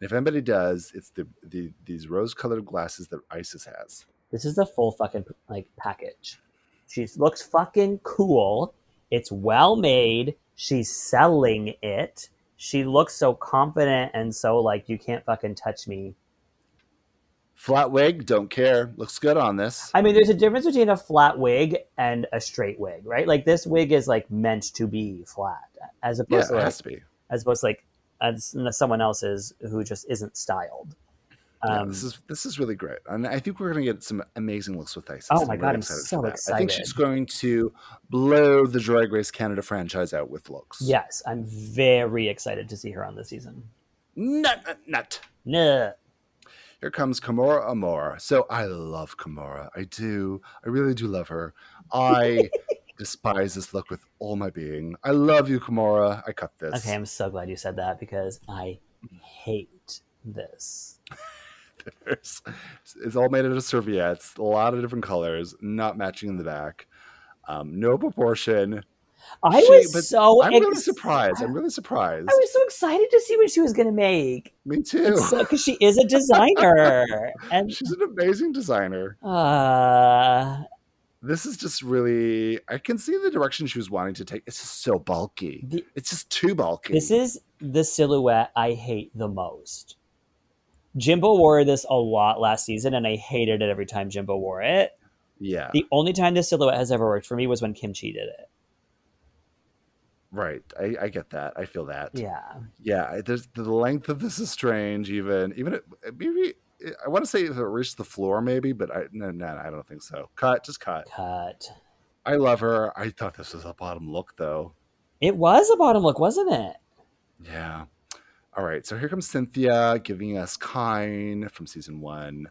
And if anybody does, it's the, the these rose-colored glasses that Isis has.
This is the full fucking like package. She looks fucking cool. It's well made. She's selling it. She looks so confident and so like you can't fucking touch me.
Flat wig, don't care. Looks good on this.
I mean, there's a difference between a flat wig and a straight wig, right? Like this wig is like meant to be flat, as
Yeah,
opposed
it
to like,
has to be.
as opposed to like as someone else's who just isn't styled.
Yeah,
Um,
this is this is really great, and I think we're going to get some amazing looks with Isis.
Oh
and
my
I'm
God, I'm so
for that. I think she's
excited.
going to blow the Drag Race Canada franchise out with looks.
yes, I'm very excited to see her on this season.
nut, nut, nut.
No,
Here comes Kamora Amora. So I love Kamora. I do. I really do love her. I despise this look with all my being. I love you, Kamora. I cut this.
okay, I'm so glad you said that because I hate this.
There's- it's all made out of serviettes, a lot of different colors, not matching in the back. Um, no proportion.
I
She- but
was so
I'm really
ex-
surprised. I'm really surprised.
I was so excited to see what she was going to make.
Me too.
Because she is a designer, and
She's an amazing designer.
uh,
This is just really, I can see the direction she was wanting to take. It's just so bulky.
The-
It's just too bulky.
this is the silhouette I hate the most. Jimbo wore this a lot last season, and I hated it every time Jimbo wore it.
yeah,
The only time this silhouette has ever worked for me was when Kimchi did it.
right. I, I get that. I feel that.
Yeah.
yeah I- there's, the length of this is strange. Even, even it, maybe, I want to say if it reached the floor, maybe, but I, no, no, I don't think so. Cut, just cut.
Cut.
I love her. I thought this was a bottom look, though.
It was a bottom look, wasn't it?
Yeah. All right. So here comes Cynthia giving us Kine from season one,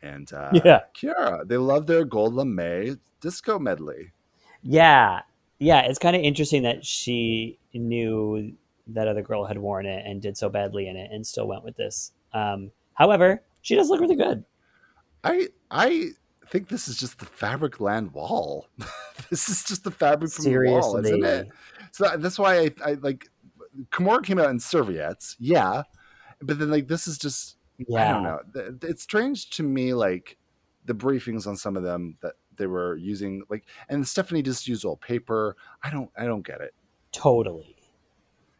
and uh,
Yeah.
Kiara. They love their gold lame disco medley.
Yeah. Yeah. It's kind of interesting that she knew that other girl had worn it and did so badly in it and still went with this. Um, however, she does look really good.
I I think this is just the fabric land wall. this is just the fabric from the wall, isn't it?
Seriously.
So that- that's why I, I like. Kimura came out in serviettes, yeah, but then like this is just I don't
Yeah.
know. Th- th- It's strange to me, like the briefings on some of them that they were using, like, and Stephanie just used all paper. I don't, I don't get it.
Totally.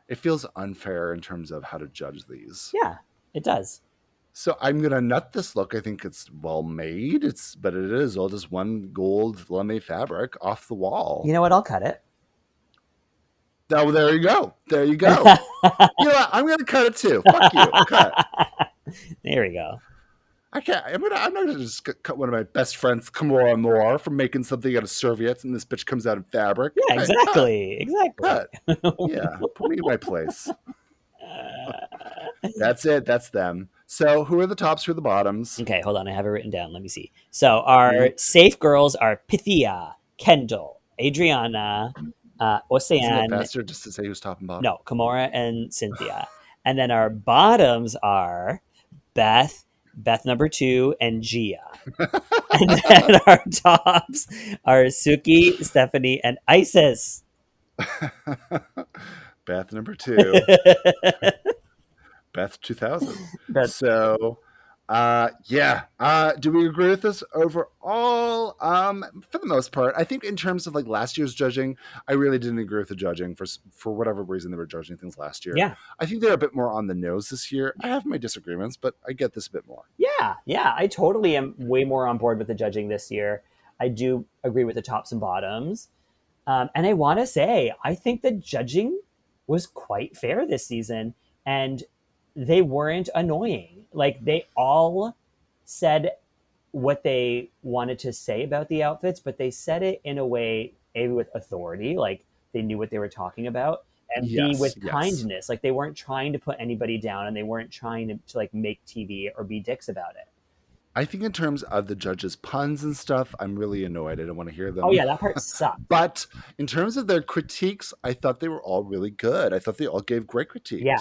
It feels unfair in terms of how to judge these.
Yeah. It does.
So I'm gonna nut this look. I think it's well made. It's, but it is all just one gold lame fabric off the wall.
You know what? I'll cut it.
Oh, there you go. There you go. you know what? I'm gonna cut it too. Fuck you. Cut.
There we go.
I can't. I'm gonna. I'm not gonna just c- cut one of my best friends, Kamora Moore, from making something out of serviettes, and this bitch comes out in fabric.
Yeah,
Hey,
exactly. Exactly.
cut, cut. yeah, put me in my place. That's it. That's them. So, who are the tops? Who are the bottoms?
Okay, hold on. I have it written down. Let me see. So
Mm-hmm.
our safe girls are Pythia, Kendall, Adriana, uh,
Isn't it
Ocean,
faster just to say who's top and bottom?
no, Kimora and Cynthia. and then our bottoms are Beth, Beth number two, and Gia. and then our tops are Suki, Stephanie, and Isis.
Beth number two. Beth two thousand.
That's
So, uh, yeah. Uh, do we agree with this overall? Um, for the most part, I think in terms of like last year's judging, I really didn't agree with the judging for s- for whatever reason they were judging things last year.
Yeah.
I think they're a bit more on the nose this year. I have my disagreements, but I get this a bit more.
Yeah, yeah, I totally am way more on board with the judging this year. I do agree with the tops and bottoms. Um, and I want to say, I think the judging was quite fair this season and they weren't annoying. Like, they all said what they wanted to say about the outfits, but they said it in a way, A, with authority, like they knew what they were talking about, and
Yes,
B, with
yes.
kindness. Like, they weren't trying to put anybody down and they weren't trying to, to like make TV or be dicks about it.
I think in terms of the judges' puns and stuff, I'm really annoyed. I don't want to hear them.
Oh yeah, that part sucked.
But in terms of their critiques, I thought they were all really good. I thought they all gave great critiques.
Yeah.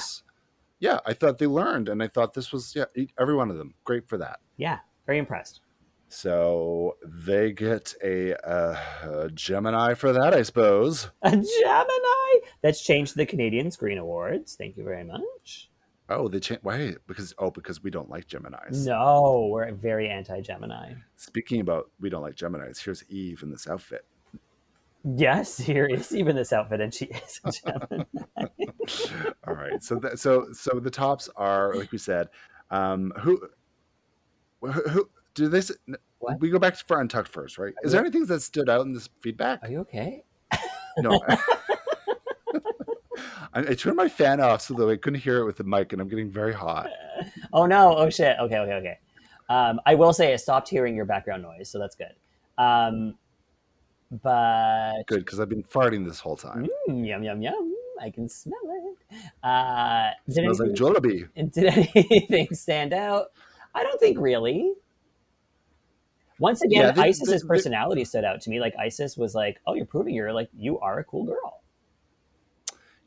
Yeah, I thought they learned, and I thought this was yeah, e- every one of them great for that.
Yeah, very impressed.
So they get a, uh, a Gemini for that, I suppose.
A Gemini. That's changed the Canadian Screen Awards. Thank you very much.
Oh, they changed. Why? Because oh, because we don't like Gemini's.
No, we're very anti-Gemini.
Speaking about we don't like Gemini's, here's Eve in this outfit.
Yes, here is even this outfit, and she is a Gemini.
All right. So that so so the tops are like we said. Um, who who, who do this?
What?
We go back for Untucked first, right? Is there anything that stood out in this feedback?
Are you okay?
No. I, I turned my fan off so that I couldn't hear it with the mic, and I'm getting very hot.
Oh no! Oh shit! Okay, okay, okay. Um, I will say I stopped hearing your background noise, so that's good. Um, but
Good, because I've been farting this whole time.
Mm, yum yum yum! I can smell it. Uh, did,
Smells like
anything,
Jollibee.
did anything stand out? I don't think really. Once again,
Yeah, the-
Isis's
the- the-
personality stood out to me. Like Isis was like, "Oh, you're proving you're like you are a cool girl."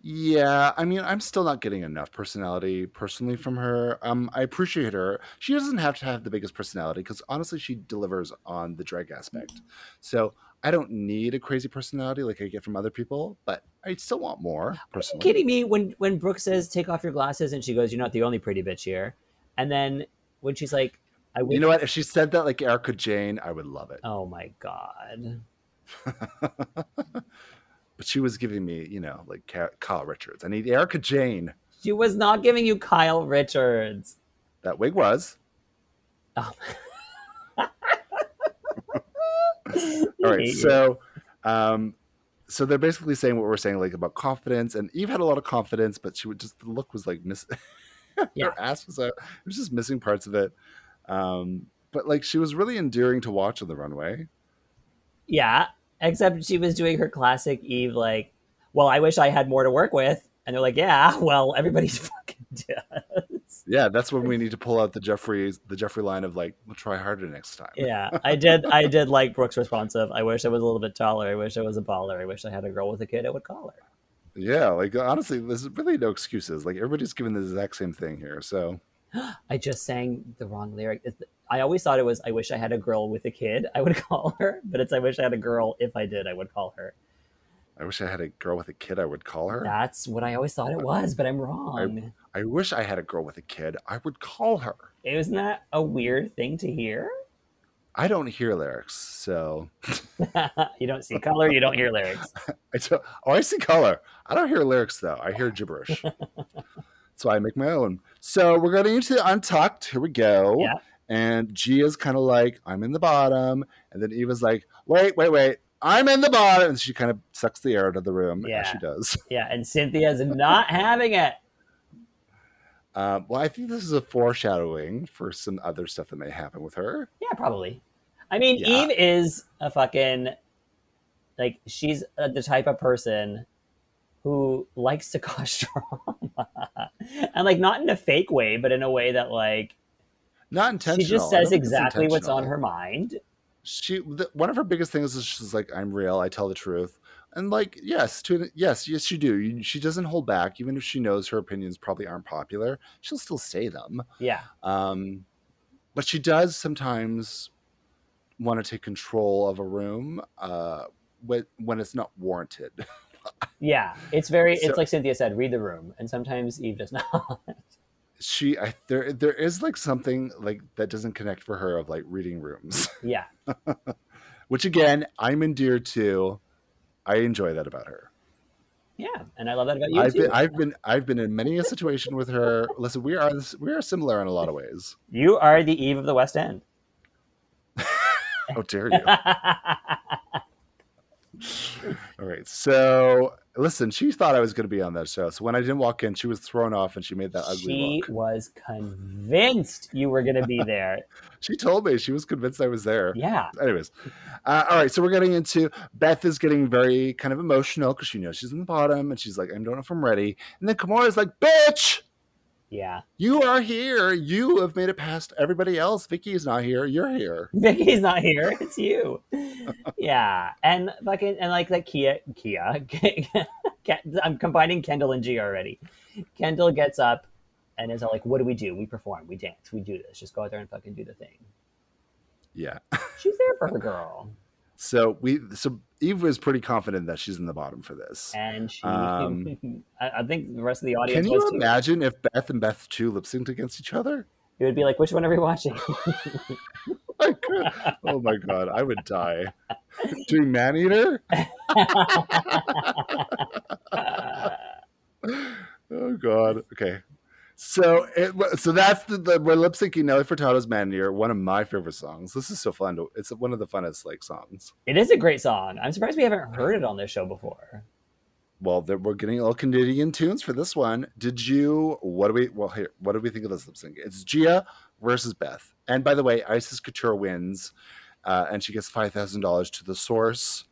Yeah, I mean, I'm still not getting enough personality personally from her. Um, I appreciate her. She doesn't have to have the biggest personality because honestly, she delivers on the drag aspect. So I don't need a crazy personality like I get from other people, but I still want more
you
personally.
kidding me? When when Brooke says take off your glasses and she goes, "You're not the only pretty bitch here," and then when she's like, "I wish,"
You know what? If she said that like Erica Jane, I would love it.
oh my god, Oh.
But she was giving me, you know, like Ka- Kyle Richards. I need Erica Jane.
she was not giving you Kyle Richards.
That wig was.
Oh.
All right. So, um, so they're basically saying what we're saying, like about confidence. And Eve had a lot of confidence, but she would just the look was like miss.
Yeah.
her ass was out. It was just missing parts of it. Um, but like she was really endearing to watch on the runway.
yeah, except she was doing her classic Eve like, "Well, I wish I had more to work with," and they're like, "Yeah, well, everybody's fucking does."
Yeah, that's when we need to pull out the Jeffrey the Jeffrey line of like, we'll try harder next time.
Yeah, I did. I did like Brooke's response of, "I wish I was a little bit taller. I wish I was a baller. I wish I had a girl with a kid. I would call her."
Yeah, like honestly, there's really no excuses. Like everybody's giving the exact same thing here. So
I just sang the wrong lyric. It's- I always thought it was "I wish I had a girl with a kid." I would call her, but it's "I wish I had a girl if I did." I would call her.
I wish I had a girl with a kid. I would call her.
That's what I always thought it was, but I'm wrong.
I wish I had a girl with a kid. I would call her.
Isn't that a weird thing to hear?
I don't hear lyrics, so
you don't see color, you don't hear lyrics.
I don't, oh, I see color. I don't hear lyrics though. I hear gibberish. so I make my own. So we're getting into Untucked. Here we go.
Yeah.
And Gia's kind of like, I'm in the bottom. And then Eva's like, wait, wait, wait. I'm in the bottom. And she kind of sucks the air out of the room.
Yeah.
As she does.
Yeah, and Cynthia's not having it.
Um, well, I think this is a foreshadowing for some other stuff that may happen with her.
Yeah, probably. I mean,
Yeah.
Eve is a fucking like she's uh, the type of person who likes to cause drama, and like not in a fake way, but in a way that like
Not intentional.
she just
I don't
says
think it's
exactly what's on
intentional.
her mind.
she th- one of her biggest things is she's like i'm real i tell the truth and like yes to an- yes yes you do you, she doesn't hold back even if she knows her opinions probably aren't popular she'll still say them
Yeah,
um but she does sometimes want to take control of a room uh when, when it's not warranted
yeah. It's very.
So-
it's like Cynthia said, read the room, and sometimes Eve does not.
she I, there there is like something like that doesn't connect for her of like reading rooms
yeah.
which again i'm endeared to i enjoy that about her
Yeah, and I love that about you
I've
too.
been, I've been, I've been in many a situation with her. Listen, we are we are similar in a lot of ways.
you are the Eve of the West End.
How Oh, dare you? All right, so listen, she thought I was going to be on that show. So when I didn't walk in, she was thrown off, and she made that ugly
she
look.
was convinced you were going to be there.
She told me she was convinced I was there.
yeah.
Anyways, uh, all right, so we're getting into Beth is getting very kind of emotional because she knows she's in the bottom, and she's like, "I don't know if I'm ready." And then Kimura is like, "Bitch,
Yeah.
You are here. You have made it past everybody else. Vicky's not here. You're here.
Vicky's not here. It's you. yeah, and fucking and like that Kia Kia. Ken- I'm combining Kendall and G already. Kendall gets up and is all like, "What do we do? We perform. We dance. We do this. Just go out there and fucking do the thing."
Yeah.
She's there for her girl,
So we so Eve was pretty confident that she's in the bottom for this.
and she.
Um,
I, I think the rest of the
Can
audience
you
was too.
imagine if Beth and Beth two lip synced against each other?
It would be like, "Which one are we watching?"
Like, oh my god, I would die. Doing man eater?
Uh,
Oh god. Okay. So it wa- so that's the, the we're lip syncing Nelly Furtado's Man Eater, one of my favorite songs. This is so fun. To, it's one of the funnest like songs.
it is a great song. I'm surprised we haven't heard it on this show before.
Well, there, we're getting all Canadian tunes for this one. Did you? What do we? Well, here, what do we think of this lip sync? It's Gia versus Beth. And by the way, Isis Couture wins, uh, and she gets five thousand dollars to the source.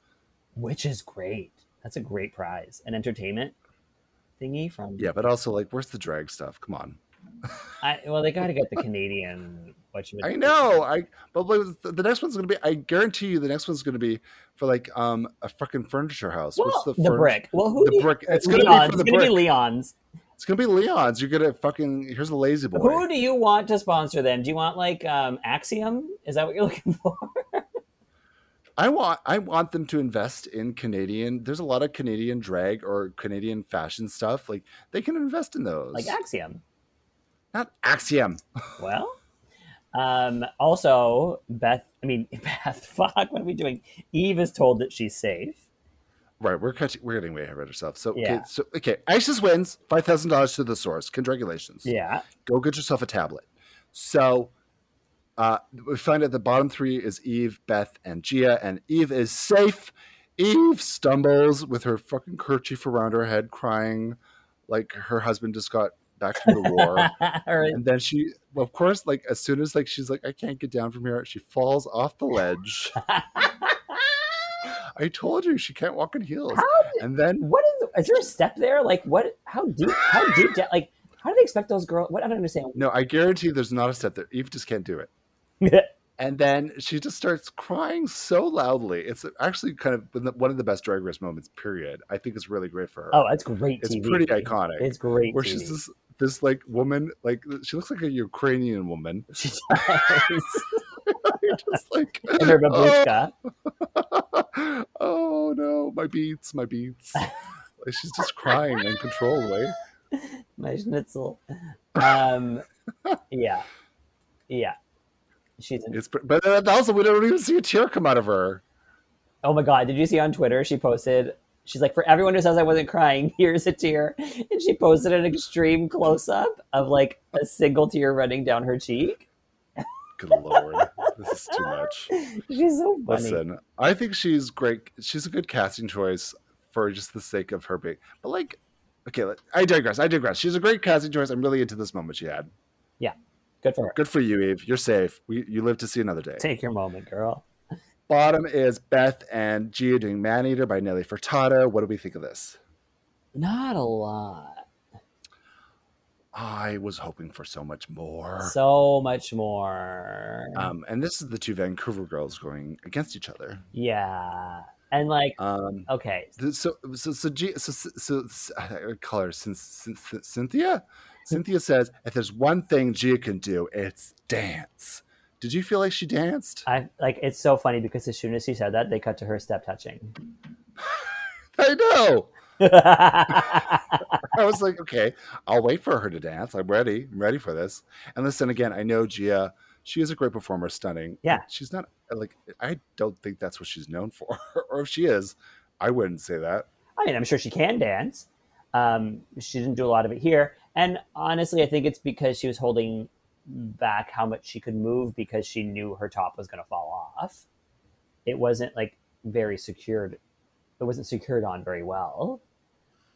which is great. That's a great prize, an entertainment thingy from.
Yeah, but also like, where's the drag stuff? Come on.
I, well, they got to get the Canadian. What you?
I know. I but like, the the next one's gonna be. I guarantee you, the next one's gonna be for like um a fucking furniture house.
Well, the,
furniture-
brick. Well, who?
the
do you-
brick. It's gonna
Leon's.
be for the
it's gonna
brick.
be Leon's.
It's gonna be Leon's. You're gonna fucking here's a lazy boy.
Who do you want to sponsor them? Do you want like um, Axiom? Is that what you're looking for?
I want I want them to invest in Canadian. There's a lot of Canadian drag or Canadian fashion stuff. Like they can invest in those.
like Axiom.
Not Axiom.
Well, um, also Beth. I mean Beth. Fuck. What are we doing? Eve is told that she's safe.
Right, we're catching, we're getting way ahead of ourselves. So okay,
Yeah.
so okay, Isis wins five thousand dollars to the source. Congratulations.
Yeah.
Go get yourself a tablet. So uh, we find out the bottom three is Eve, Beth, and Gia, and Eve is safe. Eve stumbles with her fucking kerchief around her head, crying like her husband just got back from the war.
Or-
and then she well, of course like as soon as like she's like i can't get down from here she falls off the ledge i told you she can't walk in heels and then
what is is there a step there like what how deep how deep down like how do they expect those girls what i don't understand
no i guarantee there's not a step there eve just can't do it and then she just starts crying so loudly it's actually kind of been the- one of the best drag race moments period i think it's really great for her
oh that's great
it's
TV.
pretty iconic
it's great
where
TV.
she's this this like woman like she looks like a ukrainian woman
She does.
just like
in her
"Oh,
babushka
oh no, my beats, my beats. Like, she's just crying uncontrollably.
my schnitzel um yeah yeah she's in,
It's pr- but then also we don't even see a tear come out of her.
oh my god did you see on twitter she posted she's like for everyone who says i wasn't crying here's a tear and she posted an extreme close-up of like a single tear running down her cheek
Good lord, this is too much.
she's so funny
Listen, I think she's great. She's a good casting choice for just the sake of her being. But like, okay, like, I digress. I digress. She's a great casting choice. I'm really into this moment she had.
good for her
Good for you, Eve. You're safe. We, you live to see another day.
Take your moment, girl.
Bottom is Beth and Gia doing Man Eater by Nelly Furtado. What do we think of this?
Not a lot.
I was hoping for so much more.
So much more.
Um, and this is the two Vancouver girls going against each other.
yeah. And like,
Um,
okay.
th- so, so, so, G- so, so, so, so I would call her Cyn- Cyn- Cyn- Cynthia. Cynthia says, if there's one thing Gia can do, it's dance. Did you feel like she danced?
I like it's so funny because as soon as she said that, they cut to her step touching.
I know.
yeah.
I was like, okay, I'll wait for her to dance. I'm ready. I'm ready for this. And listen, again, I know Gia. She is a great performer, stunning. but
Yeah.
she's not like I don't think that's what she's known for, or if she is, I wouldn't say that.
I mean, I'm sure she can dance. Um, she didn't do a lot of it here. And honestly, I think it's because she was holding back how much she could move because she knew her top was going to fall off. It wasn't like very secured. It wasn't secured on very well.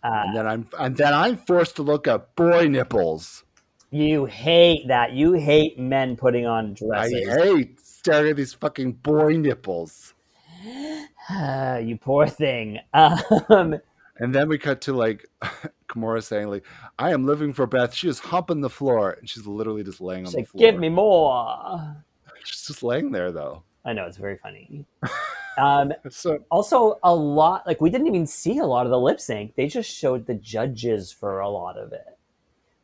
Uh,
and then I'm and then I'm forced to look at boy nipples.
you hate that. You hate men putting on
I
dresses.
hate staring at these fucking boy nipples.
Ah, you poor thing. Um,
And then we cut to like Kimura saying, like, I am living for Beth. She is humping the floor. And she's literally just laying on
She's
the
like,
floor.
give me more.
She's just laying there, though.
I know it's very funny. Um,
So
also, a lot like we didn't even see a lot of the lip sync. They just showed the judges for a lot of it.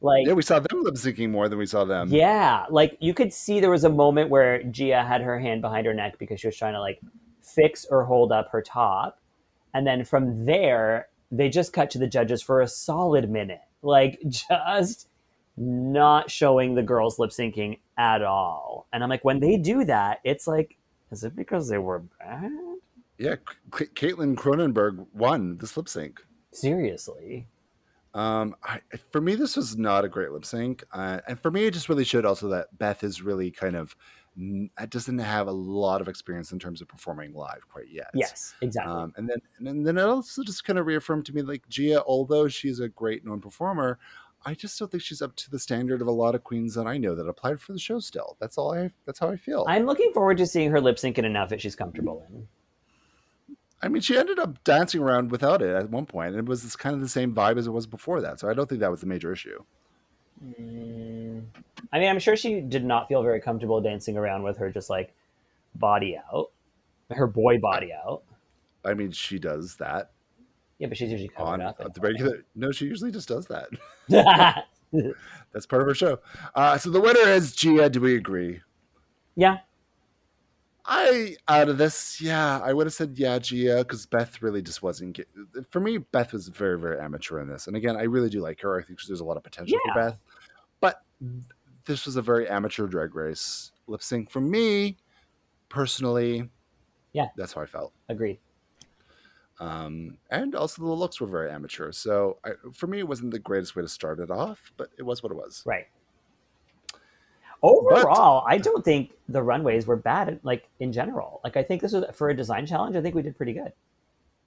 Like
yeah, we saw them lip syncing more than we saw them.
Yeah, like you could see there was a moment where Gia had her hand behind her neck because she was trying to like fix or hold up her top. And then from there, they just cut to the judges for a solid minute. Like just not showing the girls lip syncing at all. And I'm like, when they do that, it's like, is it because they were bad?
Yeah, C- Caitlin Cronenberg won this lip sync.
Seriously.
Um, I, for me, this was not a great lip sync, uh, and for me, it just really showed also that Beth is really kind of n- uh, doesn't have a lot of experience in terms of performing live quite yet.
Yes, exactly.
Um, and then and then- then it also just kind of reaffirmed to me like Gia, although she's a great known performer, I just don't think she's up to the standard of a lot of queens that I know that applied for the show. Still, that's all I. That's how I feel.
I'm looking forward to seeing her lip sync in an outfit she's comfortable in.
I mean, she ended up dancing around without it at one point, and it was this kind of the same vibe as it was before that. So I don't think that was the major issue.
Mm. I mean, I'm sure she did not feel very comfortable dancing around with her just like body out, her boy body out.
I mean, she does that
Yeah, but she's usually covered
on
up.
the regular. No, she usually just does that.
regular.
That's part of her show. Uh, so the winner is Gia. Do we agree?
yeah,
I out of this, yeah, I would have said yeah, Gia, because Beth really just wasn't. Get, for me, Beth was very, very amateur in this. And again, I really do like her. I think there's a lot of potential
Yeah.
for Beth, but this was a very amateur drag race lip sync for me personally.
Yeah.
that's how I felt.
agreed.
Um, and also the looks were very amateur. So I, for me, it wasn't the greatest way to start it off, but it was what it was.
Right. Overall, I don't think the runways were bad. Like in general, like I think this was for a design challenge. I think we did pretty good.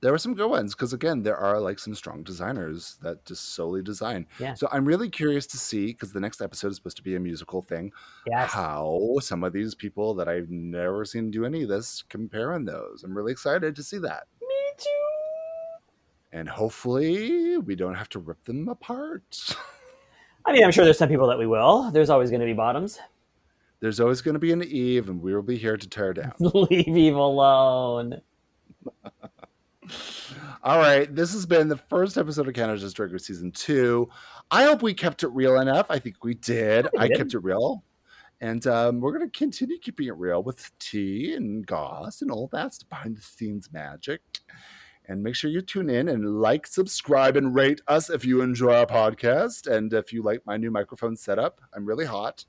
there were some good ones because again there are like some strong designers that just solely design
Yeah.
so i'm really curious to see because the next episode is supposed to be a musical thing
Yes.
how some of these people that i've never seen do any of this comparing those i'm really excited to see that me too and hopefully we don't have to rip them apart
I mean, I'm sure there's some people that we will. There's always going to be bottoms.
there's always going to be an eve and we will be here to tear down
Leave Eve alone.
All right, this has been the first episode of Canada's Drag Race Season 2. I hope we kept it real enough. I think we did. I
did.
kept it real. And um, we're going to continue keeping it real with tea and goss and all that behind the scenes magic. And make sure you tune in and like, subscribe, and rate us if you enjoy our podcast. And if you like my new microphone setup, I'm really hot.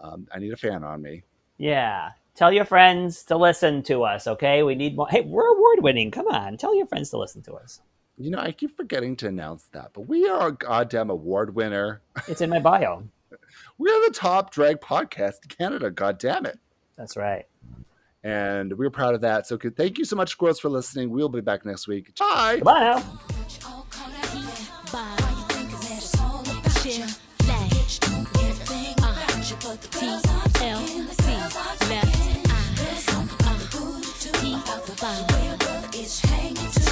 Um, I need a fan on me.
Yeah. Tell your friends to listen to us, okay? We need more. Hey, we're award winning. Come on. Tell your friends to listen to us.
You know, I keep forgetting to announce that, but we are a goddamn award winner.
It's in my bio.
We're the top drag podcast in Canada, god damn it.
That's right.
And we're proud of that. So good- thank you so much, squirrels, for listening. We'll be back next week. Bye.
Bye now.